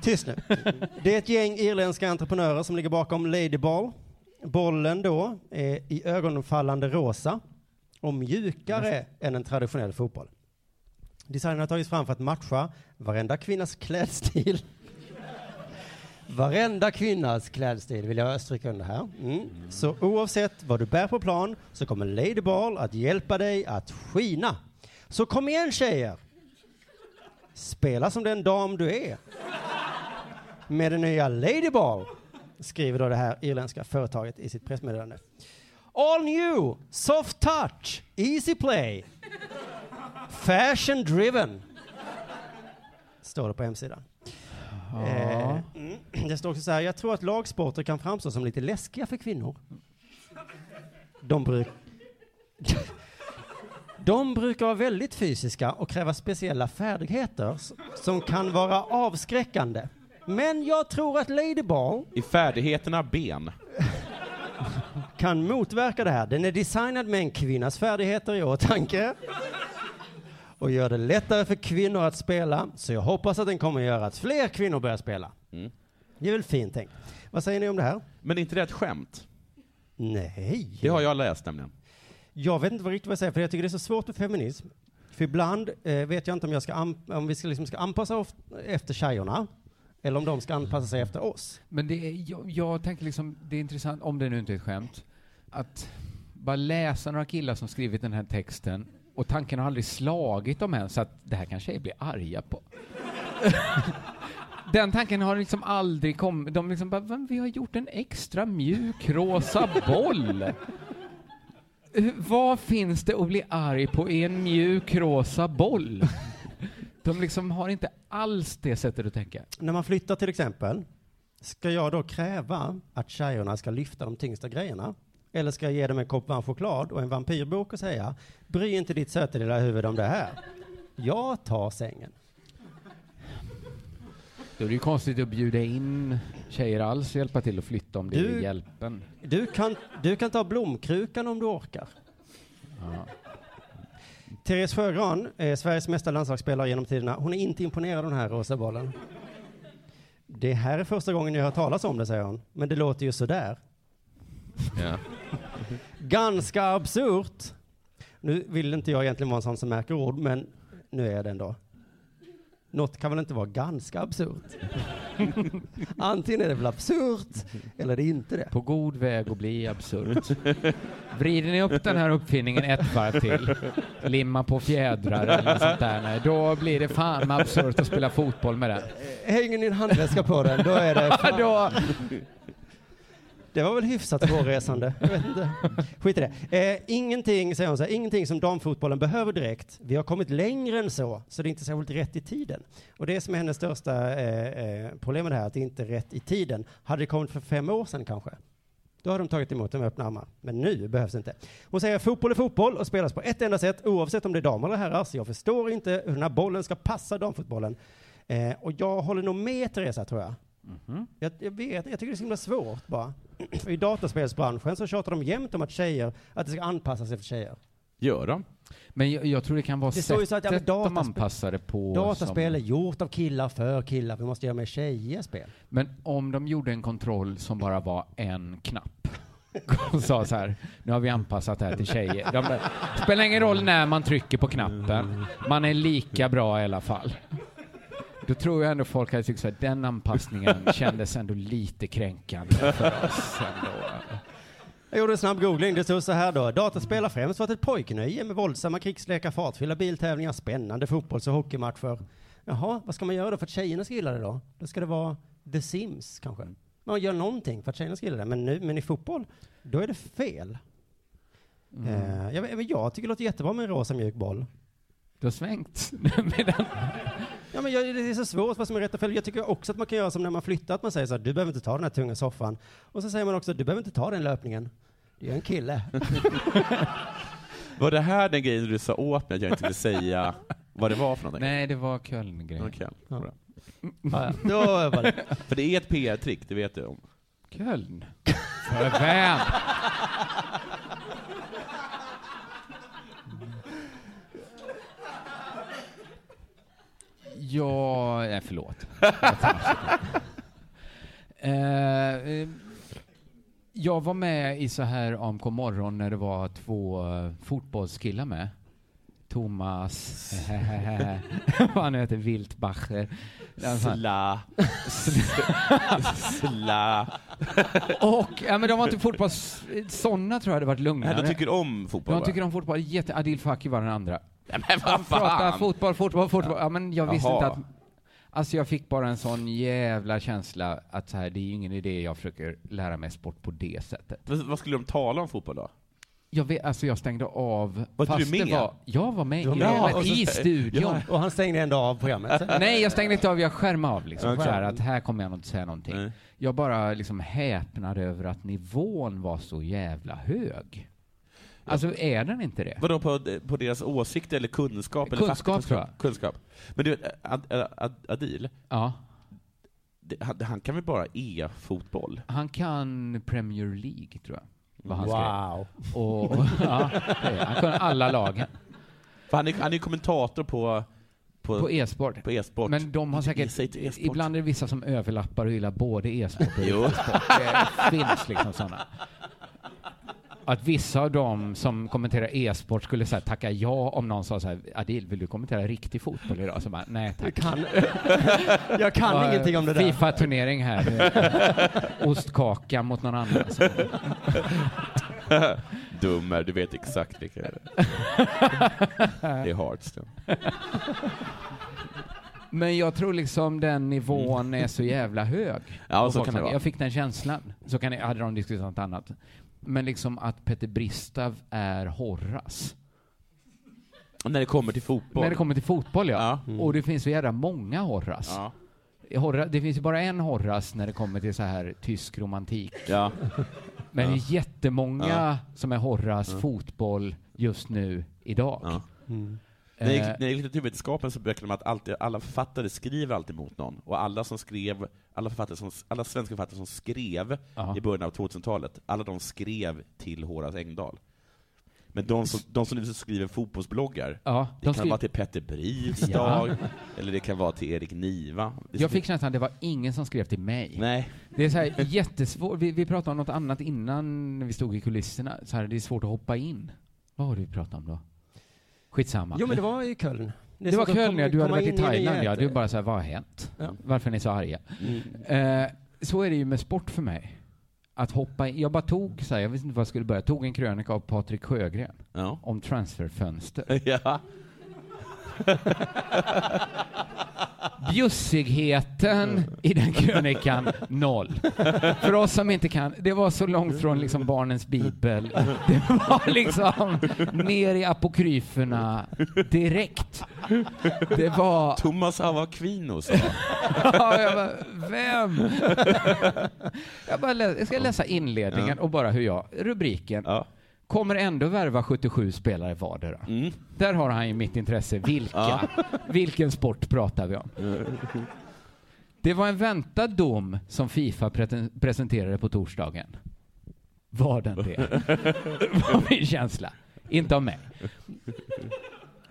[SPEAKER 10] Tyst nu. Det är ett gäng irländska entreprenörer som ligger bakom Ladyball. Bollen då är i ögonfallande rosa och mjukare än en traditionell fotboll. Designen har tagits fram för att matcha varenda kvinnas klädstil. Varenda kvinnas klädstil vill jag stryka under här. Mm. Så oavsett vad du bär på plan så kommer Ladyball att hjälpa dig att skina. Så kom igen tjejer! Spela som den dam du är med den nya Ladyball, skriver då det här irländska företaget i sitt pressmeddelande. All new, soft touch, easy play, fashion driven, står det på hemsidan.
[SPEAKER 13] Ja.
[SPEAKER 10] Eh, mm, det står också så här, jag tror att lagsporter kan framstå som lite läskiga för kvinnor. De, bruk... De brukar vara väldigt fysiska och kräva speciella färdigheter s- som kan vara avskräckande. Men jag tror att Ladyball
[SPEAKER 11] I färdigheterna ben.
[SPEAKER 10] kan motverka det här. Den är designad med en kvinnas färdigheter i åtanke och gör det lättare för kvinnor att spela. Så jag hoppas att den kommer göra att fler kvinnor börjar spela. Det är väl fint tänkt. Vad säger ni om det här?
[SPEAKER 11] Mm. Men är inte det ett skämt?
[SPEAKER 10] Nej.
[SPEAKER 11] Det har jag läst nämligen.
[SPEAKER 10] Jag vet inte vad riktigt vad jag säger, för jag tycker det är så svårt med feminism. För ibland eh, vet jag inte om, jag ska an- om vi ska, liksom ska anpassa oss efter tjejerna, eller om de ska anpassa sig efter oss.
[SPEAKER 13] Men det är, jag, jag tänker liksom, det är intressant, om det nu inte är ett skämt, att bara läsa några killar som skrivit den här texten och tanken har aldrig slagit dem än, så att det här kanske jag blir arga på. Den tanken har liksom aldrig kommit. De liksom bara, "Men vi har gjort en extra mjuk rosa boll. Hur- Vad finns det att bli arg på i en mjuk rosa boll? De liksom har inte alls det sättet att tänka.
[SPEAKER 10] När man flyttar till exempel, ska jag då kräva att tjejerna ska lyfta de tyngsta grejerna? Eller ska jag ge dem en kopp varm choklad och en vampyrbok och säga, bry inte ditt söta lilla huvud om det här. Jag tar sängen.
[SPEAKER 13] Då är det ju konstigt att bjuda in tjejer alls och hjälpa till att flytta om det
[SPEAKER 10] Du-
[SPEAKER 13] är hjälpen.
[SPEAKER 10] Du kan, du kan ta blomkrukan om du orkar.
[SPEAKER 13] Ja.
[SPEAKER 10] Therese Sjögran, eh, Sveriges mesta landslagsspelare genom tiderna, hon är inte imponerad av den här rosa bollen. Det här är första gången jag hör talas om det, säger hon. Men det låter ju sådär. Ganska absurt. Nu vill inte jag egentligen vara en sån som märker ord, men nu är jag det ändå. Något kan väl inte vara ganska absurt? Antingen är det väl absurt, eller det är inte det.
[SPEAKER 13] På god väg att bli absurt. Vrider ni upp den här uppfinningen ett varv till, limma på fjädrar eller något sånt där, nej, då blir det fan med absurt att spela fotboll med den.
[SPEAKER 10] Hänger ni en handväska på den, då är det... fan. Det var väl hyfsat svårresande. Jag vet inte. Skit i det. Eh, ingenting, säger hon så här, ingenting som damfotbollen behöver direkt. Vi har kommit längre än så, så det är inte särskilt rätt i tiden. Och det som är hennes största eh, eh, problem med det här, att det inte är rätt i tiden. Hade det kommit för fem år sedan kanske, då har de tagit emot dem med öppna armar. Men nu behövs det inte. Hon säger fotboll är fotboll och spelas på ett enda sätt oavsett om det är damer eller herrar. Så jag förstår inte hur den här bollen ska passa damfotbollen. Eh, och jag håller nog med Teresa tror jag. Jag, jag vet, jag tycker det är så himla svårt bara. För I dataspelsbranschen så tjatar de jämt om att tjejer, att det ska anpassas efter tjejer.
[SPEAKER 11] Gör de?
[SPEAKER 13] Men jag, jag tror det kan vara
[SPEAKER 10] Det står ju
[SPEAKER 13] sättet
[SPEAKER 10] så att, ja, men
[SPEAKER 13] de
[SPEAKER 10] dataspel-
[SPEAKER 13] anpassar det på.
[SPEAKER 10] Dataspel är
[SPEAKER 13] som-
[SPEAKER 10] gjort av killar för killar, vi måste göra mer tjejer spel.
[SPEAKER 13] Men om de gjorde en kontroll som bara var en knapp och sa så här, nu har vi anpassat det här till tjejer. De bara, spelar ingen roll när man trycker på knappen, man är lika bra i alla fall. Då tror jag ändå folk hade tyckt att den anpassningen kändes ändå lite kränkande för oss. Ändå.
[SPEAKER 10] Jag gjorde en snabb googling, det stod så här då. Dataspel har främst varit ett pojknöje med våldsamma krigslekar, fartfyllda biltävlingar, spännande fotbolls och hockeymatcher. Jaha, vad ska man göra då för att tjejerna ska gilla det då? Då ska det vara The Sims kanske. Man gör någonting för att tjejerna ska gilla det, men, nu, men i fotboll, då är det fel. Eh, jag, men jag tycker det låter jättebra med en rosa mjuk boll.
[SPEAKER 13] Du har svängt.
[SPEAKER 10] Ja, men jag, det är så svårt vad som är rätt och fel. Jag tycker också att man kan göra som när man flyttar, att man säger så här, du behöver inte ta den här tunga soffan. Och så säger man också, du behöver inte ta den löpningen. Det är en kille.
[SPEAKER 11] Var det här den grejen du sa åt mig att jag inte ville säga vad det var för någonting?
[SPEAKER 13] Nej, det var Köln-grejen.
[SPEAKER 11] Okej, bra.
[SPEAKER 10] Ja, ja. Då var det.
[SPEAKER 11] För det är ett PR-trick, det vet du om.
[SPEAKER 13] Köln? För vem? Ja, nej, förlåt. Jag tar mig. Eh, eh, jag var med i så här AMK morgon när det var två eh, fotbollskillar med. Thomas, vad han heter, Wiltbacher.
[SPEAKER 11] Sla. Sla.
[SPEAKER 13] Och, ja, men de var inte fotbolls... Sådana tror jag hade varit lugnare.
[SPEAKER 11] Nej, de tycker om fotboll,
[SPEAKER 13] De
[SPEAKER 11] va?
[SPEAKER 13] tycker om fotboll. Jätte... Adil Fakir var den andra.
[SPEAKER 11] Nej, men vad
[SPEAKER 13] Han pratar
[SPEAKER 11] fan!
[SPEAKER 13] fotboll, fotboll, fotboll. Ja, men jag visste
[SPEAKER 11] Jaha.
[SPEAKER 13] inte att... Alltså jag fick bara en sån jävla känsla att så här, det är ju ingen idé jag försöker lära mig sport på det sättet.
[SPEAKER 11] Vad vad skulle de tala om fotboll då?
[SPEAKER 13] Jag, vet, alltså jag stängde av.
[SPEAKER 11] Var inte
[SPEAKER 13] fast
[SPEAKER 11] du
[SPEAKER 13] Det
[SPEAKER 11] med?
[SPEAKER 13] var, jag var med
[SPEAKER 11] Du var
[SPEAKER 13] i
[SPEAKER 11] med.
[SPEAKER 13] programmet,
[SPEAKER 11] Ja, och så-
[SPEAKER 13] i studion.
[SPEAKER 11] Ja.
[SPEAKER 10] Och han stängde ändå av programmet.
[SPEAKER 13] Nej, jag stängde inte av. Jag skärmade av liksom.
[SPEAKER 10] Okej.
[SPEAKER 13] Så här, att här kommer jag nog inte säga någonting. Jag bara liksom häpnade över att nivån var så jävla hög. Alltså är den inte det?
[SPEAKER 11] Vadå, på, på deras åsikter eller kunskap? Eller
[SPEAKER 13] Kunskap,
[SPEAKER 11] faktkunskap?
[SPEAKER 13] tror jag.
[SPEAKER 11] Kunskap. Men du, Ad, Ad, Ad, Adil,
[SPEAKER 13] ja.
[SPEAKER 11] han, han kan väl bara e-fotboll?
[SPEAKER 13] Han kan Premier League, tror jag. Vad han
[SPEAKER 11] Wow.
[SPEAKER 13] skrev. Och, och, ja, det är- han kan alla lagen.
[SPEAKER 11] För han är, han är kommentator på...
[SPEAKER 13] På e-sport.
[SPEAKER 11] På e-sport.
[SPEAKER 13] Men de har
[SPEAKER 11] Ge sig
[SPEAKER 13] säkert...
[SPEAKER 11] till e-sport.
[SPEAKER 13] Ibland är det vissa som överlappar och gillar både e-sport och
[SPEAKER 11] Jo.
[SPEAKER 13] e-sport. Det finns liksom sådana. Att vissa av dem som kommenterar e-sport skulle så här, tacka ja om någon sa så här, Adil, vill du kommentera riktig fotboll idag? Så bara, nej tack. Jag kan,
[SPEAKER 10] jag kan ingenting om det där.
[SPEAKER 13] Fifa-turnering här. Ostkaka mot någon annan. Så.
[SPEAKER 11] Dum är, du vet exakt vilka det är. Det är Hearthstone.
[SPEAKER 13] Men jag tror liksom den nivån är så jävla hög.
[SPEAKER 11] Ja,
[SPEAKER 13] Och
[SPEAKER 11] så kan
[SPEAKER 13] folk
[SPEAKER 11] det
[SPEAKER 13] snackar-
[SPEAKER 11] vara.
[SPEAKER 13] Jag fick den känslan. Så kan jag, hade de diskuterat något annat. Men liksom att Peter Bristav är Horras.
[SPEAKER 11] När det kommer till fotboll.
[SPEAKER 13] När det kommer till fotboll, ja.
[SPEAKER 11] Mm.
[SPEAKER 13] Och det finns så jävla många Horras. Horra, det finns ju bara en Horras när det kommer till så här tysk romantik.
[SPEAKER 11] Ja.
[SPEAKER 13] Men
[SPEAKER 11] Ja.
[SPEAKER 13] det är jättemånga
[SPEAKER 11] Ja.
[SPEAKER 13] som är Horras
[SPEAKER 11] Ja.
[SPEAKER 13] fotboll just nu, idag.
[SPEAKER 11] Mm.
[SPEAKER 13] Eh,
[SPEAKER 11] När jag gick- när jag gick litteraturvetenskapen så berättade de att alltid, alla författare skriver alltid mot någon, och alla som skrev, alla, författare som, alla svenska författare som skrev
[SPEAKER 13] Ja.
[SPEAKER 11] i början av 2000-talet, alla de skrev till Horace Engdahl. Men de som, de som nu skriver fotbollsbloggar,
[SPEAKER 13] Ja,
[SPEAKER 11] det
[SPEAKER 13] de
[SPEAKER 11] kan
[SPEAKER 13] skriver-
[SPEAKER 11] vara till Petter Bristag,
[SPEAKER 13] Ja.
[SPEAKER 11] eller det kan vara till Erik Niva. Det
[SPEAKER 13] Jag fick känslan att det var ingen som skrev till mig.
[SPEAKER 11] Nej.
[SPEAKER 13] Det är så här jättesvårt. Vi, vi pratade om något annat innan när vi stod i kulisserna. Så här, det är svårt att hoppa in. Vad har du pratat om då? Skitsamma.
[SPEAKER 10] Jo, men det var i Köln.
[SPEAKER 13] Det,
[SPEAKER 10] är
[SPEAKER 13] var
[SPEAKER 10] svårt att
[SPEAKER 13] Köln, ja.
[SPEAKER 10] kom-
[SPEAKER 13] Du hade
[SPEAKER 10] komma
[SPEAKER 13] varit i
[SPEAKER 10] in en
[SPEAKER 13] Thailand, ja.
[SPEAKER 10] nyhet.
[SPEAKER 13] Du bara så här, vad har hänt?
[SPEAKER 10] Ja. Mm.
[SPEAKER 13] Varför är ni så arga? Eh, så är det ju med sport för mig. Att hoppa in. Jag bara tog, så här, jag visste inte var jag skulle börja. Jag tog en krönika av Patrik Sjögren om transferfönster.
[SPEAKER 11] Ja.
[SPEAKER 13] Bjussigheten
[SPEAKER 10] Mm.
[SPEAKER 13] i den krönikan, noll. För oss som inte kan, det var så långt från liksom barnens bibel. Det var liksom ner i apokryferna direkt. Det var...
[SPEAKER 11] Thomas Avakvino sa.
[SPEAKER 13] ja, jag bara, vem? jag, bara lä- jag ska läsa inledningen och bara hur jag, rubriken. Kommer ändå värva 77 spelare vardera. Där har han ju mitt intresse. Vilka? Vilken sport pratar vi om? Det var en väntad dom som Fifa preten- presenterade på torsdagen. Var den det? var min känsla. Inte av mig.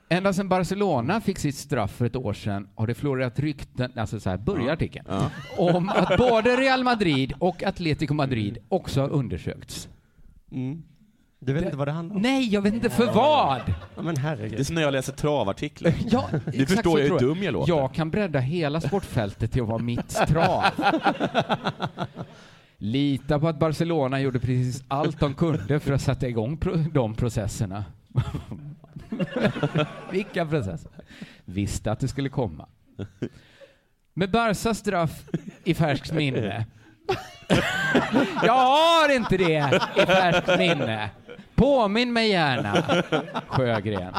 [SPEAKER 13] Ända sedan Barcelona fick sitt straff för ett år sedan har det florerat rykten, alltså så här börjar artikeln, om att både Real Madrid och Atletico Madrid också har undersökts.
[SPEAKER 10] Du vet inte vad det handlar om?
[SPEAKER 13] Nej, jag vet inte för vad!
[SPEAKER 10] Ja, men herregud.
[SPEAKER 11] Det är som när jag läser travartiklar.
[SPEAKER 13] Ja,
[SPEAKER 11] du
[SPEAKER 13] Exakt så
[SPEAKER 11] förstår jag hur
[SPEAKER 13] tror
[SPEAKER 11] dum jag låter.
[SPEAKER 13] Jag kan bredda hela sportfältet till att vara mitt trav. Lita på att Barcelona gjorde precis allt de kunde för att sätta igång pro- de processerna. Vilka processer? Visste att det skulle komma. Med Barsas straff i färskt minne. Jag har inte det i färskt minne. Påminn mig gärna, Sjögren.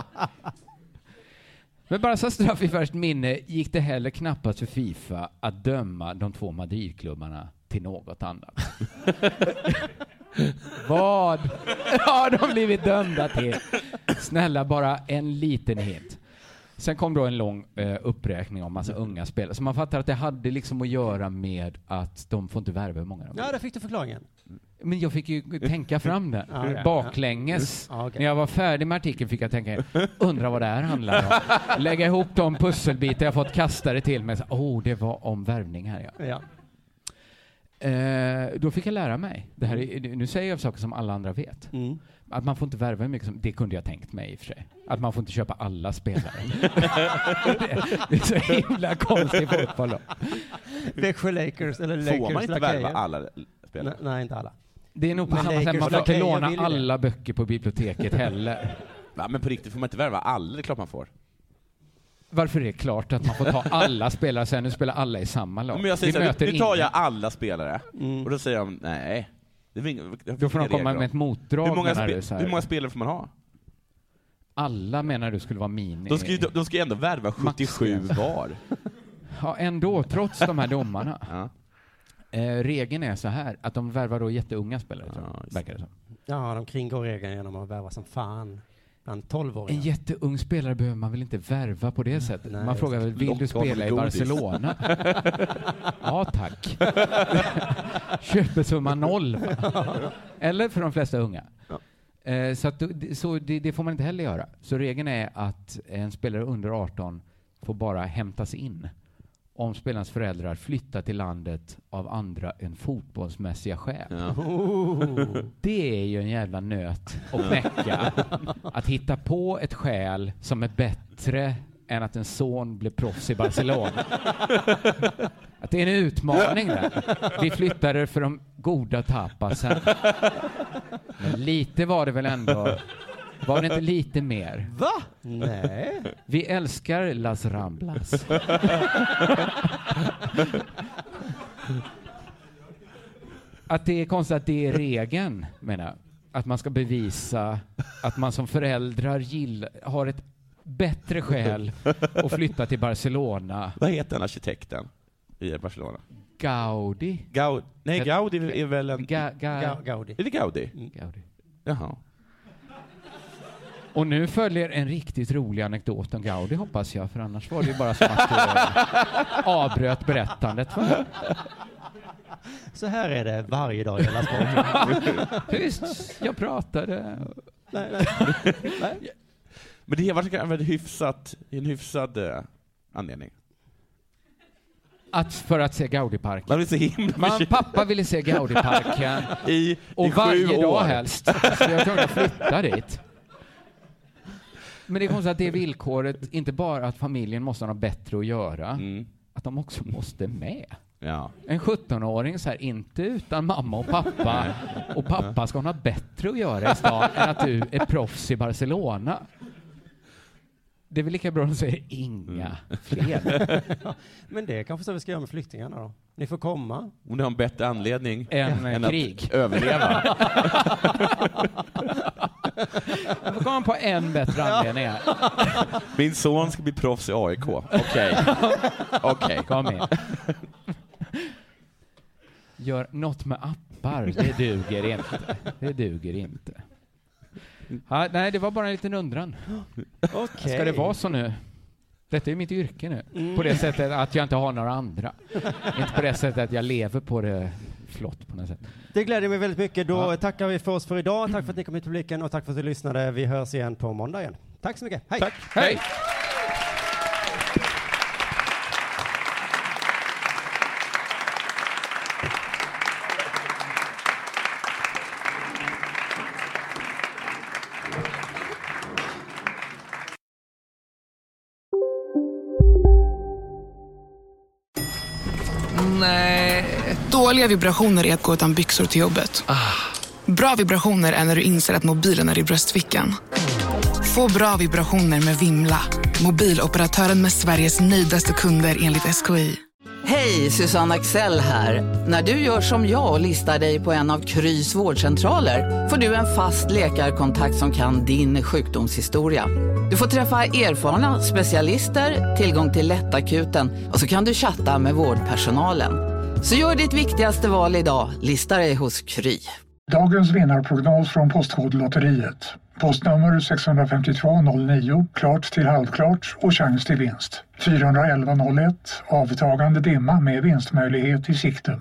[SPEAKER 13] Med Barsas straff i färskt minne gick det heller knappast för Fifa att döma de två Madridklubbarna till något annat. Vad har de blivit dömda till? Snälla, bara en liten hint. Sen kom då en lång eh, uppräkning om massa unga spelare. Så man fattar att det hade liksom att göra med att de får inte värva hur många de vill.
[SPEAKER 10] Ja, där fick du förklaringen.
[SPEAKER 13] Men jag fick ju tänka fram den
[SPEAKER 10] Ja, ja.
[SPEAKER 13] baklänges.
[SPEAKER 10] Ja, okej.
[SPEAKER 13] När jag var färdig med artikeln fick jag tänka, undra vad det här handlar om. Lägga ihop de pusselbitar jag fått kastade till mig. Så, Oh, det var om värvning här ja.
[SPEAKER 10] Ja.
[SPEAKER 13] Eh, då fick jag lära mig. Det här
[SPEAKER 10] Mm.
[SPEAKER 13] är, nu säger jag saker som alla andra vet. Att man får inte värva hur mycket som... Det kunde jag tänkt mig i och för sig. Att man får inte köpa alla spelare. det, det är så himla konstig fotboll då.
[SPEAKER 10] Växjö Lakers, eller Lakers
[SPEAKER 11] Får man inte
[SPEAKER 10] lakejer.
[SPEAKER 11] värva alla spelare?
[SPEAKER 10] Nej, nej, inte alla.
[SPEAKER 13] Det är nog på
[SPEAKER 10] Men
[SPEAKER 13] samma sätt,
[SPEAKER 10] Lakers
[SPEAKER 13] man får inte
[SPEAKER 10] lakejer
[SPEAKER 13] låna
[SPEAKER 10] vill ju det.
[SPEAKER 13] alla böcker på biblioteket heller.
[SPEAKER 11] Va, men på riktigt, får man inte värva alla? Det är klart man får.
[SPEAKER 13] Varför är det klart att man får ta alla spelare sen, nu spelar alla i samma lag?
[SPEAKER 11] Men jag säger
[SPEAKER 13] Vi
[SPEAKER 11] så här,
[SPEAKER 13] möter
[SPEAKER 11] nu, nu tar
[SPEAKER 13] ingen.
[SPEAKER 11] jag alla spelare, och då säger de nej. Det finns inga- det finns
[SPEAKER 13] Då får de
[SPEAKER 11] inga regler
[SPEAKER 13] komma
[SPEAKER 11] om.
[SPEAKER 13] med ett motdrag,
[SPEAKER 11] Hur många,
[SPEAKER 13] menar
[SPEAKER 11] spe-
[SPEAKER 13] du, så här?
[SPEAKER 11] hur många spelare får man ha?
[SPEAKER 13] Alla menar du skulle vara mini...
[SPEAKER 11] De ska ju, de ska ju ändå värva 77 var.
[SPEAKER 13] Ja, ändå, trots de här domarna. Eh, regeln är så här, att de värvar då jätteunga spelare, tror jag, verkar det som.
[SPEAKER 10] Ja, de kringgår regeln genom att värva som fan. Bland
[SPEAKER 13] En
[SPEAKER 10] 12-åringar.
[SPEAKER 13] jätteung spelare behöver man väl inte värva på det sättet?
[SPEAKER 10] Nej,
[SPEAKER 13] man frågar väl, vill du
[SPEAKER 10] locka honom
[SPEAKER 13] spela i
[SPEAKER 10] med godis."
[SPEAKER 13] Barcelona? ja, tack. Köpesumma noll, va? Eller för de flesta unga. Eh, Så, att, du- det- så det, det får man inte heller göra. Så regeln är att en spelare under 18 får bara hämtas in om spelarens föräldrar flyttar till landet av andra än fotbollsmässiga skäl.
[SPEAKER 10] Oh.
[SPEAKER 13] Det är ju en jävla nöt att knäcka. Att hitta på ett skäl som är bättre än att en son blev proffs i Barcelona. Att det är en utmaning där. Vi flyttade för de goda tapasen. Men lite var det väl ändå. Var det inte lite mer?
[SPEAKER 10] Va? Nej.
[SPEAKER 13] Vi älskar Las Ramblas. att det är konstigt att det är regeln, menar jag. Att man ska bevisa att man som föräldrar gill, har ett bättre skäl att flytta till Barcelona.
[SPEAKER 11] Vad heter den arkitekten i Barcelona?
[SPEAKER 13] Gaudi?
[SPEAKER 11] Gaudi? Nej, Gaudi är väl en...
[SPEAKER 13] Ga, ga,
[SPEAKER 10] Ga- Gaudi.
[SPEAKER 11] Är det Gaudi?
[SPEAKER 13] Gaudi.
[SPEAKER 11] Jaha.
[SPEAKER 13] Och nu följer en riktigt rolig anekdot om Gaudi hoppas jag, för annars var det ju bara som att du avbröt berättandet. Va?
[SPEAKER 10] Så här är det varje dag i hela sporten.
[SPEAKER 13] Tyst, jag pratade.
[SPEAKER 11] Men det var kanske en hyfsat, en hyfsad eh, anledning.
[SPEAKER 13] Att för att se Gaudiparken.
[SPEAKER 11] Man blir så himla
[SPEAKER 13] Man,
[SPEAKER 11] förtjust.
[SPEAKER 13] pappa ville se Gaudiparken.
[SPEAKER 11] I,
[SPEAKER 13] och
[SPEAKER 11] i
[SPEAKER 13] varje
[SPEAKER 11] sju
[SPEAKER 13] dag
[SPEAKER 11] år.
[SPEAKER 13] helst. Så jag kunde flytta dit. Men det är konstigt att det är villkoret, inte bara att familjen måste ha något bättre att göra,
[SPEAKER 11] Mm.
[SPEAKER 13] att de också måste med.
[SPEAKER 11] Ja.
[SPEAKER 13] En 17-åring så här, inte utan mamma och pappa, och pappa ska ha något bättre att göra i stan än att du är proffs i Barcelona. Det är väl lika bra att de säger inga
[SPEAKER 11] Mm.
[SPEAKER 13] fler.
[SPEAKER 10] Ja, Men det är kanske så vi ska göra med flyktingarna då. Ni får komma.
[SPEAKER 11] Om du har en bättre anledning
[SPEAKER 13] Än, eh,
[SPEAKER 11] att
[SPEAKER 13] krig.
[SPEAKER 11] överleva.
[SPEAKER 13] Jag får komma på en bättre anledning här.
[SPEAKER 11] Min son ska bli proffs i AIK. Okej. Okej.
[SPEAKER 13] Kom igen. Gör något med appar, det duger inte. Det duger inte. Ja, nej, det var bara en liten undran.
[SPEAKER 10] Okej.
[SPEAKER 13] Ska det vara så nu? Detta är mitt yrke nu. På det sättet att jag inte har några andra. inte på det sättet att jag lever på det flott på något sätt.
[SPEAKER 10] Det gläder mig väldigt mycket. Då tackar vi för oss för idag. Tack för att ni kom hit publiken och tack för att ni lyssnade. Vi hörs igen på måndag igen. Tack så mycket. Hej!
[SPEAKER 13] Hej!
[SPEAKER 17] Nej. Dåliga vibrationer är att gå utan byxor till jobbet. Bra vibrationer är när du inser att mobilen är i bröstfickan. Få bra vibrationer med Vimla. Mobiloperatören med Sveriges nöjdaste kunder enligt SKI.
[SPEAKER 18] Hej, Susanne Axel här. När du gör som jag och listar dig på en av Krys vårdcentraler får du en fast läkarkontakt som kan din sjukdomshistoria. Du får träffa erfarna specialister, tillgång till lättakuten och så kan du chatta med vårdpersonalen. Så gör ditt viktigaste val idag, lista dig hos Kry.
[SPEAKER 19] Dagens vinnarprognos från Postkodlotteriet. Postnummer 65209, klart till halvklart och chans till vinst. 41101, avtagande dimma med vinstmöjlighet i sikte.